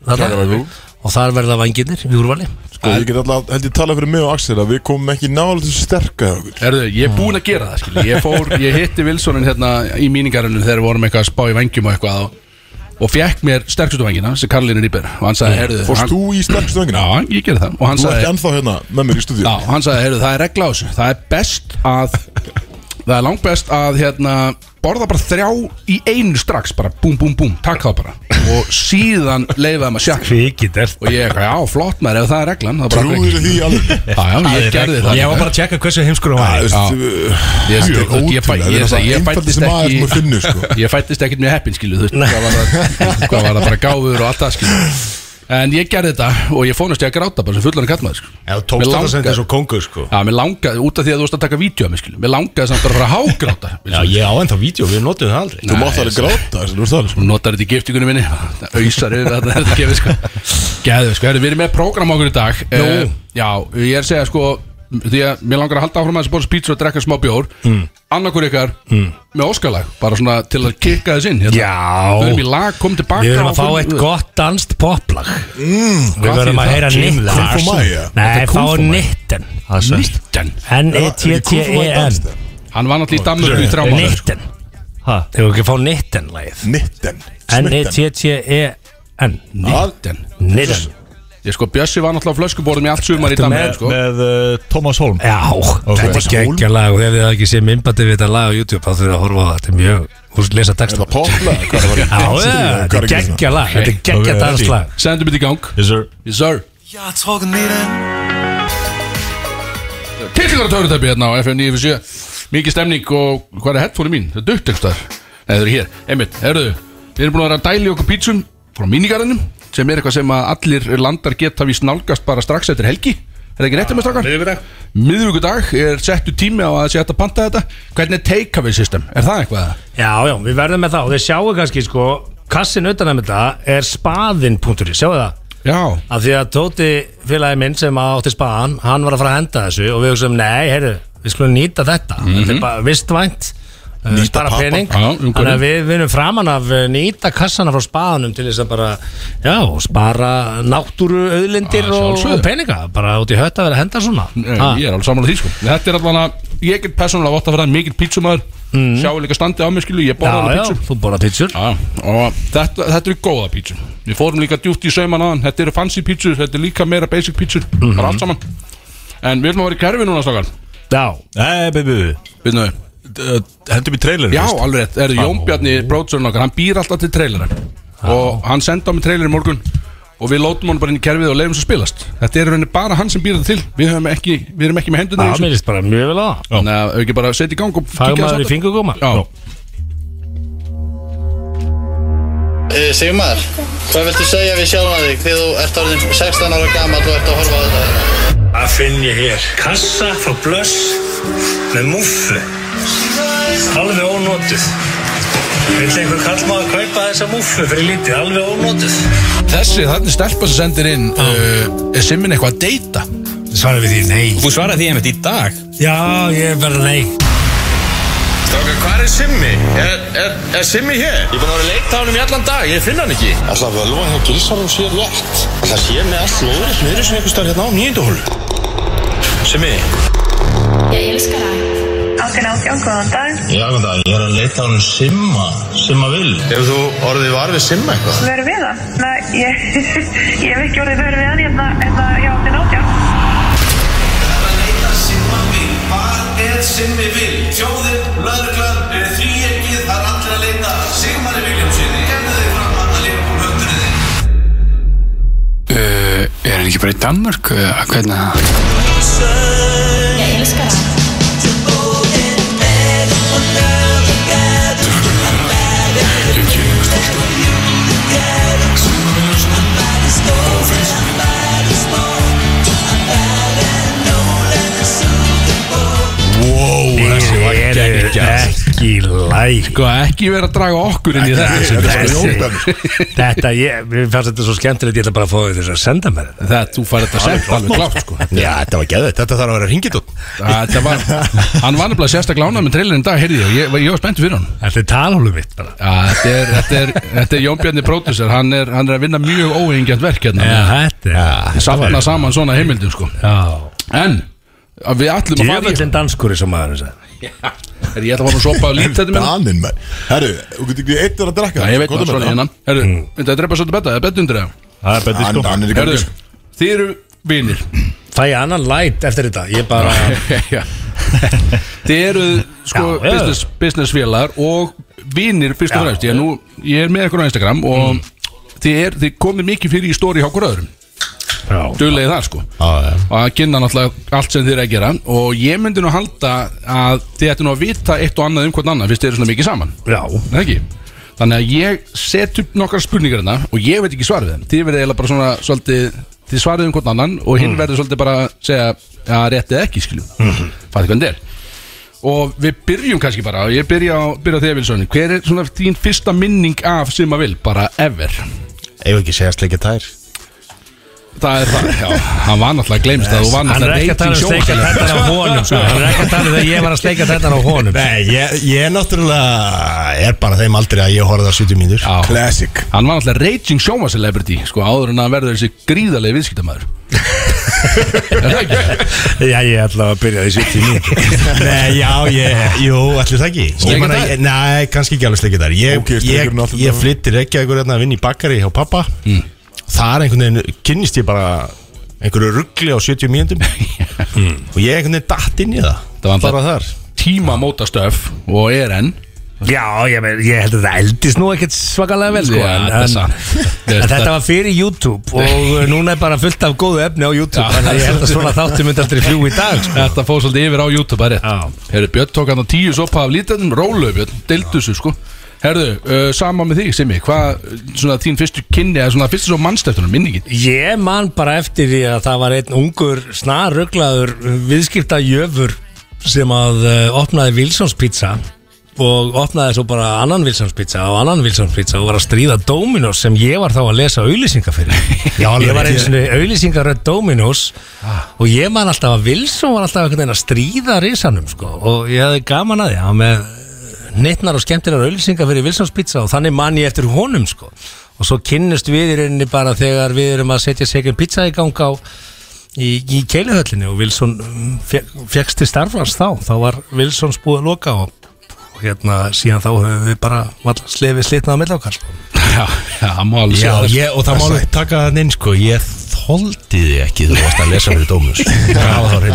[SPEAKER 4] þarna.
[SPEAKER 1] Gagalagú.
[SPEAKER 4] Og þar verða vanginir í úrvali
[SPEAKER 1] Sko, ég get alltaf, held ég tala fyrir mig og Axel að við komum ekki nálega til sterka hjá okkur
[SPEAKER 3] erðu, ég er búinn að gera það, skilji Ég fór, ég hitti Vilsonin hérna í míningarunum þegar við vorum eitthvað að spá í vangjum og eitthvað og, og fekk mér sterkustu vangina, sem Karlinu Rýber og hann sagði, erðu,
[SPEAKER 1] Fórst
[SPEAKER 3] hann,
[SPEAKER 1] þú í sterkstu
[SPEAKER 3] já,
[SPEAKER 1] vöngina?
[SPEAKER 3] ég gerði það og hann
[SPEAKER 1] Þú ert
[SPEAKER 3] sagði,
[SPEAKER 1] ennþá hérna með mér í stúdíu
[SPEAKER 3] já, hann sagði, erðu, það er regla á þessu það er best að það er langt best að, hérna borða bara þrjá í einu strax bara, búm, búm, búm, takk það bara og síðan leifaði maður sjakk
[SPEAKER 4] Kvikið er
[SPEAKER 3] og ég, eitthvað, já, flott maður, ef það er reglan þá bara-
[SPEAKER 1] Trúður því alveg
[SPEAKER 3] Já, já, ég gerði það
[SPEAKER 8] Ég var bara að tjekka hversu heimskur hún var
[SPEAKER 1] Þetta er ótrúlega,
[SPEAKER 3] Ég- ég- ég- ég- ég-
[SPEAKER 1] þetta er
[SPEAKER 3] ég- ég-
[SPEAKER 1] það
[SPEAKER 3] fæddist
[SPEAKER 1] einfaldist maður
[SPEAKER 3] ekki-
[SPEAKER 1] sem að finnur sko
[SPEAKER 3] Ég fættist ekkert mjög heppin skilu þú veist, hvað var það hvað var það bara gáfur og allt það skilu En ég gerði þetta og ég fónast ég að gráta bara sem fullan að kallmaður sko
[SPEAKER 8] Já, þú tókst
[SPEAKER 3] Mér
[SPEAKER 8] þetta sem
[SPEAKER 3] langar-
[SPEAKER 8] þessu kongur sko
[SPEAKER 3] Já, mér langaði, út af því að þú varst að taka vídeo af mér skilu Mér langaði samt bara að fara að hágráta
[SPEAKER 8] Já, ég á ennþá vídeo, við notum það aldrei
[SPEAKER 1] Þú mátt alveg gráta sko. þess að þú veist það
[SPEAKER 3] Þú notar þetta í giftingunni minni Auðsar yfir þetta þetta gefið sko Gæðu sko, Herru, við erum með prógram okkur í dag Nú Já, ég er að segja sko Því að mér langar að halda áfram að þessi borðs pizza og drekka smá bjór
[SPEAKER 4] Hmm.
[SPEAKER 3] mm. Annarkur ykkar með óskalag Bara svona til að kikka þess inn hérna.
[SPEAKER 4] Já.
[SPEAKER 3] Við erum í lag, kom tilbaka
[SPEAKER 4] Við verðum að
[SPEAKER 3] og-
[SPEAKER 4] fá eitt gott danst poplag Við
[SPEAKER 3] hvað
[SPEAKER 4] verðum
[SPEAKER 3] þýðir
[SPEAKER 4] að
[SPEAKER 3] það?
[SPEAKER 4] heyra
[SPEAKER 8] King
[SPEAKER 4] Nitten
[SPEAKER 8] Lars.
[SPEAKER 1] Kung Fu Maya?
[SPEAKER 4] Nei, fá Nitten
[SPEAKER 3] Nitten
[SPEAKER 4] E N-E-T-T-E-N
[SPEAKER 3] Hann var náttúrulega í Danmörku í þrjá mánuði sko.
[SPEAKER 4] Nitten Þegar við ekki að fá Nitten lagið E
[SPEAKER 1] Nitten Smitten.
[SPEAKER 4] N-E-T-T-E-N
[SPEAKER 3] Nitten
[SPEAKER 4] Nitten
[SPEAKER 3] Ég sko, Bjössi var náttúrulega á flöskuborðum í allt sumar í Danmörku sko.
[SPEAKER 2] Með uh, Thomas Holm
[SPEAKER 4] Já, þetta er geggja lag og ef þið hafa ekki séð myndbandi við þetta lag á YouTube þá þurfið að horfa á það, þetta er mjög þú lesa
[SPEAKER 1] Er
[SPEAKER 4] texta
[SPEAKER 1] það popla? Hvað er
[SPEAKER 4] Já,
[SPEAKER 1] það?
[SPEAKER 4] já, þetta er geggja lag, þetta er geggja
[SPEAKER 2] Ok,
[SPEAKER 4] danslag
[SPEAKER 3] Sendum þetta í gang
[SPEAKER 2] Yes sir
[SPEAKER 3] Yes sir Tilfinnar að törutöpi hérna á FM 957 Mikið stemning og hvað er headphone mín? Það er dutt einhvers staðar Nei þau eru hér, einmitt, herruðu Við erum búin að vera að dæli okkur pítsum frá mínigarðinum sem er eitthvað sem að allir landar geta víst nálgast bara strax eftir helgi Er það ekki réttið með strakkar? Miðvíkudag er settu tími á að sé hægt að panta þetta Hvernig er take-away system? Er það eitthvað?
[SPEAKER 4] Já, já, við verðum með það og þið sjáu kannski sko, kassin utan að þetta er spaðin.ri, sjáu það
[SPEAKER 3] Já
[SPEAKER 4] að því að Tóti félagi minn sem átti spaðan, hann var að fara að henda þessu og við hugsaum, nei, heyrðu, við skulum nýta þetta þetta er bara vistvænt uh,
[SPEAKER 1] Nýta
[SPEAKER 4] spara
[SPEAKER 1] pappa.
[SPEAKER 4] pening,
[SPEAKER 3] Mhm. Já, um umhverfið.
[SPEAKER 4] þannig að við vinum framan af uh, nýta kassana frá spaðanum til þess að bara, já, spara náttúru auðlindir
[SPEAKER 3] Já,
[SPEAKER 4] og,
[SPEAKER 3] sjálfsögðu.
[SPEAKER 4] og peninga, bara út í hött að vera að henda svona
[SPEAKER 3] Nei, Ég er alveg samanlega því sko Þetta er allavega, ég get persónulega votta fyrir það mikill pítsumæður Sjáu líka standið á mig skilu, ég borða
[SPEAKER 4] Mhm. Já,
[SPEAKER 3] alveg
[SPEAKER 4] já,
[SPEAKER 3] pítsur
[SPEAKER 4] þú borða pítsur
[SPEAKER 3] Já, og þetta, þetta eru góða pítsur Við fórum líka djúpt í sauman aðan Þetta eru fancy pítsur, þetta eru líka meira basic pítsur Það
[SPEAKER 4] Mhm.
[SPEAKER 3] er allt saman En við erum að vera í kerfi núna stakar
[SPEAKER 4] Já,
[SPEAKER 2] Nei, baby,
[SPEAKER 3] Við náðum
[SPEAKER 2] uh, hendum í trailerin
[SPEAKER 3] Já,
[SPEAKER 2] fyrst.
[SPEAKER 3] alveg rétt, er Jón Bjarni brótsurinn okkar, hann býr alltaf til trailera og hann senda á mig trailer í morgun og við lótum hann bara inn í kerfið og leiðum svo spilast þetta er í rauninni bara hann sem býr það til við, höfum ekki, við erum ekki með hendur
[SPEAKER 4] það meðist bara mjög vel á það
[SPEAKER 3] þannig að auki bara setja í gang og
[SPEAKER 4] Fagum
[SPEAKER 3] kíkja
[SPEAKER 4] maður í
[SPEAKER 3] þess
[SPEAKER 4] fingurgóma
[SPEAKER 3] á þetta.
[SPEAKER 9] Eh, Sigmar, hvað viltu segja við sjálfan þig þegar þú ert orðin 16 ára gammal og ert að horfa á þetta?
[SPEAKER 7] Það finn ég hér Kassa frá blöss Með múffu Alveg ónótuð Vill einhver kallmaður kaupa þessa múffu fyrir lítið Alveg ónótuð
[SPEAKER 3] Já. þessi, þannig stelpa sem sendir inn uh, er simmin eitthvað að deyta
[SPEAKER 4] Svara við því, nei
[SPEAKER 10] Þú svaraði því einmitt í dag
[SPEAKER 4] Já, ég er bara nei
[SPEAKER 10] Stráka, hvað er Simmi? Er, er, er Simmi hér? Ég er búin að vera að leita á hann í allan dag, ég finn hann ekki
[SPEAKER 9] Alltaf völvan hjá
[SPEAKER 10] um
[SPEAKER 9] Gilsarum sé rétt.
[SPEAKER 10] Það sé með allt lóðurinn niður sem einhver starf hérna á nýjönduhólu Simmi
[SPEAKER 6] Átján átján, góðan dag.
[SPEAKER 9] Já, góðan dag, ég er að leita á hann Simma, Simma Vil.
[SPEAKER 10] Hefur þú orðið var við Simma eitthvað?
[SPEAKER 6] Verður við það? Nei, ég, ég hef ekki orðið verður við hann hérna, hérna, já, átján átján.
[SPEAKER 11] Uh, er hann ekki bara í Danmörk? eða Hvernig það?
[SPEAKER 4] Ég er ekki læk
[SPEAKER 3] sko, ekki vera að draga okkur inn í þetta
[SPEAKER 1] Þetta er
[SPEAKER 4] Þessi.
[SPEAKER 1] sko
[SPEAKER 10] um
[SPEAKER 1] Jón Bjarni
[SPEAKER 4] Þetta, ég, mér fannst þetta svo skemmtilegt Ég ætla bara að fá þess að senda mér þetta
[SPEAKER 3] það, þú fær þetta sent alveg klátt sko.
[SPEAKER 10] Já, þetta var geðið, þetta þarf að vera ringið út
[SPEAKER 3] það var, hann var nefnilega sérstaklega ánað með trailerinn í dag, heyrði ég, ég, ég var spennt fyrir hann
[SPEAKER 4] Þetta er talhólu mitt bara
[SPEAKER 3] Já, þetta er, þetta er, þetta er Jón Bjarni Pródusser, hann er, hann er að vinna mjög óengjant verk hérna
[SPEAKER 4] Já, þetta er
[SPEAKER 3] Safna saman svona heimildum sko
[SPEAKER 4] Já
[SPEAKER 3] En, að við ætlum að fara í
[SPEAKER 4] Djöfellin danskúri sem maður þess að
[SPEAKER 3] Er ég ætla að fara að sopa á lít þetta minna?
[SPEAKER 1] Daninn maður Herru, þú getur ekki eitt að drakka
[SPEAKER 3] Já, ég veit
[SPEAKER 1] Komdu
[SPEAKER 3] maður
[SPEAKER 1] með
[SPEAKER 3] svona
[SPEAKER 1] það.
[SPEAKER 3] hérna Herru, þetta er drepa svolítið betta, það er betta undir það
[SPEAKER 2] Það er betið
[SPEAKER 1] Hann
[SPEAKER 2] sko
[SPEAKER 1] hann er í gangi
[SPEAKER 3] Herru, þið eru vinir
[SPEAKER 4] Fæ ég annan light eftir þetta Ég bara
[SPEAKER 3] Já. Þið eru sko
[SPEAKER 4] Já, já.
[SPEAKER 3] business, businessfélagar og vinir fyrst og
[SPEAKER 4] Já.
[SPEAKER 3] fremst Ég er, nú, ég er með ykkur á Instagram og þið, er, þið komið mikið fyrir í stóri hjá okkur öðrum
[SPEAKER 4] Já
[SPEAKER 3] Duglegið það sko
[SPEAKER 10] Já, já
[SPEAKER 3] og að kynna náttúrulega allt sem þið er að gera og ég myndi nú halda að þið ættu nú að vita eitt og annað um hvort annað fyrst þið eru svona mikið saman
[SPEAKER 4] Já
[SPEAKER 3] Er það ekki? þannig að ég set upp nokkar spurningar hérna og ég veit ekki svar við þeim þið verðið eiginlega bara svona svolítið þið svarið um hvort annan og
[SPEAKER 4] Mm.
[SPEAKER 3] hinn verður svolítið bara að segja að rétt eða ekki skilju
[SPEAKER 4] Mhm.
[SPEAKER 3] mm. fatið hvernig þetta er og við byrjum kannski bara og ég byrja á, byrja á því að Vilsson hver er svona þín fyrsta minning af sem að vil bara ever
[SPEAKER 10] Ef ekki segjast leikja tær
[SPEAKER 3] það er það já hann var náttúrulega gleymst að þú var
[SPEAKER 4] Hann er
[SPEAKER 3] náttúrulega
[SPEAKER 4] ekki að tala um
[SPEAKER 3] dating
[SPEAKER 4] sleika
[SPEAKER 3] sjónvarpsleikur.
[SPEAKER 4] þetta á honum sko. Hann er ekki að tala um þegar ég var að sleika þetta á honum
[SPEAKER 10] Nei, ég, ég er náttúrulega er bara þeim aldrei að ég horfði á 70 mínútur
[SPEAKER 3] Já.
[SPEAKER 1] Classic
[SPEAKER 3] Hann var náttúrulega raging sjóma celebrity sko, áður en að verður þessi gríðarlega viðskiptamæður Er það ekki?
[SPEAKER 4] Já, ég ætla að byrja því 70 mínútur
[SPEAKER 10] Nei, já, ég, jú, allir það ekki Ég
[SPEAKER 3] Sleikja
[SPEAKER 10] meina,
[SPEAKER 3] þær?
[SPEAKER 10] ég- Nei, kannski ekki alveg sleikja þær Ég,
[SPEAKER 1] Ok, sleikja
[SPEAKER 10] ég,
[SPEAKER 1] þær náttúrulega.
[SPEAKER 10] ég flytti reykja ykkur að vinna í bakari hjá pappa Þar einhvern veginn kynnist ég bara einhverju ruggli á 70 mínútum mm. og ég einhvern veginn datt inn í það
[SPEAKER 3] Það var
[SPEAKER 10] bara
[SPEAKER 3] alltaf-
[SPEAKER 10] þar
[SPEAKER 3] Tíma móta stöf og er enn
[SPEAKER 4] Já, ég, men, ég held að þetta eldist nú ekkert svakalega vel sko,
[SPEAKER 3] Já,
[SPEAKER 4] en,
[SPEAKER 3] þetta er satt.
[SPEAKER 4] en,
[SPEAKER 3] Þetta-
[SPEAKER 4] en þetta var fyrir YouTube og uh, núna er bara fullt af góðu efni á YouTube Þannig að ég held að svona þáttu myndi aldrei fljú í dag sko.
[SPEAKER 3] Þetta fóð svolítið yfir á YouTube að
[SPEAKER 4] Já.
[SPEAKER 3] rétt Herðu Björn tók hann á tíu sopa af lítarnum Rólu Björn, deildu þessu sko Herðu, uh, sama með þig Simmi Hvað, svona þín fyrstu kynni eða svona fyrstu svo mannstæftunum, minningin
[SPEAKER 4] Ég man bara eftir því að það var einn ungur snaruglaður viðskipta jöfur sem að uh, opnaði Wilsons pizza og opnaði svo bara annan Wilsons pizza og annan Wilsons pizza og var að stríða Dominos sem ég var þá að lesa auðlýsingar fyrir
[SPEAKER 10] Já, alveg
[SPEAKER 4] ég var
[SPEAKER 10] rétt. Ah.
[SPEAKER 4] eins og auðlýsingaröð Dominos og ég man alltaf að Wilson var alltaf einhvern veginn að stríða risanum sko og ég hafði gaman að því hann var með nittnar og skemmtinar auðlýsingar fyrir Wilsons Pizza og þannig mann ég eftir honum sko. og svo kynnust við í rauninni bara þegar við erum að setja second pizza í gang á í, í mm, keiluhöllinni og Wilson fekst til starfans þá, þá var Wilsons búið að loka og og hérna síðan þá höfum við bara varla slefið slitnað á milli okkar sko.
[SPEAKER 3] Já, já, má alveg
[SPEAKER 8] Já,
[SPEAKER 3] segja það. sko.
[SPEAKER 8] ég, og það má alveg taka það inn sko Ég þóldi þig ekki þú varst að lesa fyrir dómus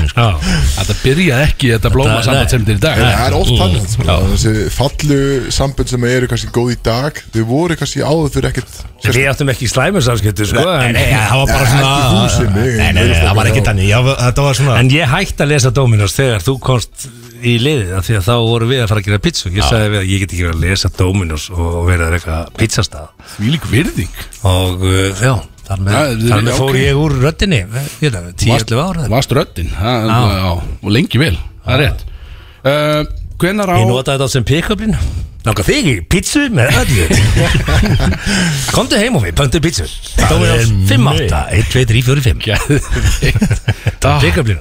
[SPEAKER 8] sko.
[SPEAKER 3] Þetta byrjaði ekki þetta blóma saman sem þetta er í dag
[SPEAKER 1] Það er oft þannig sko. Þessi fallu sambund sem eru kannski góð í dag Þau voru kannski áður fyrir ekkert
[SPEAKER 4] Við áttum ekki slæmur samskipti sko,
[SPEAKER 1] Nei, nei, það var bara
[SPEAKER 4] En-
[SPEAKER 1] svona-
[SPEAKER 4] Ekki þú sem mig,
[SPEAKER 1] Nei, nei, nei, það var ekki
[SPEAKER 4] þannig Já, þetta var svona En ég hætti að lesa Dominos þegar þú komst í liðið af Því að þá vorum við að fara að gera pizza Ég
[SPEAKER 3] Já.
[SPEAKER 4] sagði við að ég get ekki verið að lesa Dominos Og verið að reyka pizzastað
[SPEAKER 3] Þvílík virðing
[SPEAKER 4] Og uh, já, þar með,
[SPEAKER 3] Já, þið-
[SPEAKER 4] þar með fór
[SPEAKER 3] ok.
[SPEAKER 4] ég úr röddinni Tíu-ellu ára
[SPEAKER 3] Vast röddinn það-
[SPEAKER 4] Já.
[SPEAKER 3] já, Og lengi vel, það er rétt uh, Hvenar á
[SPEAKER 4] Ég notaði þetta sem pick-upin Náka þig í pizzu með öllu Komdu heim og við, pöntu pizzu Dominos 58 1, 2, 3, 4, 5
[SPEAKER 3] Ah.
[SPEAKER 4] Pick-upin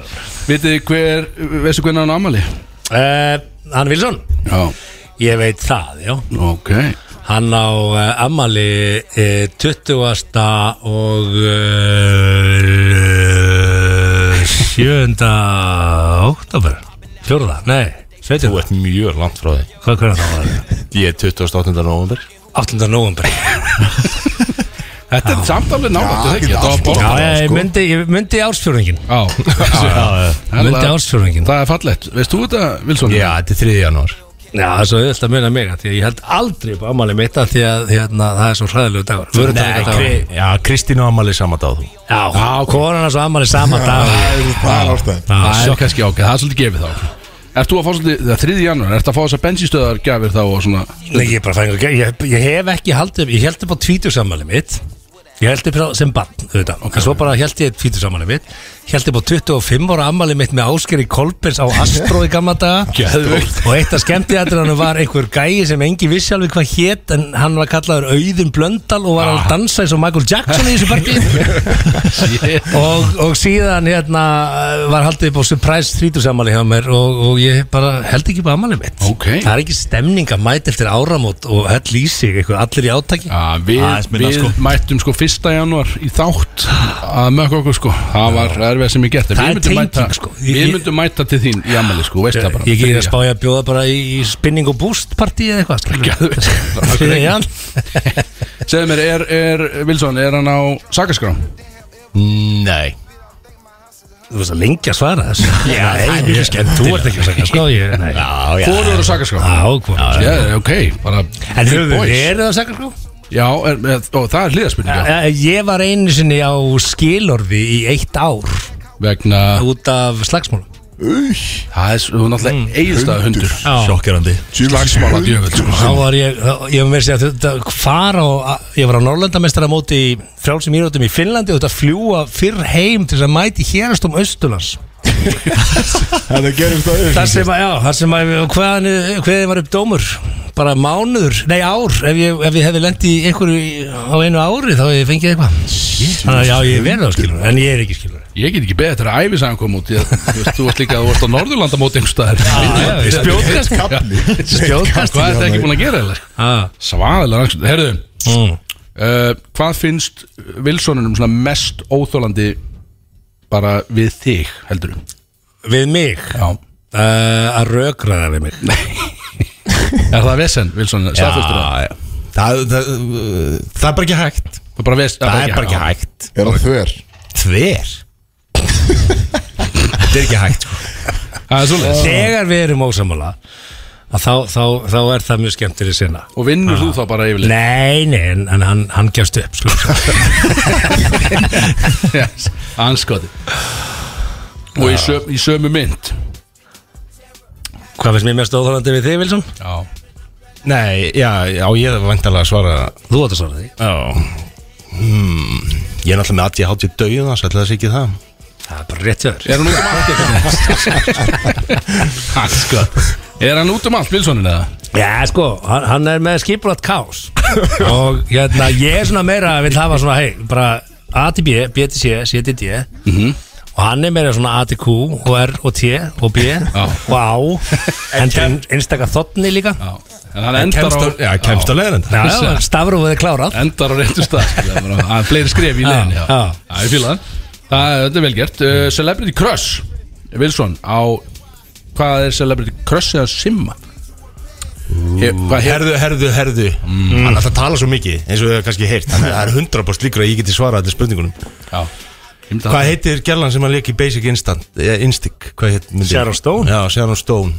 [SPEAKER 3] Vitið þið hver, veistu hvernig hann ámali?
[SPEAKER 4] Uh, hann Vilsson
[SPEAKER 3] Já
[SPEAKER 4] Ég veit það, já
[SPEAKER 3] Ok
[SPEAKER 4] Hann á uh, ammali uh, 20. og eh, uh, 7. oktober 4. nei, 17.
[SPEAKER 8] Þú ert mjög langt frá þig
[SPEAKER 4] Hvað hvernig það var?
[SPEAKER 8] Ég er 28. november
[SPEAKER 4] 8. november
[SPEAKER 3] Þetta er samt alveg nálægt, er það ekki? Þetta var
[SPEAKER 4] Já,
[SPEAKER 3] borgarlega,
[SPEAKER 4] ég
[SPEAKER 3] sko.
[SPEAKER 4] myndi, ég myndi ársfjörðingin
[SPEAKER 3] Já,
[SPEAKER 4] já, já. Myndi ársfjörðingin
[SPEAKER 3] Það er fallett, veist þú þetta, Vilsson?
[SPEAKER 8] Já, þetta er 3. janúar
[SPEAKER 4] Já, það er svo auðvitað að muna mig af Því að ég held aldrei upp á ammali mitt af Því að hérna, það er svo hræðilegu dagur
[SPEAKER 8] Nei,
[SPEAKER 4] Vörudagardagurinn.
[SPEAKER 8] Kri- Já, Kristín og Amali saman dag þú
[SPEAKER 4] Já, konan hans og ammali sama dag
[SPEAKER 1] Það er ástæðin
[SPEAKER 3] Það er kannski ákveð, það er svolítið gefið þá Ert þú að fá svolítið, það er 3. janúar, ert að fá þessar bensinstöðar gafir þá og svona
[SPEAKER 4] Nei, ég er bara fæðingar ég, ég hef ekki haldið Ég held upp á tvítursammæli mitt Ég held upp á sem barn, auðvitað En svo bara held ég tvítursammæli mitt Held upp á 25 ára ammæli mitt með Áskeri Kolbens á Astro í gamla daga
[SPEAKER 3] Geðveikt.
[SPEAKER 4] Og eitt af skemmtiðatrinanum var einhver gæi sem engi vissi alveg hvað hét En hann var kallaður Auðun Blöndal og var að dansa eins og Michael Jackson í þessu partíi og, og síðan hérna var haldið upp á surprise tvítursammæli hjá mér og, og ég bara held ekki upp á ammæli mitt
[SPEAKER 3] Ok
[SPEAKER 4] Það er ekki stemning að mæta eftir áramót og hell í sig eitthvað allir í átaki
[SPEAKER 3] Já, við,
[SPEAKER 2] Aðeins minna,
[SPEAKER 3] við
[SPEAKER 2] sko.
[SPEAKER 3] mættum sko 1. janúar í þátt að mökka okkur sko Það var erfið sem ég gert en
[SPEAKER 4] Það
[SPEAKER 3] við
[SPEAKER 4] er
[SPEAKER 3] myndum
[SPEAKER 4] tenging,
[SPEAKER 3] mæta,
[SPEAKER 4] sko. Ég-
[SPEAKER 3] Við
[SPEAKER 4] ég-
[SPEAKER 3] myndum mæta til þín í ammali sko, veist það bara
[SPEAKER 4] Ég er að spája að bjóða bara í, í spinning og boost partí eða eitthvað skilur. Fyrir Jan.
[SPEAKER 3] Segðu mér, er, er, Vilsson, er hann á sakaskrám?
[SPEAKER 8] Nei
[SPEAKER 4] Þú veist að lengja að svara þessu Já, það er mjög skemmt Þú ert ekki að segja sko ég, nei.
[SPEAKER 8] Já, já
[SPEAKER 3] Hvor eru á sakaskrám?
[SPEAKER 4] sko. Já, hvað
[SPEAKER 3] Já, ok, bara
[SPEAKER 4] En
[SPEAKER 3] big
[SPEAKER 4] höfum
[SPEAKER 3] boys.
[SPEAKER 4] við verið að segja sko?
[SPEAKER 3] Já, er, er, og það er hliðarspurninga
[SPEAKER 4] Eh, Ég var einu sinni á skilorði í eitt ár
[SPEAKER 3] Vegna,
[SPEAKER 4] út af slagsmálum
[SPEAKER 3] það er s- þú er
[SPEAKER 4] Mm.
[SPEAKER 3] náttúrulega eiginstað hundur
[SPEAKER 2] Sjokkerandi
[SPEAKER 3] Slagsmála djöfell sko
[SPEAKER 4] Þá var ég, þá- ég var með að segja þetta fara og ég var á Norrlandamestara móti í frjálsum írótum í Finnlandi og þetta fljúa fyrr heim til þess að mæti hérastum Östurlands
[SPEAKER 1] Þetta gerist það
[SPEAKER 4] Það sem að, já, það sem að hvaðan, hvaðan var upp dómur bara mánuður, nei ár ef ég, ef ég hefði lent í einhverju á einu ári þá hefði ég fengið eitthvað Þannig að já, ég er verið á skilur, en ég er ekki skilur
[SPEAKER 3] Ég get ekki beðið þetta að æfisagan kom út Ég- Þú veist, þú varst líka að þú varst á Norðurlandamóti einhvers staðar
[SPEAKER 4] Spjóðkast
[SPEAKER 1] Kapli
[SPEAKER 4] Spjóðkast
[SPEAKER 3] Hvað er þetta ekki búin að gera eða?
[SPEAKER 4] Ah.
[SPEAKER 3] Svaðilega rannsókn sko. Herðu,
[SPEAKER 4] Mm.
[SPEAKER 3] uh, hvað finnst Vilsonunum svona mest óþólandi bara við þig, heldur
[SPEAKER 4] Við mig
[SPEAKER 3] Já
[SPEAKER 4] uh, að rökraða við mig
[SPEAKER 3] Er það vesen, Vilson, staðfustur það?
[SPEAKER 8] Já, já Það, það, uh, það er bara ekki hægt
[SPEAKER 3] Það er bara ves-
[SPEAKER 8] Það er bara ekki hægt
[SPEAKER 1] Er það þver?
[SPEAKER 8] Tver Þetta er ekki hægt sko.
[SPEAKER 3] Það er svolítið
[SPEAKER 4] Þegar við erum ósamála að þá, þá, þá er það mjög skemmtileg sinna
[SPEAKER 3] Og vinnur þú þá bara yfirleitt?
[SPEAKER 4] Nei, nei, en, en hann, hann gefst upp sko.
[SPEAKER 3] Yes, Anskoti Og í, söm, í sömu mynd
[SPEAKER 4] Hvað finnst mér mest óþálandi við þig, Vilsson?
[SPEAKER 3] Já
[SPEAKER 8] Nei, já, já, ég er vantarlega að svara
[SPEAKER 4] Þú átt að svara því
[SPEAKER 8] Já hmm. Ég er náttúrulega með að ég hátti döiðans Ætla það sé ekki það
[SPEAKER 4] Það er bara rétt hjá
[SPEAKER 3] Er hann út um allt eitthvað? Anskot Er hann út um allt, Vilsonin, eða?
[SPEAKER 4] þér Já, sko, hann, hann er með skipulagt kás og hérna, ég er svona meira að vil hafa svona, hei, bara A til B, B til C, C til D og hann er meira svona A til Q og R og T og B og A en til einstaka þotni líka
[SPEAKER 3] Já En hann endar á
[SPEAKER 8] Já, kemst á leiðin
[SPEAKER 4] Já, já, stafrúfið er klárað
[SPEAKER 3] endar á réttu stað skilja, bara, Það er fleiri skref í leiðin
[SPEAKER 4] já.
[SPEAKER 3] Það er fílað Þetta er vel gert uh, Celebrity Crush Wilson á Hvað er Celebrity Crush eða Simma?
[SPEAKER 10] Herðu, herðu, herðu Hann er alltaf að tala svo mikið eins og við hefum kannski heyrt Þannig að það er 100% líkur að ég geti svarað þetta spurningunum
[SPEAKER 3] Já myndi
[SPEAKER 10] Hvað
[SPEAKER 3] að-
[SPEAKER 10] heitir gerlan sem hann leik í Basic Instant eða Instinct, hvað heit myndi
[SPEAKER 4] Sharon Stone?
[SPEAKER 10] Já, Sharon Stone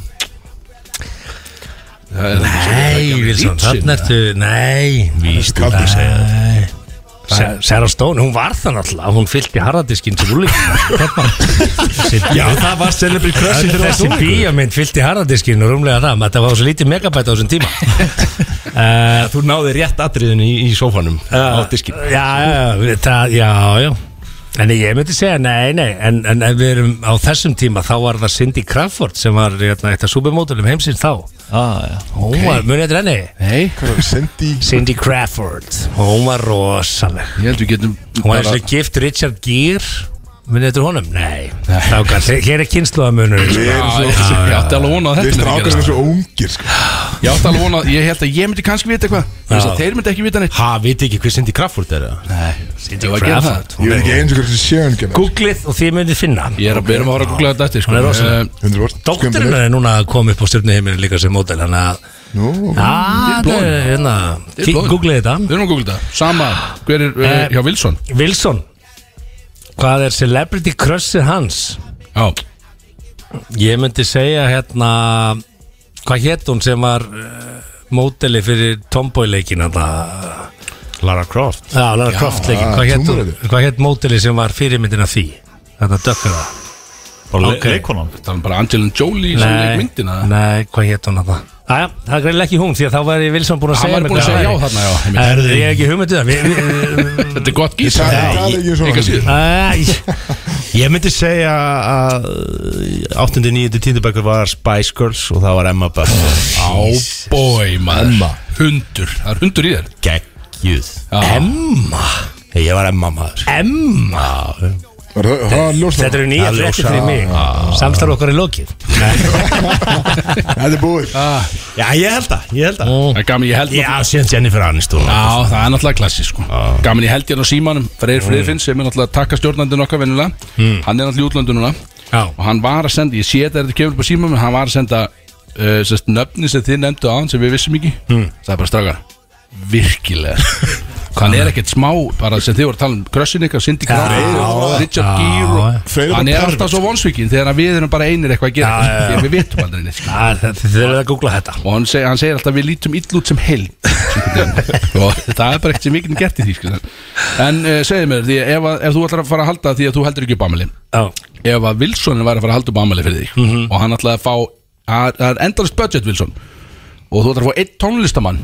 [SPEAKER 4] Nei, Wilson, þarna ertu Nei, víst
[SPEAKER 10] Kaldur.
[SPEAKER 4] Nei. Sa- Sarah Stone, hún var það náttúrulega Hún fylgdi harðadiskinn sem úlík
[SPEAKER 10] Já, það var Celebrity Crush þegar það var
[SPEAKER 4] Þessi
[SPEAKER 10] stólingur.
[SPEAKER 4] bíjamynd fylgdi harðadiskinn og rúmlega það Þetta var svo lítið megabæta á þessum tíma uh,
[SPEAKER 10] Þú náði rétt atriðin í, í sófanum
[SPEAKER 4] á diskinn Eh, Já, já, já, það, já, já En ég myndi segja, nei, nei, en, en ef við erum á þessum tíma, þá var það Cindy Crawford sem var hérna, eitt af supermódulum heimsins þá.
[SPEAKER 2] Ah, já.
[SPEAKER 4] Hún var, munið þetta henni?
[SPEAKER 3] Nei
[SPEAKER 1] Cindy
[SPEAKER 4] Cindy Crawford Hún var rosaleg
[SPEAKER 3] Ég held við getum
[SPEAKER 4] Hún var eins
[SPEAKER 3] bara-
[SPEAKER 4] og gift Richard Gere Munið þetta honum? Nei, Strákar, þe- hér er sko. kynnslóðamunur
[SPEAKER 3] Við erum svo- Ég átti alveg vona að þetta myndi gerast.
[SPEAKER 1] ungir sko.
[SPEAKER 3] Ég átti alveg vona Ég held að ég myndi kannski vita eitthvað Þú veist að Þeir myndi ekki vita neitt
[SPEAKER 10] Ha, viti ekki hver Cindy Crawford er það?
[SPEAKER 4] Cindy
[SPEAKER 3] Ég var að gera
[SPEAKER 4] Crawford
[SPEAKER 1] Ég veit ekki eins og hversu sjöun genar
[SPEAKER 4] Googlið og þið myndið finna
[SPEAKER 3] Ég er að byrja að vera að googla þetta eftir sko.
[SPEAKER 4] Hún er rosaleg.
[SPEAKER 3] Eh,
[SPEAKER 1] 100%
[SPEAKER 4] Dóttirinn er núna að koma upp á stjórnuheiminu líka sem mótel Þannig að
[SPEAKER 1] Nú,
[SPEAKER 4] Já,
[SPEAKER 3] blóðin.
[SPEAKER 4] það er hérna
[SPEAKER 3] Þetta er
[SPEAKER 4] kí-
[SPEAKER 3] blóðin.
[SPEAKER 4] Googlið þetta
[SPEAKER 3] Við erum að googla þetta Sama Hver er
[SPEAKER 4] Eh,
[SPEAKER 3] eh, hjá Wilson
[SPEAKER 4] Wilson Hvað er celebrity crushið hans?
[SPEAKER 3] Já
[SPEAKER 4] Ég myndi segja hérna Hvað hétt hún sem var uh, móteli fyrir tomboy-leikin Þetta
[SPEAKER 10] Lara Croft
[SPEAKER 4] Já, Lara Croft leikin, hvað hétt
[SPEAKER 1] Tomb Raider.
[SPEAKER 4] hvað hétt mótili sem var fyrirmyndin af því? Þetta dökkar það
[SPEAKER 2] Bara
[SPEAKER 4] Ok.
[SPEAKER 2] okay. leikonan
[SPEAKER 3] Talan um bara Angelina Jolie sem leik myndina
[SPEAKER 4] nei, hvað hétt hún þarna? Æja, það er greinilega ekki hún því að þá væri Wilson búin að
[SPEAKER 3] Hann
[SPEAKER 4] segja
[SPEAKER 3] var búin að segja já þarna já ég meina.
[SPEAKER 4] Erðu, ég hef ekki hugmyndu það Við- við-
[SPEAKER 3] Þetta er gott gís
[SPEAKER 1] Það það er ekki svona
[SPEAKER 3] Enga síður
[SPEAKER 4] Æ,
[SPEAKER 10] Ég myndi segja að 8. 9. tíndabækur var Spice Girls og það var Emma Buff
[SPEAKER 3] Á bói maður Hundur Það er hundur í þér
[SPEAKER 10] Gekkjuð
[SPEAKER 4] Emma
[SPEAKER 10] Ég var Emma maður
[SPEAKER 4] Emma
[SPEAKER 1] Var það- Það er ljóst
[SPEAKER 4] Þetta eru nýja
[SPEAKER 10] Það er
[SPEAKER 4] fréttir
[SPEAKER 10] ljósa-
[SPEAKER 4] fyrir mig Samstarf okkar er lokið
[SPEAKER 1] Þetta er búið
[SPEAKER 10] Já, ég held það, ég held það
[SPEAKER 3] Það er gaman ég held
[SPEAKER 10] Já, síðan Jennifer Aniston
[SPEAKER 3] Mm. Já, það er náttúrulega klassísk sko. Gaman ég held hérna á símanum Freyr Freyfinn sem er náttúrulega takka stjórnandinn okkar venjulega Hann er náttúrulega í útlöndum núna
[SPEAKER 4] Já.
[SPEAKER 3] Og hann var að senda, ég sé þetta er þetta kemur upp á símanum en Hann var að senda uh, sest, nöfni sem þið nefndu á hann sem við vissum ekki Það er bara strákar Virkilega Hann er ekkert smá, bara sem þið voru að tala um krössin ykkar, Cindy Crawford, Richard Gere og-
[SPEAKER 1] Freyr er bara
[SPEAKER 3] Hann er
[SPEAKER 1] pervert.
[SPEAKER 3] alltaf svo vonsvikið þegar að við erum bara einir eitthvað að gera
[SPEAKER 4] Já, já, já.
[SPEAKER 3] Því að Við vitum aldrei neitt sko
[SPEAKER 4] Það- það- Þið verður að googla þetta
[SPEAKER 3] og hann, seg, hann segir alltaf við lítum ill út sem heil og það er bara ekkert sem mikinn gert í því sko. en uh, segðu mér því, að ef, að- ef þú ætlar að fara að halda því að þú heldur ekki upp amali
[SPEAKER 4] Já.
[SPEAKER 3] ef að Wilsonin væri að fara að halda upp amali fyrir þig og hann ætlaði að fá að- það er endalist budget Wilson og þú ætlar að fá einn tónlistamann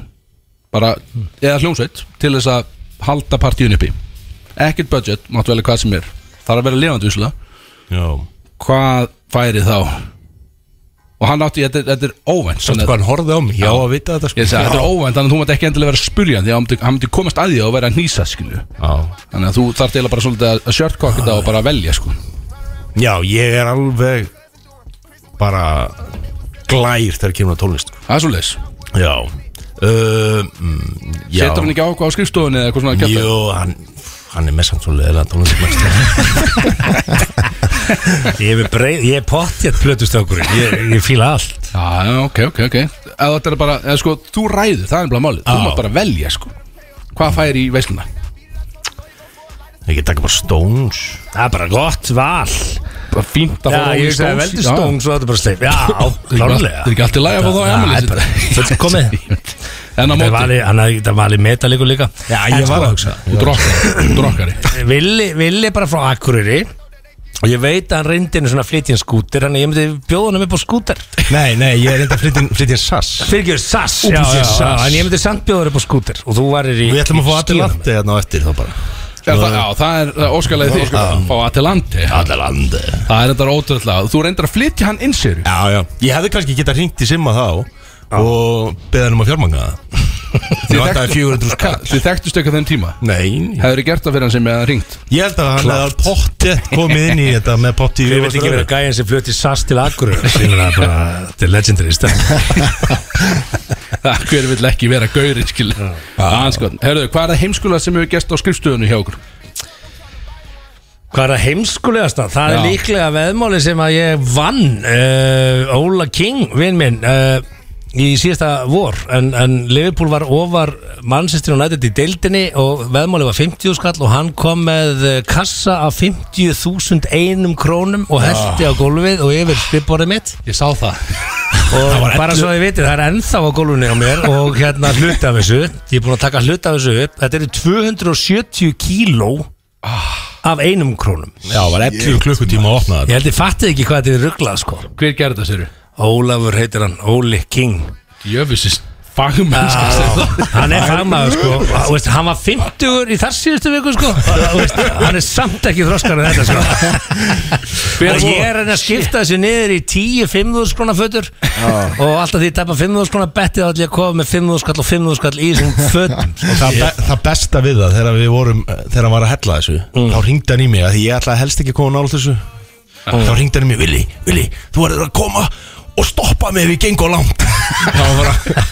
[SPEAKER 3] bara, eða hljómsveit til þess að halda partíun uppi ekkert budget, máttu velja hvað sem er það er að vera levandi vissulega
[SPEAKER 10] Já
[SPEAKER 3] hvað færi þá og hann átti, þetta, er- þetta er óvænt
[SPEAKER 10] Sástu
[SPEAKER 3] þannig að-
[SPEAKER 10] hvað hann horfði á mig, já að vita þetta sko
[SPEAKER 3] Ég segi, þetta er óvænt, þannig að þú mátt ekki endilega vera að spurja hann, því að hann myndi- hann myndi komast að því og vera að nýsa, skilju
[SPEAKER 10] Já.
[SPEAKER 3] Þannig að þú þarf eiginlega bara svolítið að- að sjörtkokka þetta og bara velja, sko
[SPEAKER 10] já, ég er alveg bara glær þegar kemur að tónlist sko.
[SPEAKER 3] Það er svolítið
[SPEAKER 10] Já uh, mm, já.
[SPEAKER 3] Setur hann ekki á okkur á skrifstofunni eða eitthvað svona að
[SPEAKER 10] Jú, hann, hann er með samt svo leðilega tónlist
[SPEAKER 4] Ég er með breið, ég er pottjætt plötustökurinn Ég, ég fíla allt
[SPEAKER 3] Já, já, ok, ok, ok Eða þetta er bara, eða sko, þú ræður, það er bara málið Þú
[SPEAKER 10] Já.
[SPEAKER 3] mátt bara velja, sko Hvað fær í veisluna?
[SPEAKER 10] Ég get taka bara Stones
[SPEAKER 4] Það er bara gott val
[SPEAKER 3] Bara fínt að
[SPEAKER 4] Já,
[SPEAKER 3] fá Rolling
[SPEAKER 4] ég veist
[SPEAKER 3] Stones í-
[SPEAKER 4] að veldu
[SPEAKER 3] Já.
[SPEAKER 4] stóng Svo þetta er bara sleif Já, klárlega
[SPEAKER 3] Það er ekki allt í lagi að fá þá í afmælið sitt.
[SPEAKER 4] Fullt komið
[SPEAKER 3] En á
[SPEAKER 4] Það
[SPEAKER 3] móti,
[SPEAKER 4] vali, hann hafði- það vali metalíku líka
[SPEAKER 10] Já, ég
[SPEAKER 4] En
[SPEAKER 10] var
[SPEAKER 4] sko,
[SPEAKER 10] að hugsa
[SPEAKER 3] þú drokkar, þú drokkar
[SPEAKER 4] Villi, Villi er bara frá Akureyri Og ég veit að hann reyndi henni svona flytjinn skúter Þannig að ég myndi bjóða hann upp á skúter
[SPEAKER 10] Nei, nei, ég er enda flytjinn sass
[SPEAKER 4] Fyrirgjöð SAS já,
[SPEAKER 10] Úpsi,
[SPEAKER 4] já,
[SPEAKER 10] SAS.
[SPEAKER 4] já, En ég myndi samt bjóða hann upp á skúter Og þú varir í
[SPEAKER 10] Við ætlum að fá
[SPEAKER 4] í
[SPEAKER 10] allir
[SPEAKER 4] skýjunum.
[SPEAKER 10] landi hérna á eftir þá bara
[SPEAKER 3] Er það- Já, það er óskalega því sko, Fá Atalante
[SPEAKER 10] Allir landi
[SPEAKER 3] Það er þetta ótrúlega Þú reyndir að flytja hann inn sér
[SPEAKER 10] Já, já Ég hefði kannski getað hringt í simma þá Og beðið hann um að fjármanga það Þið vantaði 400 skall
[SPEAKER 3] Þið þekktust eitthvað þeim tíma
[SPEAKER 10] Nei
[SPEAKER 3] Hefur þið gert það fyrir hann sem meðan ringt
[SPEAKER 10] Ég held að hann hefði pottið komið inn í þetta með pottið
[SPEAKER 4] Ég veit ekki verið gæðin sem flutti SAS til Akureyri Sýnir það bara, þetta er legendary stað
[SPEAKER 3] Hver vill ekki vera gaurinn skil Anskotn Herðu, hvað er það heimskulega sem hefur gest á skrifstöðunni hjá okkur?
[SPEAKER 4] Hvað er það heimskulegast það? Það er
[SPEAKER 3] Já.
[SPEAKER 4] líklega veðmáli sem að ég vann uh, Óla King, vinn minn uh, í síðasta vor en, en Liverpool var ofar mannsistir og nættið í deildinni og veðmáli var 50 skall og hann kom með eh, kassa af 50.000 einum krónum og heldi á gólfið og yfir skrifborðið mitt
[SPEAKER 3] Ah. Ég sá það
[SPEAKER 4] og
[SPEAKER 3] Það var
[SPEAKER 4] bara
[SPEAKER 3] ellefu-
[SPEAKER 4] svo að ég veitir, það er ennþá á gólfunni á mér og hérna hluti af þessu ég er búin að taka hluti af þessu upp þetta eru 270 kíló af einum krónum
[SPEAKER 8] Já, var 11 klukkutíma að opna
[SPEAKER 4] ég held ég fattið ekki hvað þetta er rugglað sko
[SPEAKER 3] Hver gerði þetta, segir
[SPEAKER 4] Ólafur heitir hann, Óli King
[SPEAKER 3] Jöfusins fagmennska
[SPEAKER 10] Ah.
[SPEAKER 4] Já, hann er fagmaður sko Og, veist, hann var 50 í þar síðustu viku sko Og, veist, hann er samt ekki þroskar en þetta sko og ég er að reyna að skipta þessu niður í 10-5.000 krónar fötur
[SPEAKER 8] Ah.
[SPEAKER 4] og alltaf því ég tappa 5.000 krónar bettið þá ætlum ég að kofa með 5.000 skall og 5.000 skall í þessum fötum sko.
[SPEAKER 10] Það, be það besta við það þegar við vorum þegar hann var að hella þessu þá ringdi hann í mig að ég ætlaði helst ekki að koma nála þessu þá ringdi hann í mig Vili, Vili, þú verður að koma og stoppa mig ef ég geng á langt
[SPEAKER 3] Það var bara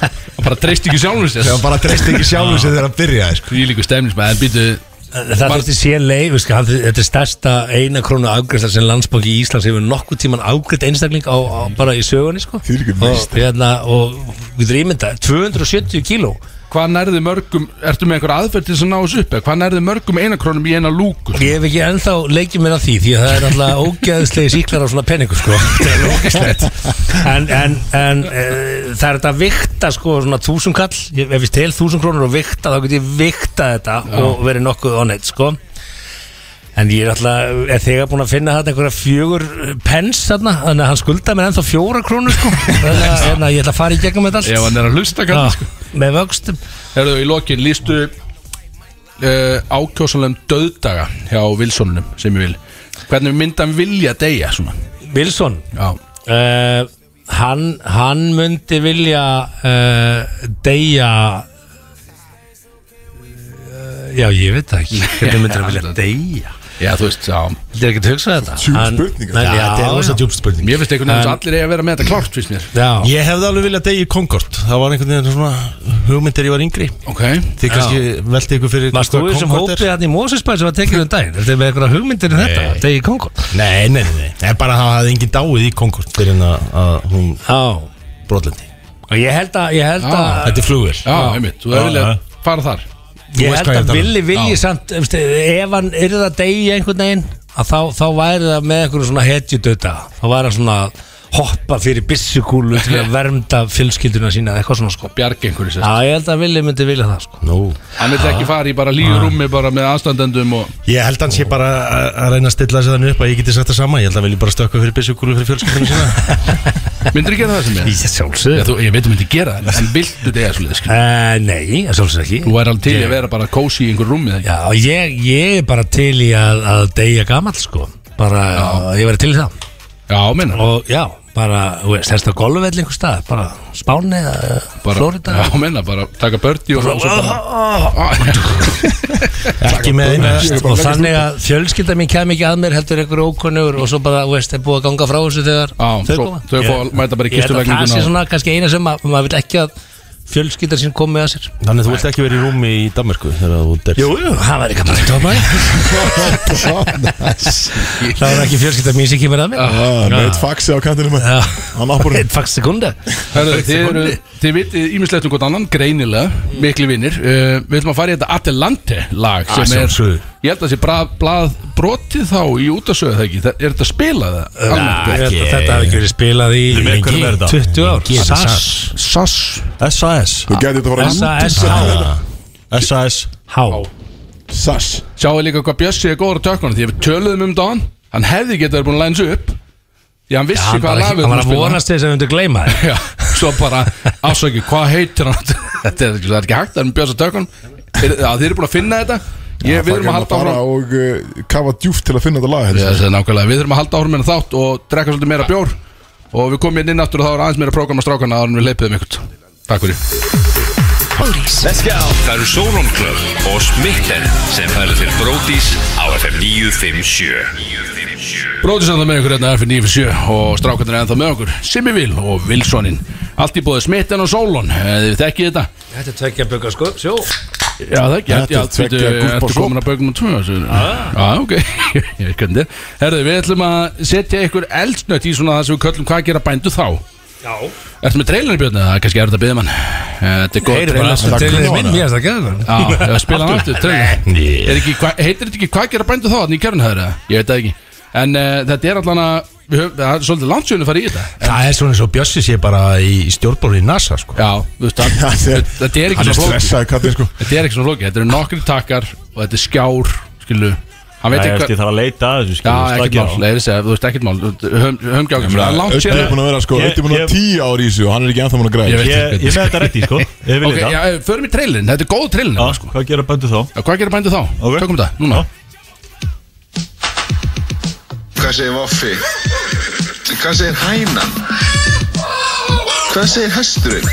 [SPEAKER 3] Það bara treyst ekki sjálfum sér
[SPEAKER 10] það var bara treyst ekki sjálfum sér þegar hann byrjaði sko.
[SPEAKER 3] Því líku stemnis maður, en býtu
[SPEAKER 4] Það þurfti sé leið, veist, hann, þetta er stærsta eina krónu afgræsla sem landsbanki í Íslands hefur nokkuð tíman afgrætt einstakling á, á, bara í sögunni sko. og, hérna, og við rýmynda 270 kíló
[SPEAKER 3] Hvað nærði mörgum, ertu með einhver aðferð til þess að ná þessu upp eða Hvað nærði mörgum einakrónum í eina lúku
[SPEAKER 4] Ég hef ekki ennþá leikið mér að því því að það er alltaf ógeðslegi síklar á svona penningu sko Það er ógeðslegt En, en, en e, það er þetta að vikta sko svona þúsund kall Ég- Ef ég tel þúsund krónur og vikta þá get ég vikta þetta og verið nokkuð onnit sko En ég er alltaf, er þegar búin að finna þarna einhverja fjögur pens þarna Þannig að hann skulda mér ennþá fjóra krónur sko Þannig að þannig að ég ætla að fara í gegnum þetta allt
[SPEAKER 3] Ef hann er að hlusta
[SPEAKER 4] Já,
[SPEAKER 3] kannski
[SPEAKER 10] Ah.
[SPEAKER 3] sko.
[SPEAKER 4] Með vöxtum
[SPEAKER 3] Herðu, í lokin lístu uh, ákjósanlegum döðdaga hjá Wilsonunum sem ég vil Hvernig mynda hann vilja deyja svona
[SPEAKER 4] Wilson
[SPEAKER 3] Já
[SPEAKER 4] uh, hann, hann myndi vilja uh, deyja uh, Já, ég veit það ekki Hvernig myndi hann vilja deyja?
[SPEAKER 3] Já, þú veist, já
[SPEAKER 4] Þetta er ekki að hugsa þetta
[SPEAKER 1] Djúp
[SPEAKER 4] Hann-
[SPEAKER 1] spurning,
[SPEAKER 4] Nei,
[SPEAKER 1] þetta.
[SPEAKER 4] Já,
[SPEAKER 10] þetta er rosa
[SPEAKER 4] já,
[SPEAKER 10] djúp spurning
[SPEAKER 3] Mér finnst einhvern veginn að allir eiga að vera með þetta klárt fyrst mér
[SPEAKER 4] já,
[SPEAKER 10] ég hefði alveg viljað degi í Concord það var einhvern veginn svona hugmyndir ég var yngri
[SPEAKER 3] Ok
[SPEAKER 10] þið kannski veldi ykkur fyrir
[SPEAKER 4] Maður stóðu sem hópið hann í Mósinsbæð sem var tekið um daginn Þetta er með einhverja hugmyndir um þetta
[SPEAKER 10] Nei.
[SPEAKER 4] Degi Kongo
[SPEAKER 10] nei, nei, nei, nei, það er bara að það hafði engin dáið í Concord fyrir en að, að hún
[SPEAKER 4] Já
[SPEAKER 10] brotlendi
[SPEAKER 4] Og ég held að Ég held
[SPEAKER 3] Já.
[SPEAKER 4] að
[SPEAKER 10] þetta er flugvel
[SPEAKER 3] Já, einmitt, þú
[SPEAKER 10] Já,
[SPEAKER 3] hefur viljað
[SPEAKER 10] já.
[SPEAKER 3] fara þar
[SPEAKER 4] Ég
[SPEAKER 10] veist
[SPEAKER 4] held
[SPEAKER 10] hvað ég
[SPEAKER 4] að
[SPEAKER 10] tala um.
[SPEAKER 4] villi vilji samt um, ef hann yrði að deyja einhvern veginn að þá, þá væri það með einhverjum svona hetjudöta þá væri hann svona að hoppa fyrir byssukúlu til að vernda fjölskylduna sína eða eitthvað svona sko
[SPEAKER 3] Bjarg einhverju sér
[SPEAKER 4] Já, ég held að villi myndi vilja það sko
[SPEAKER 10] Nú.
[SPEAKER 3] Hann vil ekki fara í bara líður rúmi bara með aðstandendum og
[SPEAKER 10] Ég held hans ég bara að að reyna að stilla þessi þannig upp að ég geti sagt það sama Ég held að vilji bara stökka fyrir byssukúlu fyrir fjölskyldunum sína
[SPEAKER 3] Myndir þú gera það sem ég?
[SPEAKER 4] Ég
[SPEAKER 3] Já,
[SPEAKER 4] sjálfsög
[SPEAKER 3] þú, ég veit þú myndir gera það En viltu deyja svolítið, skil
[SPEAKER 4] uh, Nei, ég sjálfsög ekki
[SPEAKER 3] Þú væri alveg til í að vera bara kósi í einhver rúmi
[SPEAKER 4] Já, ég, ég er bara til í að, að deyja gamall sko bara, ég væri til í það
[SPEAKER 3] Já, meina
[SPEAKER 4] og já, bara, þú veist, þess að golfveld einhver stað, bara Spáni eða Florida
[SPEAKER 3] Já, meina, bara taka bördi og svo og svo bara Ah,
[SPEAKER 10] Ekki með einu
[SPEAKER 4] og þannig að fjölskylda mín kem ekki að mér heldur einhver ókunnur og svo bara, þú veist, er búið að ganga frá þessu þegar
[SPEAKER 3] Já, svo þau fá að mæta bara í
[SPEAKER 4] Ég held að það sé
[SPEAKER 3] kistulegninguna
[SPEAKER 4] svona kannski eina sem að maður vil ekki að fjölskylda sín komi að sér
[SPEAKER 10] Þannig að þú vilt ekki verið í rúmi í Danmarku þegar þú der
[SPEAKER 4] jú, það var ekki bara tóma Það var ekki fjölskylda mín sem kemur að mér
[SPEAKER 1] Neitt
[SPEAKER 4] Ah.
[SPEAKER 1] faxi á kantinum
[SPEAKER 4] Já.
[SPEAKER 1] Hann ábúrinn
[SPEAKER 4] Eitt fakt sekunda
[SPEAKER 3] Hörðu, þið, eru, þið vitið ímislegt um hvort annan, greinilega,
[SPEAKER 8] Mm.
[SPEAKER 3] miklu vinnir uh, Við ætlum að fara í þetta Adelante lag sem er,
[SPEAKER 10] sjálfsögðu.
[SPEAKER 3] ég held að sé bra, blað brotið þá í útasöðu það ekki, það, er þetta spilað það?
[SPEAKER 4] Ég
[SPEAKER 3] Almennt?
[SPEAKER 4] held að Þetta hafði ekki verið spilað í
[SPEAKER 10] Með hverjum er þetta?
[SPEAKER 4] 20 ár
[SPEAKER 10] Ég geri
[SPEAKER 4] SAS
[SPEAKER 3] SAS
[SPEAKER 2] S.A.S.
[SPEAKER 1] Þú getur þetta að fara
[SPEAKER 4] S-A-S-H
[SPEAKER 2] S.A.S.
[SPEAKER 1] Sass
[SPEAKER 3] Sjáðu líka hvað Bjössi er góður á tökkunum því að við töluðum um dagann, hann hefði getað verið búin að læna sig upp því að hann vissi
[SPEAKER 4] Hann
[SPEAKER 3] hvað
[SPEAKER 4] bara-
[SPEAKER 3] lafið um
[SPEAKER 4] hann var að vonast til þess að við myndum gleyma þér
[SPEAKER 3] Já, svo bara, afsöki, hvað heitir hann Þetta er, það er ekki hægt, það er um Bjössi á tökkunum er, að Þið eru búin að finna þetta Ég, við erum að halda áfram
[SPEAKER 1] Og uh, kafa djúft til að finna þetta lag
[SPEAKER 3] Já,
[SPEAKER 1] hérna.
[SPEAKER 3] það er nákvæmlega, við þurfum að halda áhrum en þátt og drekka svolítið meira bjór og við komum hérna inn aftur og þá er aðeins meira prógram að strákana áður en við leipum ykkur Takk fyrir
[SPEAKER 5] Það eru Solon Club og Smitten sem færa til Brótis á FM 957
[SPEAKER 3] Bróðis ennþá með ykkur hérna er fyrir 9.7 og strákarnir er ennþá með okkur Simmi Vil og Vilssonin Allt í bóði smitten og sólon Eh, Þið þekkið þetta
[SPEAKER 4] Þetta er tveggja byggar sko, sjó
[SPEAKER 3] Já það ekki
[SPEAKER 1] Þetta er tveggja gúbba
[SPEAKER 3] Ertu
[SPEAKER 1] skóp.
[SPEAKER 3] komin að bögum og tvö Já ah, ok Ég veit hvernig þetta er Herðu við ætlum að setja ykkur eldsnött í svona það sem við köllum hvað gera bændu þá
[SPEAKER 4] Já
[SPEAKER 5] Ertu með trailerinn björn eða kannski er þetta byggðum hann Þetta er gott
[SPEAKER 4] Heyrir einu sinni trailerinn minn, mér finnst það geðveikur.
[SPEAKER 5] Já, ég spila hann aftur trailerinn
[SPEAKER 4] Nei.
[SPEAKER 5] Er ekki- hva- Heitir þetta ekki hvað gera bændu þá þannig í kjörnhæður Ég veit það ekki En uh, þetta er allan að við höfum- Það er svolítið langt sjönu að fara í þetta
[SPEAKER 12] Það er svona eins og Bjössi sé bara í stjórnbólur í NASA sko.
[SPEAKER 5] Já, þú veist hann Þetta er ekki
[SPEAKER 12] Hann er
[SPEAKER 5] svona flókið.
[SPEAKER 12] stressaður kallinn, sko.
[SPEAKER 5] Þetta er ekki svona flóki Þetta eru nokkri takkar og þetta er skjár Skilu Hann veit
[SPEAKER 2] Já, ég
[SPEAKER 5] ekki
[SPEAKER 2] veist, ég þarf að leita að þessu, skilur,
[SPEAKER 5] Já,
[SPEAKER 2] veist,
[SPEAKER 5] ekkert
[SPEAKER 2] ekki
[SPEAKER 5] mál,
[SPEAKER 2] mál.
[SPEAKER 5] Nei, ég segi, þú veist ekkert mál Höfum
[SPEAKER 1] Ég
[SPEAKER 5] gjákast
[SPEAKER 1] meina, Ötti er búin að vera sko, Ötti er búin að vera tíu ári í þessu og hann er ekki ennþá búin að græða
[SPEAKER 2] sko.
[SPEAKER 5] Ok, já, eh, förum í trailin, þetta er góð trailin já, sko.
[SPEAKER 2] Hvað gera bændu þá?
[SPEAKER 5] Já, hvað gera bændu þá? Okay. Tökum þetta, núna
[SPEAKER 13] Hvað segir Voffi? Hvað segir Hænan? Hvað segir Hesturinn?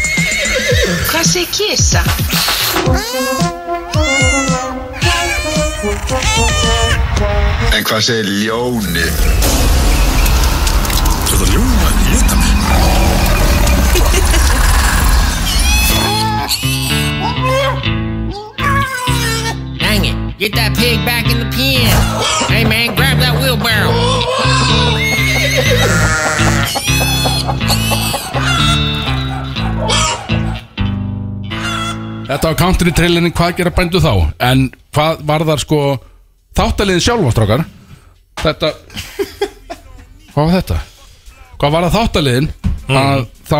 [SPEAKER 3] Hvað segir kisa?
[SPEAKER 13] En hvað segir Ljónið?
[SPEAKER 14] Þetta er ljóma að geta mig
[SPEAKER 15] Dang it. Get that pig back in the pen. Hey, man, grab that wheelbarrow.
[SPEAKER 5] Þetta var counter í trailinni, hvað gera bændu þá? En hvað var þar sko Þáttaliðin sjálfastrákar Þetta Hvað var þetta? Hvað var það þáttaliðin? Að þá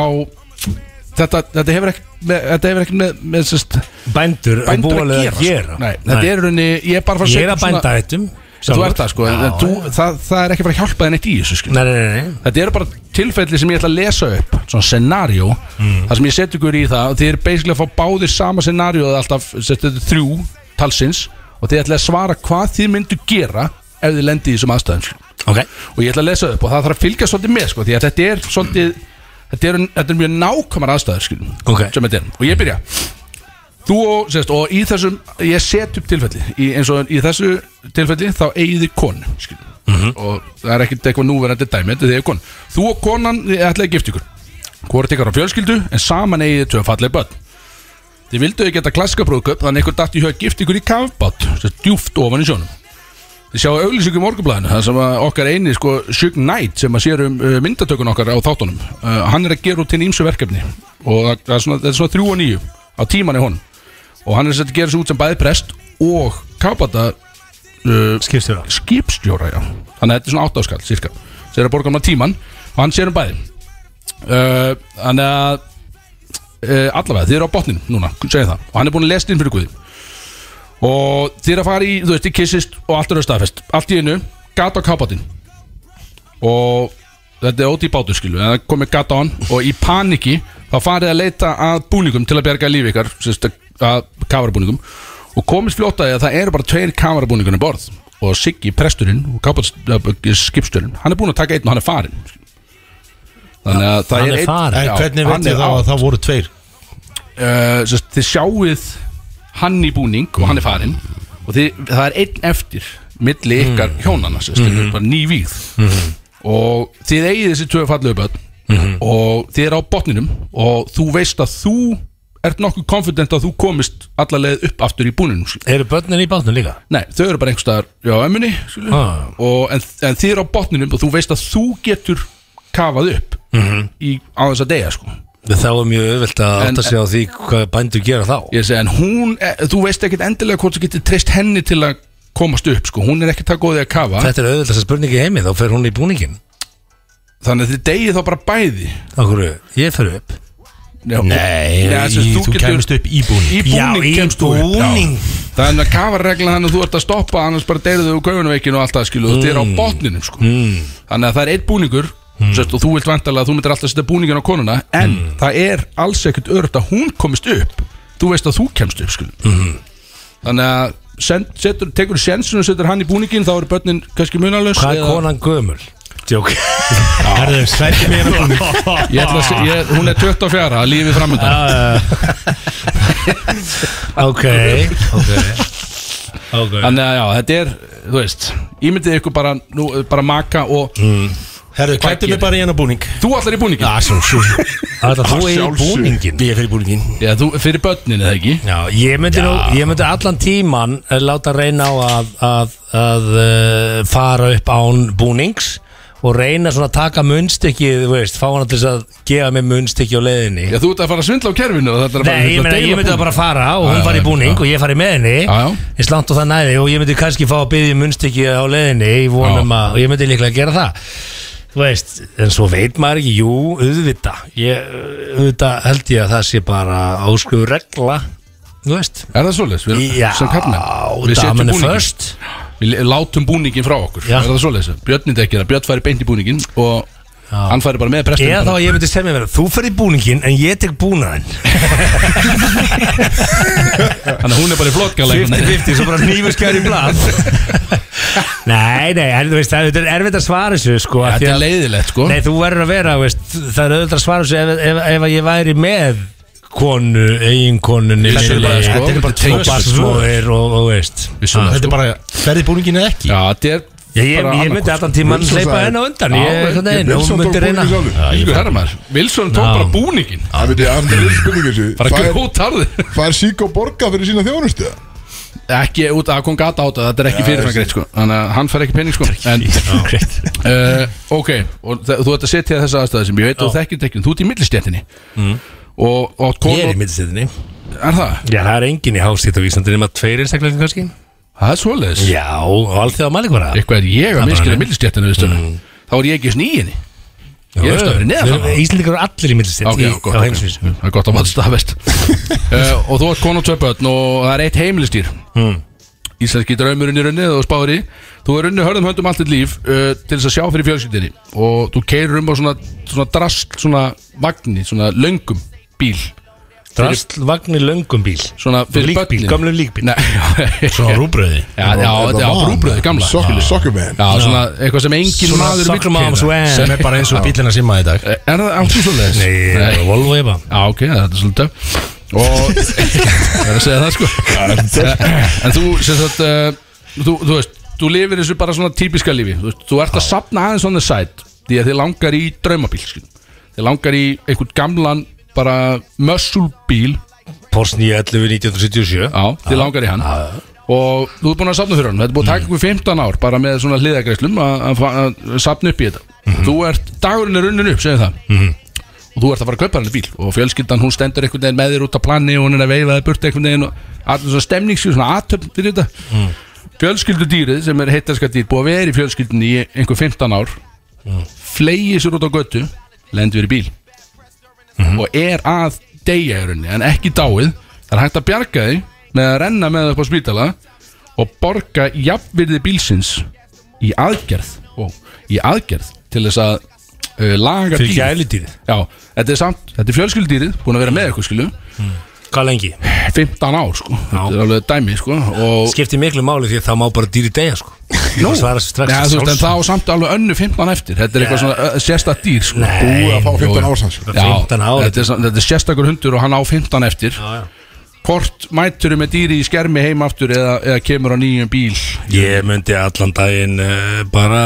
[SPEAKER 5] Þetta, þetta hefur ekkert með, þetta hefur ekkert með, með sest,
[SPEAKER 4] bændur,
[SPEAKER 5] að
[SPEAKER 4] búa að
[SPEAKER 5] gera,
[SPEAKER 4] gera.
[SPEAKER 5] Sko. Nei, þetta
[SPEAKER 4] Nei.
[SPEAKER 5] er runni, ég er bara að fara
[SPEAKER 4] Ég er
[SPEAKER 5] setja
[SPEAKER 4] að
[SPEAKER 5] svona-
[SPEAKER 4] bænda hættum
[SPEAKER 5] Þú ert það sko,
[SPEAKER 4] Já,
[SPEAKER 5] en þú, það, það er ekki að fara að hjálpa þér neitt í þessu sko.
[SPEAKER 4] Nei, nei, nei, nei.
[SPEAKER 5] Þetta eru bara tilfelli sem ég ætla að lesa upp Svona scenario Það sem ég set ykkur í það og Þið eru basically að fá báðir sama scenario alltaf, sett, Þetta er þrjú talsins Og þið ætla að svara hvað þið myndu gera Ef þið lendi í þessum aðstæðum sko.
[SPEAKER 4] okay.
[SPEAKER 5] Og ég ætla að lesa upp og það þarf að fylgja svolítið með sko, Því að þetta er svolítið Þetta eru, þetta eru mjög nákvæmar aðstæður sko,
[SPEAKER 4] Ok.
[SPEAKER 5] Sem þetta er Og ég byrja Þú og, sérst, og í þessum, ég set upp tilfelli í, eins og í þessu tilfelli þá eigið þið konu skil, og það er ekkert eitthvað núverandi dæmi þetta er konu, þú og konan þið ætlaði að gifta ykkur hvort ykkar á fjölskyldu en saman eigið þið tvö falleg börn þið vildu ekki geta klassika brúðköp þannig ykkur datt í hög gift ykkur í kafbát sérst, djúft ofan í sjónum þið sjáu auglýsingu í morgunblæðinu það sem að okkar eini sko Shug Knight sem að sér um uh, myndatökun okkar á þáttunum uh, hann er að gera út til ímsu verkefni og það, það er svona, þetta er svona 3 og 9 á tíman er honum og hann er sett að gera svo út sem bæði prest og kápata uh, skipstjóra já þannig að þetta er svona áttaskall cirka sem er að borga hann á tíman og hann sér um bæði Uh, Þannig að uh, allavega, þið eru á botnin núna segja það, og hann er búin að lesa inn fyrir Guði og þið eru að fara í, þú veist, þið kissist og allt eru staðfest, allt í einu gata á kápatinn og þetta er óti í bátu skilu en það komið gata á hann og í paniki þá farið að leita að búningum til að berga lífi ykkar, sérst að- að kafarabúningum og komist fljótt að því að það eru bara tveir kafarabúningunum borð og Siggi, presturinn og kápatskipstjörinn hann er búin að taka einn og hann er farinn þannig að það
[SPEAKER 12] Hann
[SPEAKER 5] er
[SPEAKER 12] er
[SPEAKER 5] einn-
[SPEAKER 12] farinn. En
[SPEAKER 5] Já,
[SPEAKER 12] hvernig
[SPEAKER 5] hann
[SPEAKER 12] vitið
[SPEAKER 5] er
[SPEAKER 12] þá
[SPEAKER 5] out.
[SPEAKER 12] að það voru tveir?
[SPEAKER 5] Eh, sem sagt, þið sjáuð hann í búning og hann er farinn og þið, það er einn eftir milli ykkar hjónana sem
[SPEAKER 16] Mhm.
[SPEAKER 5] mm bara nývíð og þið eigið þessi tvö fallegu börn og þið er á botninum og þú veist að þú ert nokkuð confident að þú komist alla leið upp aftur í búninum
[SPEAKER 4] Eru börnin í bátnum líka?
[SPEAKER 5] Nei, þau eru bara einhverstaðar á emmunni skilur,
[SPEAKER 4] Ah.
[SPEAKER 5] og, en, en þið er á botninum og þú veist að þú getur kafað upp í, á þess að deyja sko
[SPEAKER 4] Þá er mjög auðvelt að
[SPEAKER 5] En-
[SPEAKER 4] átta sig á því hvað bændur gera þá
[SPEAKER 5] Ég segi, en hún, e, þú veist ekkert endilega hvort þú getur treyst henni til að komast upp, sko, hún er ekki það góðið að kafa
[SPEAKER 4] Þetta er auðvitað sem spurningi heimi, þá fer hún í búningin
[SPEAKER 5] Þannig að þið degið þá bara bæði
[SPEAKER 4] Akkur, ég fer upp
[SPEAKER 5] Já, Nei, þessi, þú getur- Í búning kemst þú upp, já. Það er að kafa regla þannig að þú ert að stoppa annars bara deyrðu þau gauðunveikin og allt það skilu mm. þetta er á botninum sko Þannig að það er einn búningur sérst, og þú vilt vantarlega að þú myndir alltaf að setja búningin á konuna en það er alls ekkert örut að hún komist upp þú veist að þú kemst upp skilu Þannig að send, setur, tekur sjensun og setur hann í búningin þá eru börnin kannski munalös
[SPEAKER 4] Hvað er konan gömul? Jók Herðu, slætti mér
[SPEAKER 5] Ég ætla að se- ég- Hún er 24, lífið framöndan
[SPEAKER 4] Ok, ok Ok
[SPEAKER 5] Þannig að já, þetta er, þú veist Ímyndið ykkur bara, nú, bara maka og mm.
[SPEAKER 12] Herðu, klæddu mig bara í hennar búning
[SPEAKER 5] Þú allar í búningin?
[SPEAKER 12] Já, svo, svo
[SPEAKER 4] Það
[SPEAKER 5] Ah,
[SPEAKER 4] er þú er búningin
[SPEAKER 12] Ég er fyrir búningin
[SPEAKER 5] Já, þú fyrir börnin eða ekki
[SPEAKER 4] Já, ég myndi, nú,
[SPEAKER 12] Já.
[SPEAKER 4] ég myndi allan tíman eh, láta reyna á að, að, að uh, fara upp án búnings og reyna svona að taka munstykki þú veist, fá hana til þess að gefa mér munstykki á leiðinni
[SPEAKER 3] Já, þú ert að fara að svindla á kerfinu og þetta er að fara
[SPEAKER 4] Nei, ég
[SPEAKER 3] að
[SPEAKER 4] meina,
[SPEAKER 3] deila
[SPEAKER 4] ég myndi
[SPEAKER 3] búning.
[SPEAKER 4] bara fara og hún
[SPEAKER 3] Já,
[SPEAKER 4] fari í
[SPEAKER 3] já,
[SPEAKER 4] búning
[SPEAKER 3] já.
[SPEAKER 4] og ég fari með henni eins langt og það næði og ég myndi kannski fá að byggja munstykki á leiðinni í vonum að, og ég myndi líklega gera það þú veist, en svo veit maður ekki jú, auðvita ég, auðvita held ég að það sé bara áskrifur regla þú veist
[SPEAKER 3] Er það svoleiðis? Við,
[SPEAKER 4] Já,
[SPEAKER 3] sem karlmenn? Við setjum
[SPEAKER 4] damen er
[SPEAKER 3] búninginn.
[SPEAKER 4] first.
[SPEAKER 3] Við le- látum búningin frá okkur
[SPEAKER 4] Já.
[SPEAKER 3] Er það svoleiðis? Björn myndi ekki það Björn færi beint í búningin og hann færi bara með prestin
[SPEAKER 4] eða þá að ég myndi semja mér þú fer í búningin en ég tek búnaðin
[SPEAKER 3] Þannig að hún er bara í hérna. flottgalla einhvern veginn.
[SPEAKER 4] 50-50, svo bara nýfurskjær í blad Nei, nei, en þú veist, það þetta er erfitt að svara þessu sko, af því
[SPEAKER 3] Þetta er
[SPEAKER 4] að-
[SPEAKER 3] leiðilegt sko
[SPEAKER 4] Nei, þú verður að vera, þú veist, það er auðvitað að svara þessu ef, ef, ef að ég væri með konu, eiginkonunni
[SPEAKER 3] Þetta er bara, sko,
[SPEAKER 4] Þetta er
[SPEAKER 3] þetta
[SPEAKER 4] bara
[SPEAKER 3] er
[SPEAKER 4] tvö
[SPEAKER 3] tvö
[SPEAKER 4] barnsmóðir og, og veist
[SPEAKER 3] svona, Þetta er sko.
[SPEAKER 4] bara, ferði búningin eða ekki?
[SPEAKER 3] Já, þetta er
[SPEAKER 4] Já, ég- ég myndi allan tímann hleypa henni á undan, ég- einhvern veginn, hún myndi reyna- Já, ég-
[SPEAKER 3] Ylgu Hermar Wilson tók
[SPEAKER 4] Já.
[SPEAKER 3] bara búningin
[SPEAKER 1] Það veit ég að það er spurning þessu
[SPEAKER 3] Bara
[SPEAKER 1] Fær-
[SPEAKER 3] grót harði
[SPEAKER 1] Fær sík og borga fyrir sína þjónustu
[SPEAKER 3] Ekki út að kom gata á þetta Þetta er ekki
[SPEAKER 1] Já,
[SPEAKER 3] fyrirfram greitt sko Þannig að hann fær ekki pening sko En uh, Ok, og þa- þú ert að setja þessa aðstæði sem ég veit og þekkir tekjum Þú ert í millistjættinni Og, og
[SPEAKER 4] Mm. Ég er í mittstættinni
[SPEAKER 3] Er það?
[SPEAKER 4] Já, það er engin í hástítt á Íslandi nema tveir einstaklega kannski
[SPEAKER 3] Það er svoleiðis
[SPEAKER 4] Já, og alþjóða mælikvara
[SPEAKER 3] Eitthvað er ég
[SPEAKER 4] Það
[SPEAKER 3] að
[SPEAKER 4] er
[SPEAKER 3] minnskila
[SPEAKER 4] bara-
[SPEAKER 3] millistjættinu mm. Þá er ég ekki snýinni Ég er stöður neðan það.
[SPEAKER 4] Íslandingar eru allir í mittstætt
[SPEAKER 3] Ok, já, gott,
[SPEAKER 4] á
[SPEAKER 3] ok.
[SPEAKER 4] heimsvísu
[SPEAKER 3] Það er gott að maður staðfest uh, Og þú ert konu og tvö börn og það er eitt heimilistýr mm. Íslenski draumurinn í runni og spáður í Þú er runni hörðum höndum allt þitt líf uh, Til þess að sjá fyrir fjölskyldinni Og þú keirir um á svona, svona drast Svona vagni, svona löngum bíl
[SPEAKER 4] Drastlvagnir löngum bíl
[SPEAKER 3] Svona fyrir
[SPEAKER 4] Líkbíl,
[SPEAKER 3] börnin.
[SPEAKER 4] gömlum líkbíl
[SPEAKER 3] Nei, já,
[SPEAKER 10] Svona rúbröði
[SPEAKER 3] Já, já, þetta er á brúbröði gamla
[SPEAKER 4] Ah.
[SPEAKER 1] Soccer- Soccer man
[SPEAKER 3] Já, svona eitthvað sem engin
[SPEAKER 4] Svona
[SPEAKER 3] maður um
[SPEAKER 4] soccer moms
[SPEAKER 3] sko.
[SPEAKER 4] wear.
[SPEAKER 10] Sem er bara eins og bílina síma í dag
[SPEAKER 3] Eh, Er það áttu svo leiðis?
[SPEAKER 4] Nei, það er Volvo ég bara
[SPEAKER 3] Já, ok, þetta er svolítið töff. Og Það er að segja það sko En þú, sem sagt uh, þú, þú veist, þú lifir þessu bara svona típiska lífi Þú, veist, þú ert að sapna aðeins on the side Því að þið langar í draumabíl skil. Þið langar í einhvern gamlan Bara mössulbíl
[SPEAKER 4] Porsni 11 1977
[SPEAKER 3] Já, þið langar í hann Og þú ert búin að sapna fyrir hann Þetta er búin að taka ykkur 15 ár Bara með svona hliðagreislum að- að fa- að sapna upp í þetta Þú ert, dagurinn er runnin upp, segjum það og þú ert að fara að kaupa henni bíl og fjölskyldan hún stendur einhvern veginn með þér út á plani og hún er að veifa þér burt einhvern veginn og allir svona stemning svona aðtöfn fyrir þetta fjölskyldudýrið sem er heitarska dýr búið að vera í fjölskyldinni í einhver 15 ár mm. fleigi sér út á götu lendur í bíl og er að deyja í rauninni en ekki dáið það er hægt að bjarga þig með að renna með það upp á spítala og borga jafnvirði bílsins í aðgerð ó, í aðgerð til þess að uh, laga
[SPEAKER 4] Fyrir
[SPEAKER 3] bíl
[SPEAKER 4] gæludýrið.
[SPEAKER 3] Já, þetta er samt, þetta er fjölskyldýrið búin að vera með ykkur skilu
[SPEAKER 4] Hvað lengi?
[SPEAKER 3] 15 ár sko, þetta er alveg dæmi sko og
[SPEAKER 4] Skiptir miklu máli því að það má bara dýri deyja sko
[SPEAKER 3] Nú,
[SPEAKER 4] Það svarar sér strax
[SPEAKER 3] ja, þú veist, en það á samt alveg önnu 15 eftir Þetta er eitthvað svona uh, sérstakt dýr sko.
[SPEAKER 4] Nei,
[SPEAKER 3] Búið að fá
[SPEAKER 1] nú,
[SPEAKER 3] 15 ár
[SPEAKER 1] já.
[SPEAKER 3] sanns
[SPEAKER 4] 15 ár.
[SPEAKER 3] þetta, er sa- þetta er sérstakur hundur og hann á 15 eftir
[SPEAKER 4] Já, já.
[SPEAKER 3] Hvort mæturu með dýri í skermi heim aftur eða, eða kemur á nýjum bíl
[SPEAKER 4] Ég myndi allan daginn uh, bara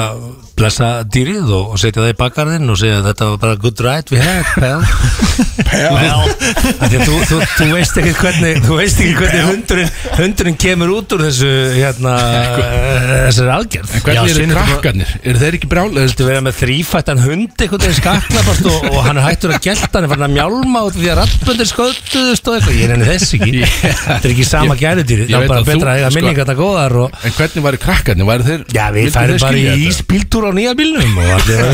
[SPEAKER 4] blessa dýrið og, og setja það í bakgarðinn og segja þetta var bara good ride we had, pal Pal Af því að þú, þú, þú veist ekki hvernig þú veist ekki hvernig hundurinn hundurinn kemur út úr þessu hérna uh, þessari aðgerð
[SPEAKER 3] En hvernig eru krakkarnir? Eru þeir ekki brjálega?
[SPEAKER 4] Þú verður með þrýfættan hund einhvern veginn skaknabast og, og hann er hættur að gelta hann er farin að mjálma út af því að rattböndir skölduðust og eitthvað, ég nenni þess ekki Þetta er ekki sama
[SPEAKER 3] Ég-
[SPEAKER 4] gæludýri,
[SPEAKER 3] ég
[SPEAKER 4] það
[SPEAKER 3] veit
[SPEAKER 4] er bara
[SPEAKER 3] að þú-
[SPEAKER 4] betra að eiga
[SPEAKER 3] sko-
[SPEAKER 4] minningarna góðar og
[SPEAKER 3] En hvernig væri krakkarnir? Væri þeir,
[SPEAKER 4] Já, við
[SPEAKER 3] vildu
[SPEAKER 4] færum
[SPEAKER 3] þeir
[SPEAKER 4] bara
[SPEAKER 3] skilja
[SPEAKER 4] í
[SPEAKER 3] þetta?
[SPEAKER 4] íspíltúr á nýja bílnum og allir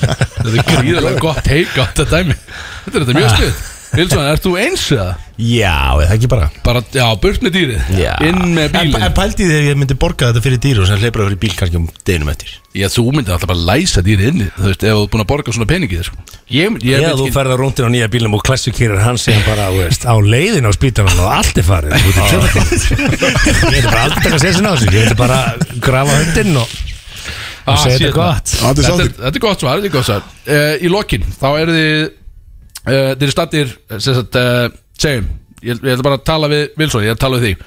[SPEAKER 4] verður þess að
[SPEAKER 3] Þetta er gríðarlega gott heika á þetta dæmi Þetta er þetta mjög stuð Vilsson, ert þú eins eða?
[SPEAKER 10] Já, eða ekki bara
[SPEAKER 3] Bara, já, burt með dýrið Inn með
[SPEAKER 10] En,
[SPEAKER 3] bílinn
[SPEAKER 10] en pældi þegar ég myndi borga þetta fyrir dýr og sem hleypur það fyrir bíl kannski um deginum eftir
[SPEAKER 3] Já, þú myndir alltaf bara læsa dýrið inni Þú veist, ef þú er búin að borga svona peningi þér sko. Ég, myndi- ég
[SPEAKER 4] Já,
[SPEAKER 3] veit
[SPEAKER 4] þú
[SPEAKER 3] ekki-
[SPEAKER 4] ferðar rúndin á nýja bílnum og klassukýrar hans sem bara, þú veist, á leiðin á spítanum og allt er farið út í tjóðakon Ég veit bara aldrei að segja sinna á þessu Ég veit bara grafa hundinn og
[SPEAKER 3] Ah,
[SPEAKER 4] og segja
[SPEAKER 3] shit,
[SPEAKER 4] þetta gott
[SPEAKER 3] maður. Þetta er- þetta er gott svar, þetta er gott svar uh, Í lokin, þá eru þið uh, Þeir eru stattir sagt, uh, Segjum, ég, ég ætla bara að tala við Vilsson, ég ætla að tala við þig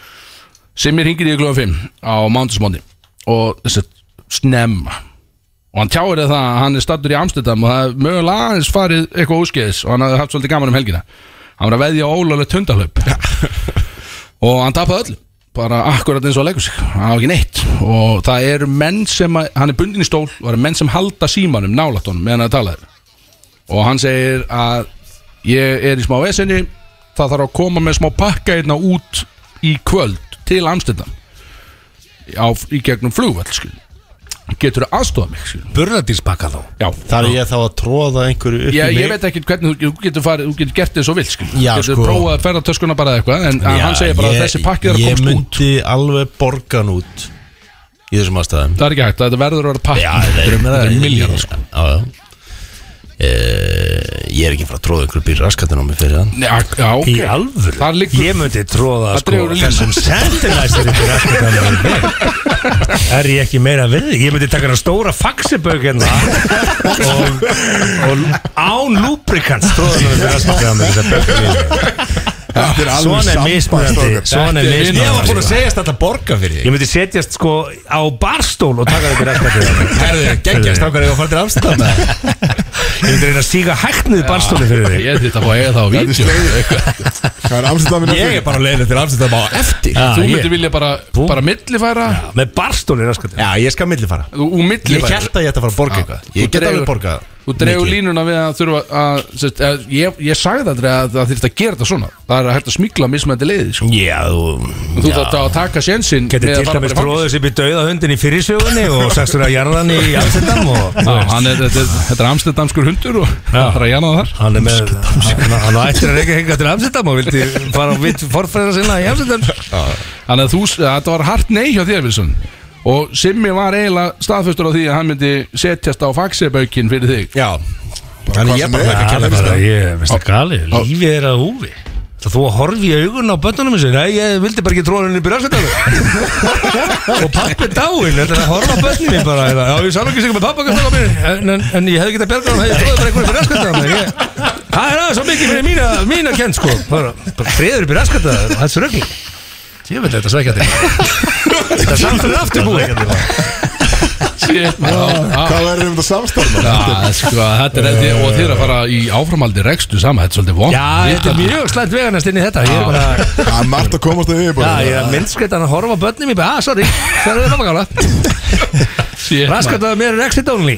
[SPEAKER 3] Simmi hringir í klúan 5 á mándagsmóndi Og þess að snemma Og hann tjáir þér það að hann er stattur í Amsterdam Og það er mögulega aðeins farið eitthvað úskeiðis Og hann hafði haft svolítið gaman um helgina Hann var að veðja á ólega tundahlaup Og hann tapaði öll bara akkurat eins og að leggja sig hann á ekki neitt og það eru menn sem að, hann er bundin í stól og það eru menn sem halda símanum nálætt honum meðan að tala þér og hann segir að ég er í smá esinni það þarf að koma með smá pakka hérna út í kvöld til Amstendam á, í gegnum flugvall skil getur þú aðstofa mig skil
[SPEAKER 8] Burðardýrspakka þá
[SPEAKER 3] Já
[SPEAKER 10] Þar er ég þá að tróða einhverju upp
[SPEAKER 3] Ég,
[SPEAKER 10] í mig
[SPEAKER 3] ég veit ekki hvernig þú- þú getur, farið, þú getur gert þið svo vilt skil.
[SPEAKER 10] Já,
[SPEAKER 3] getur
[SPEAKER 10] sko.
[SPEAKER 3] prófað að ferða töskuna bara eða eitthvað en hann segir bara að þessi pakki þarf að komast út
[SPEAKER 10] Ég myndi alveg borgan út Í þessum aðstæðum
[SPEAKER 3] Það er ekki hægt, þetta verður að vera pakki
[SPEAKER 10] Já,
[SPEAKER 3] Þetta eru- þetta eru miljardar sko
[SPEAKER 10] Já, já Eh, Ég er ekki frá að tróða einhverju bíl raskatinn á mig fyrir hann
[SPEAKER 3] Nei, ak- já, ok.
[SPEAKER 10] Í alvöru?
[SPEAKER 3] Það liggur-
[SPEAKER 10] Ég myndi tróða,
[SPEAKER 3] Það
[SPEAKER 10] sko,
[SPEAKER 3] dregur línu.
[SPEAKER 10] þessum
[SPEAKER 4] Sentilæsir ykkur Er ég ekki meira við Ég myndi taka hana stóra faxibögg hérna og, og án lúbrikans tróðan við raskatinn á mér þessa bögg í.
[SPEAKER 1] Þetta er alveg
[SPEAKER 4] Svona er
[SPEAKER 1] samband,
[SPEAKER 4] mismunandi
[SPEAKER 1] strákar.
[SPEAKER 4] Svona er
[SPEAKER 1] Þetta er
[SPEAKER 4] mismunandi
[SPEAKER 1] Ég var búinn að
[SPEAKER 8] segjast þetta borga fyrir
[SPEAKER 4] Ég myndi setjast sko á barstól og taka þetta raskatinn
[SPEAKER 8] Herðu, geggjast ákvæður ég að fara til Amsterdam
[SPEAKER 4] Ég myndi reyna að síga hægt niður barstólinn fyrir þig
[SPEAKER 3] Ég þitt að fá eiga það á
[SPEAKER 4] Þetta er
[SPEAKER 3] vídeo
[SPEAKER 1] Það er Amsterdam
[SPEAKER 8] Ég er bara leiðin til Amsterdam á eftir
[SPEAKER 3] Já, Þú myndir vilja bara, bara millifæra
[SPEAKER 4] Með barstólinn raskatinn
[SPEAKER 10] Já, ég skal millifara
[SPEAKER 3] Þú þú millifæra
[SPEAKER 10] Ég held að ég ætti að fara að borga eitthvað
[SPEAKER 3] Þú
[SPEAKER 10] Ég get
[SPEAKER 3] dregur-
[SPEAKER 10] alveg borgað
[SPEAKER 3] Þú dregur
[SPEAKER 10] mikið.
[SPEAKER 3] línuna við að þurfa að sérst, að- ég, ég sagði aldrei að það þurfti að gera þetta svona Það er hægt að smikla mismændi leiði sko.
[SPEAKER 10] Já, þú
[SPEAKER 3] Þú þarf að taka sénsinn
[SPEAKER 4] Getur til dæmis tróðus upp í dauða hundin í fyrirsögunni og sagst að jarðan í Amsterdam og
[SPEAKER 3] Já, hann er, þetta, er- þetta er amstendamskur hundur og það er að jana þar
[SPEAKER 4] Hann er með, hann, hann á ættir að reyka hinga til Amsterdam og vildi fara á vitt forfræðra sinna í Amsterdam
[SPEAKER 3] Þannig að þú, þetta var hart nei hjá þér Wilson Og Simmi var eiginlega staðföstur á því að hann myndi setjast á faxibaukin fyrir þig
[SPEAKER 10] Já,
[SPEAKER 4] Þannig ég bara þakka kærlega fyrir það. Ég veist það gali, lífið er að húfi Það þú að horfi í augun á bönnunum þessu Nei, ég vildi bara ekki tróða henni upp í rafsættanum Og pappi er dáinn Þetta er að horfa á bönnum mín bara eða, Já, ég sá ekki sig með pappa kannski á mér en, en, en ég hefði getað bjargað hann Hefði tróðið bara einhverju upp í rafsættanum Ég- Það er aðeins svo mikið fyrir mína, mína kent sko Bara bara friður upp í rafsættanum Það er svo rögn Ég vil þetta sækja þig Þetta er samt fyrir aftur búið
[SPEAKER 1] Hvað verður um þetta samstarf?
[SPEAKER 3] Já, sko, þetta er þetta Og þið er að fara í áframaldi rekstu sama Þetta er svolítið vond
[SPEAKER 4] Já, þetta er mjög slæmt veganast inn í þetta Ég er bara
[SPEAKER 1] Það er margt að komast að við bara
[SPEAKER 4] Já, ég er myndskreitt að horfa á börnum í bæ Ah, sorry, það er það pappakála Raskat að mér er exit only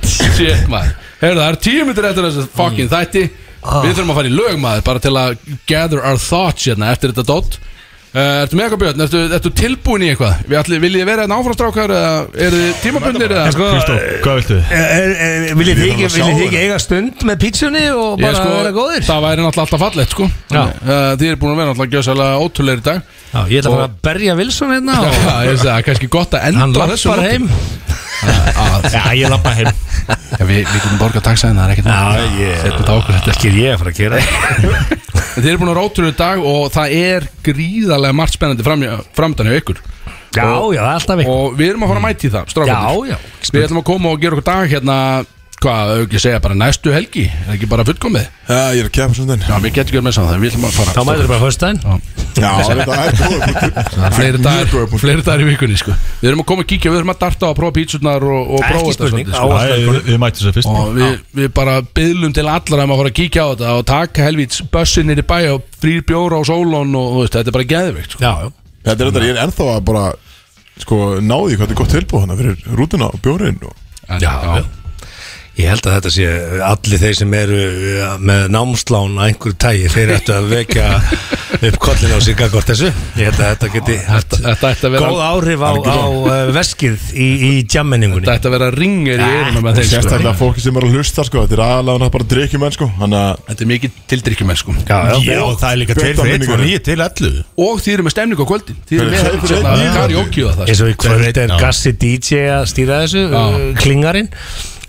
[SPEAKER 3] Shit, maður Heyrðu, það er tíu myndir eftir þessu fucking þætti
[SPEAKER 4] Ah.
[SPEAKER 3] Við þurfum að fara í lög, maður Bara til að gather our thoughts hérna eftir þetta dot Uh, ertu með eitthvað björn? Ertu, ertu tilbúin í eitthvað? Við ætli, viljið þið vera hérna áframstrákar eða eru þið tímabundir eða?
[SPEAKER 4] Sko,
[SPEAKER 2] Hvað viltu?
[SPEAKER 4] eh, Viljið þið ekki- viljið þið ekki eiga stund með pítsunni og
[SPEAKER 3] Ég,
[SPEAKER 4] bara
[SPEAKER 3] sko,
[SPEAKER 4] vera góðir?
[SPEAKER 3] það væri náttúrulega alltaf fallegt sko Þannig, uh, Þið eru búin að vera náttúrulega gjössalega ótrúleir í dag
[SPEAKER 4] Já, ég ætla að fara að berja Wilson hérna
[SPEAKER 3] Já,
[SPEAKER 4] og
[SPEAKER 3] ég veist það, það er kannski gott að
[SPEAKER 4] hann
[SPEAKER 3] enda þessu
[SPEAKER 4] lappar
[SPEAKER 3] nótum.
[SPEAKER 4] heim
[SPEAKER 3] Já,
[SPEAKER 4] ég lappa heim
[SPEAKER 3] við, við getum borgað taxaðina, það er ekkert mál. Setjum þetta á okkur, þetta er
[SPEAKER 4] Ekki er ég að fara að gera
[SPEAKER 3] Þið eru búin að rótur í dag og það er gríðarlega margt spennandi fram, framdann hjá ykkur
[SPEAKER 4] Já, já, það er alltaf ykkur
[SPEAKER 3] Og við erum að fara að mæti það, strákundir
[SPEAKER 4] Já, já.
[SPEAKER 3] Við ætlum að koma og gera okkur dag hérna Hvað, ef ekki segja bara næstu helgi Er ekki bara fullkomið?
[SPEAKER 1] Já, ég er að kemja svona
[SPEAKER 3] Já, við getum ekki verið með saman það, við ætlum að fara
[SPEAKER 4] Þá mætur bara höstæn
[SPEAKER 1] Já, þetta er búið
[SPEAKER 3] Það er Fleiri dagar, fleiri dagar í vikunni sko. Við erum að koma að kíkja, við erum að darta og prófa pítsurnar og, og
[SPEAKER 4] Ekki
[SPEAKER 3] prófa
[SPEAKER 4] spurning,
[SPEAKER 3] svolítið,
[SPEAKER 4] sko. áhersla
[SPEAKER 2] Æ,
[SPEAKER 5] sko.
[SPEAKER 2] við- Við mættum þess að fyrst
[SPEAKER 3] og við, við bara byðlum til allar um að fara að kíkja á þetta og taka helvíts bussinir í bæ og frýr bjóra á sólón og, og veist, þetta er bara geðvikt sko.
[SPEAKER 4] Já, já
[SPEAKER 1] Þetta er þetta, ég er ennþá að bara Sko, náði hvað þetta er gott tilbúð hana Fyrir rútuna og bjórin og
[SPEAKER 4] Já, já. Ég held að þetta sé allir þeir sem eru ja, með námslán að einhverju tægi þeir ættu að vekja upp kollin á sig gagvart þessu Ég held að þetta geti haft
[SPEAKER 3] Þetta ætti að vera
[SPEAKER 4] góð áhrif á, á eh, veskið í, í jammenningunni
[SPEAKER 3] Þetta ætti að vera ringir í eruna með þeim sko.
[SPEAKER 1] Sérstaklega fólki sem er að hlusta, sko Þetta er aðalega bara drikkjumenn, sko Þannig að
[SPEAKER 3] Þetta er mikið til drikkjumenn sko.
[SPEAKER 10] Já, það er líka tveir fyrir einn og nýju til ellu
[SPEAKER 3] Og þið eru með stemning á kvöldin Þið eru
[SPEAKER 1] Fyrir tveir
[SPEAKER 3] með
[SPEAKER 1] fyrir
[SPEAKER 3] hérna,
[SPEAKER 1] einn.
[SPEAKER 3] karaoke og það
[SPEAKER 4] eins og í kvöld er
[SPEAKER 10] já.
[SPEAKER 4] Gassi DJ að stýra þessu já. klingarinn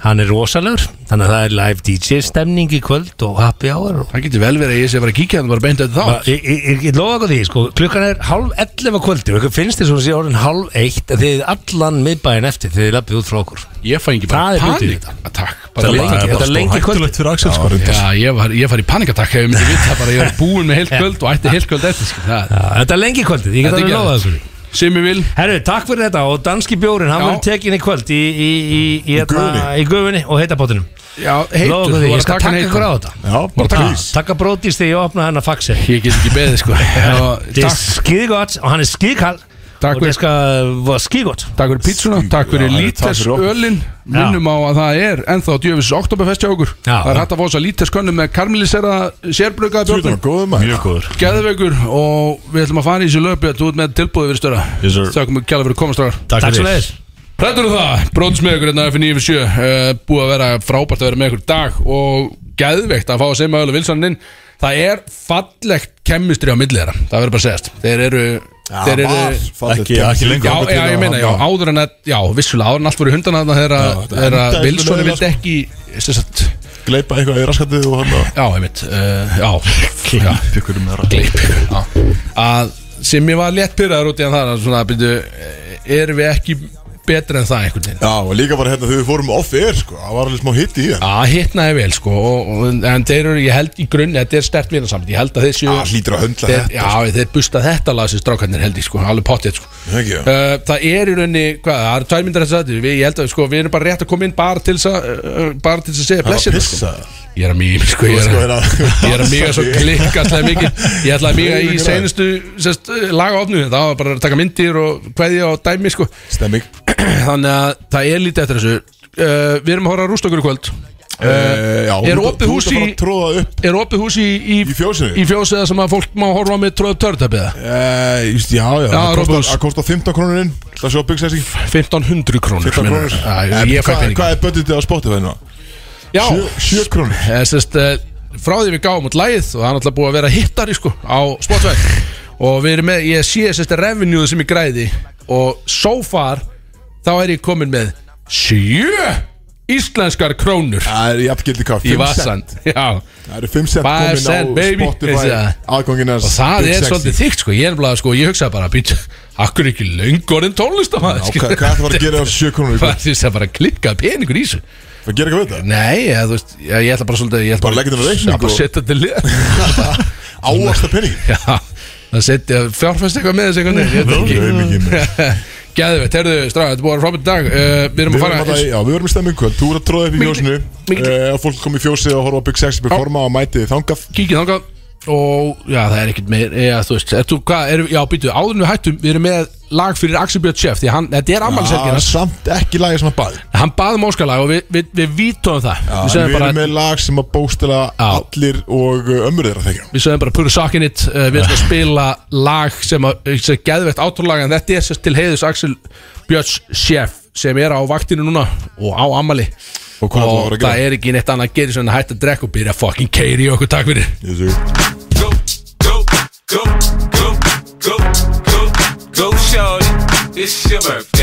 [SPEAKER 4] hann er rosalegur þannig að það er live DJ stemning í kvöld og happy hour og
[SPEAKER 3] Það getur vel verið að ég sé að vera að kíkja þannig bara beint eftir þá
[SPEAKER 4] Bara, Ég, ég, ég, ég lofa eitthvað því, sko, klukkan er hálf 11 á kvöldi og ykkur finnst þess að hún sé orðin hálf eitt að þið er allan miðbæin eftir þegar þið lappið út frá okkur
[SPEAKER 3] Ég fæ ekki bara
[SPEAKER 4] Það er hluti í
[SPEAKER 3] panik Ah,
[SPEAKER 4] þetta.
[SPEAKER 3] Takk
[SPEAKER 4] Þetta er lengi-
[SPEAKER 3] bara-
[SPEAKER 4] þetta er lengi kvöld
[SPEAKER 10] Hættulegt fyrir Axel, sko
[SPEAKER 3] Já, ég var, ég fari í panikatakk ef ég myndi vita bara að ég var búinn með heilt kvöld og ætti heilt kvöld eftir sko. það,
[SPEAKER 4] Þetta er lengi kvöldið, ég get
[SPEAKER 3] Þetta er
[SPEAKER 4] alveg
[SPEAKER 3] ekki
[SPEAKER 4] lofað
[SPEAKER 3] aðeins.
[SPEAKER 4] þessu
[SPEAKER 3] sem ég vil
[SPEAKER 4] Herru, takk fyrir þetta og danski bjórin hann
[SPEAKER 3] Já.
[SPEAKER 4] verður tekin í kvöld í, í, í, í,
[SPEAKER 3] Í
[SPEAKER 4] hérna,
[SPEAKER 3] gufunni.
[SPEAKER 4] í gufunni og heitapottinum
[SPEAKER 3] Já, heitur,
[SPEAKER 4] Lofa
[SPEAKER 3] þú
[SPEAKER 4] því,
[SPEAKER 3] var
[SPEAKER 4] ég
[SPEAKER 3] að
[SPEAKER 4] skal
[SPEAKER 3] taka hann
[SPEAKER 4] taka ykkur á
[SPEAKER 3] heitan.
[SPEAKER 4] þetta
[SPEAKER 3] Já, bara
[SPEAKER 4] Ah,
[SPEAKER 3] please.
[SPEAKER 4] Taka brótis þegar ég opna hennar faxi
[SPEAKER 3] Ég get ekki beðið sko
[SPEAKER 4] Það er
[SPEAKER 3] takk.
[SPEAKER 4] skýðgott og hann er skýðkall
[SPEAKER 3] Takk
[SPEAKER 4] og
[SPEAKER 3] fyrir-
[SPEAKER 4] það skal vera skýðgott
[SPEAKER 3] Takk fyrir pítsuna, takk fyrir líters ölin Minnum á að það er ennþá djöfis oktoberfest hjá okkur Það er hægt að fá þess að líters könnu með karmelisera sérbrukaða björnum
[SPEAKER 1] góður maður
[SPEAKER 2] Mjög góður
[SPEAKER 3] Geðveikur og við ætlum að fara í þessu löpi Þú ert með tilbúið fyrir störa
[SPEAKER 2] Yes, sir.
[SPEAKER 3] Þakkum við kjæla fyrir komastrar
[SPEAKER 2] Takk Takk fyrir. svoleiðis.
[SPEAKER 3] Rættur um það, brótis með ykkur hérna F957 uh, Búið að vera frábært að vera með ykkur í dag Og geðveikt að fá að segja öll vilsaninn Það er fallegt kemmistri á milli þeirra Það verður bara að segjast Þeir eru
[SPEAKER 1] Já,
[SPEAKER 3] þeir eru
[SPEAKER 1] var fallegt
[SPEAKER 3] ekki,
[SPEAKER 1] kemmistry.
[SPEAKER 3] ekki lengur
[SPEAKER 1] Þangað
[SPEAKER 3] já,
[SPEAKER 1] til
[SPEAKER 3] já,
[SPEAKER 1] að
[SPEAKER 3] ég
[SPEAKER 1] hann-
[SPEAKER 3] meina, já,
[SPEAKER 1] já.
[SPEAKER 3] áður en að, já, vissulega áður en allt voru hundana þarna þegar að- þegar að
[SPEAKER 1] endaði
[SPEAKER 3] Wilson
[SPEAKER 1] með
[SPEAKER 3] vildi
[SPEAKER 1] leiðilega,
[SPEAKER 3] ekki sem sagt,
[SPEAKER 1] Gleipa eitthvað í raskatið og hann
[SPEAKER 3] já, ég veit uh, já, já,
[SPEAKER 1] Pikkur um þeirra
[SPEAKER 3] gleip já, að sem ég var létt pyrraður út í að það að svona, byrju, erum við ekki betra en það einhvern veginn
[SPEAKER 1] Já, og líka bara hérna þegar við fórum off-air sko Það var alveg smá hitt í þeim
[SPEAKER 3] að hittnaði vel sko og, og, en þeir eru, ég held í grunn þetta er stert vinarsamt, ég held að þeir séu
[SPEAKER 1] Já, hlýtur að höndla
[SPEAKER 3] þeir,
[SPEAKER 1] þetta, sko.
[SPEAKER 3] já, þeir busta þetta lag sem strákarnir held ég sko, alveg pottið sko
[SPEAKER 1] Ekki, já.
[SPEAKER 3] uh, það er í rauninni, hvað, það eru tvær myndir þess að við, ég held að sko, við erum bara rétt að koma inn bara til þess að, uh, bara til þess að segja
[SPEAKER 1] Hann var
[SPEAKER 3] blessin
[SPEAKER 1] pissa.
[SPEAKER 3] sko. ég er að mýja sko, ég
[SPEAKER 1] Sko,
[SPEAKER 3] er
[SPEAKER 1] er
[SPEAKER 3] að,
[SPEAKER 1] að-
[SPEAKER 3] ég er að mýja svo klikkastlega mikið ég ætla að mýja í
[SPEAKER 1] Mikið
[SPEAKER 3] seinustu sest, lagaofnu, það var bara að taka myndir og kveðja og dæmi sko
[SPEAKER 1] Stemming
[SPEAKER 3] þannig að það er lítið eftir þessu uh, við erum að horfa að rústa okkur í kvöld uh,
[SPEAKER 1] Eh, já,
[SPEAKER 3] er
[SPEAKER 1] þú-
[SPEAKER 3] opið
[SPEAKER 1] þú
[SPEAKER 3] hús
[SPEAKER 1] ert að
[SPEAKER 3] í
[SPEAKER 1] fara að tróða upp.
[SPEAKER 3] er opið hús í í,
[SPEAKER 1] Í fjósinu?
[SPEAKER 3] í fjósið sem að fólk má horfa á með tróða upp törðtöpið
[SPEAKER 1] Eh, just- Já, já,
[SPEAKER 3] Já,
[SPEAKER 1] það kostar-
[SPEAKER 3] Robus.
[SPEAKER 1] það kostar 15 krónur inn Það sjá byggsessi
[SPEAKER 3] 1500 krónur
[SPEAKER 1] 15 Eh. krónur
[SPEAKER 3] Já,
[SPEAKER 1] En
[SPEAKER 3] ég fæ
[SPEAKER 1] hvað-
[SPEAKER 3] pening
[SPEAKER 1] Hvað er budgetið á Spotify nú?
[SPEAKER 3] já,
[SPEAKER 1] 7 krónur
[SPEAKER 3] eh, sest, uh, frá því við gáum út lægið og það er náttúrulega búið að vera hittari sko á Spotify og við erum með, ég sé sérst revenue sem ég græði og so far þá er ég komin með sjö íslenskar krónur
[SPEAKER 1] Það er jafngildi hvað?
[SPEAKER 3] í
[SPEAKER 1] 5
[SPEAKER 3] vasan
[SPEAKER 1] cent.
[SPEAKER 3] já
[SPEAKER 1] Það eru 5 cent
[SPEAKER 3] Five
[SPEAKER 1] komin
[SPEAKER 3] cent,
[SPEAKER 1] á
[SPEAKER 3] baby.
[SPEAKER 1] Spotify
[SPEAKER 3] Vissi það.
[SPEAKER 1] Aðgónginans
[SPEAKER 3] og það er svolítið þygt sko ég er bara sko ég hugsaði bara býtu akkur ekki löngorinn tónlistamæður
[SPEAKER 1] Hvað hvað ætlar bara að gera á 7 krónur? í kvöld?
[SPEAKER 3] hvað þýrst það bara að klikka peningur í þessu
[SPEAKER 1] Það gera eitthvað við þetta?
[SPEAKER 3] nei ég, þú veist ég, ég ætla bara svolítið ég ætla
[SPEAKER 1] Bara leggja þetta á reikning
[SPEAKER 3] Já, bara
[SPEAKER 1] og-
[SPEAKER 3] setja þetta lið
[SPEAKER 1] Áasta penning
[SPEAKER 3] já það setja fjárfæst eitthvað með þessu eitthvað
[SPEAKER 1] Ég veit ekki með
[SPEAKER 3] geðveitt herðu strafa þetta búið að frábært dag uh,
[SPEAKER 1] Við
[SPEAKER 3] við erum að
[SPEAKER 1] erum, að,
[SPEAKER 3] fara
[SPEAKER 1] já, við erum í stemming kvöld, þú er að tróða upp í
[SPEAKER 3] Mikil-
[SPEAKER 1] fjósinu
[SPEAKER 3] mikil-
[SPEAKER 1] eh, og fólk kom í fjósið og horfa á Big Sexy performa og mætið þið þangað
[SPEAKER 3] kíkið þangað og já það er ekkert meir já, þú veist er, þú, hvað, er, já býtu áður en við hættum við erum með lag fyrir Axel Björn Chef því hann þetta er
[SPEAKER 1] Það
[SPEAKER 3] ammálselgir
[SPEAKER 1] er samt ekki lagið sem að bað
[SPEAKER 3] hann baði um óskalag og við, við, við vítóðum það
[SPEAKER 1] Já,
[SPEAKER 3] við
[SPEAKER 1] en
[SPEAKER 3] sögum
[SPEAKER 1] Við erum
[SPEAKER 3] bara,
[SPEAKER 1] með lag sem að bóstila allir og uh, ömmur þeirra þekja
[SPEAKER 3] við sögum bara pura sakinnit uh, við erum að spila lag sem að sem er geðveitt átrúlag en þetta er sérst til heiðus Axel Björns chef sem er á vaktinu núna og á amali
[SPEAKER 1] Og hvað ætlar að fara að gera?
[SPEAKER 3] það er ekki neitt annað að gera sem að hætta að drekka og byrja að fucking keiri í okkur takk fyrir
[SPEAKER 1] Ég sé
[SPEAKER 17] go, go, go, go, go, go, shorty. It's your birthday.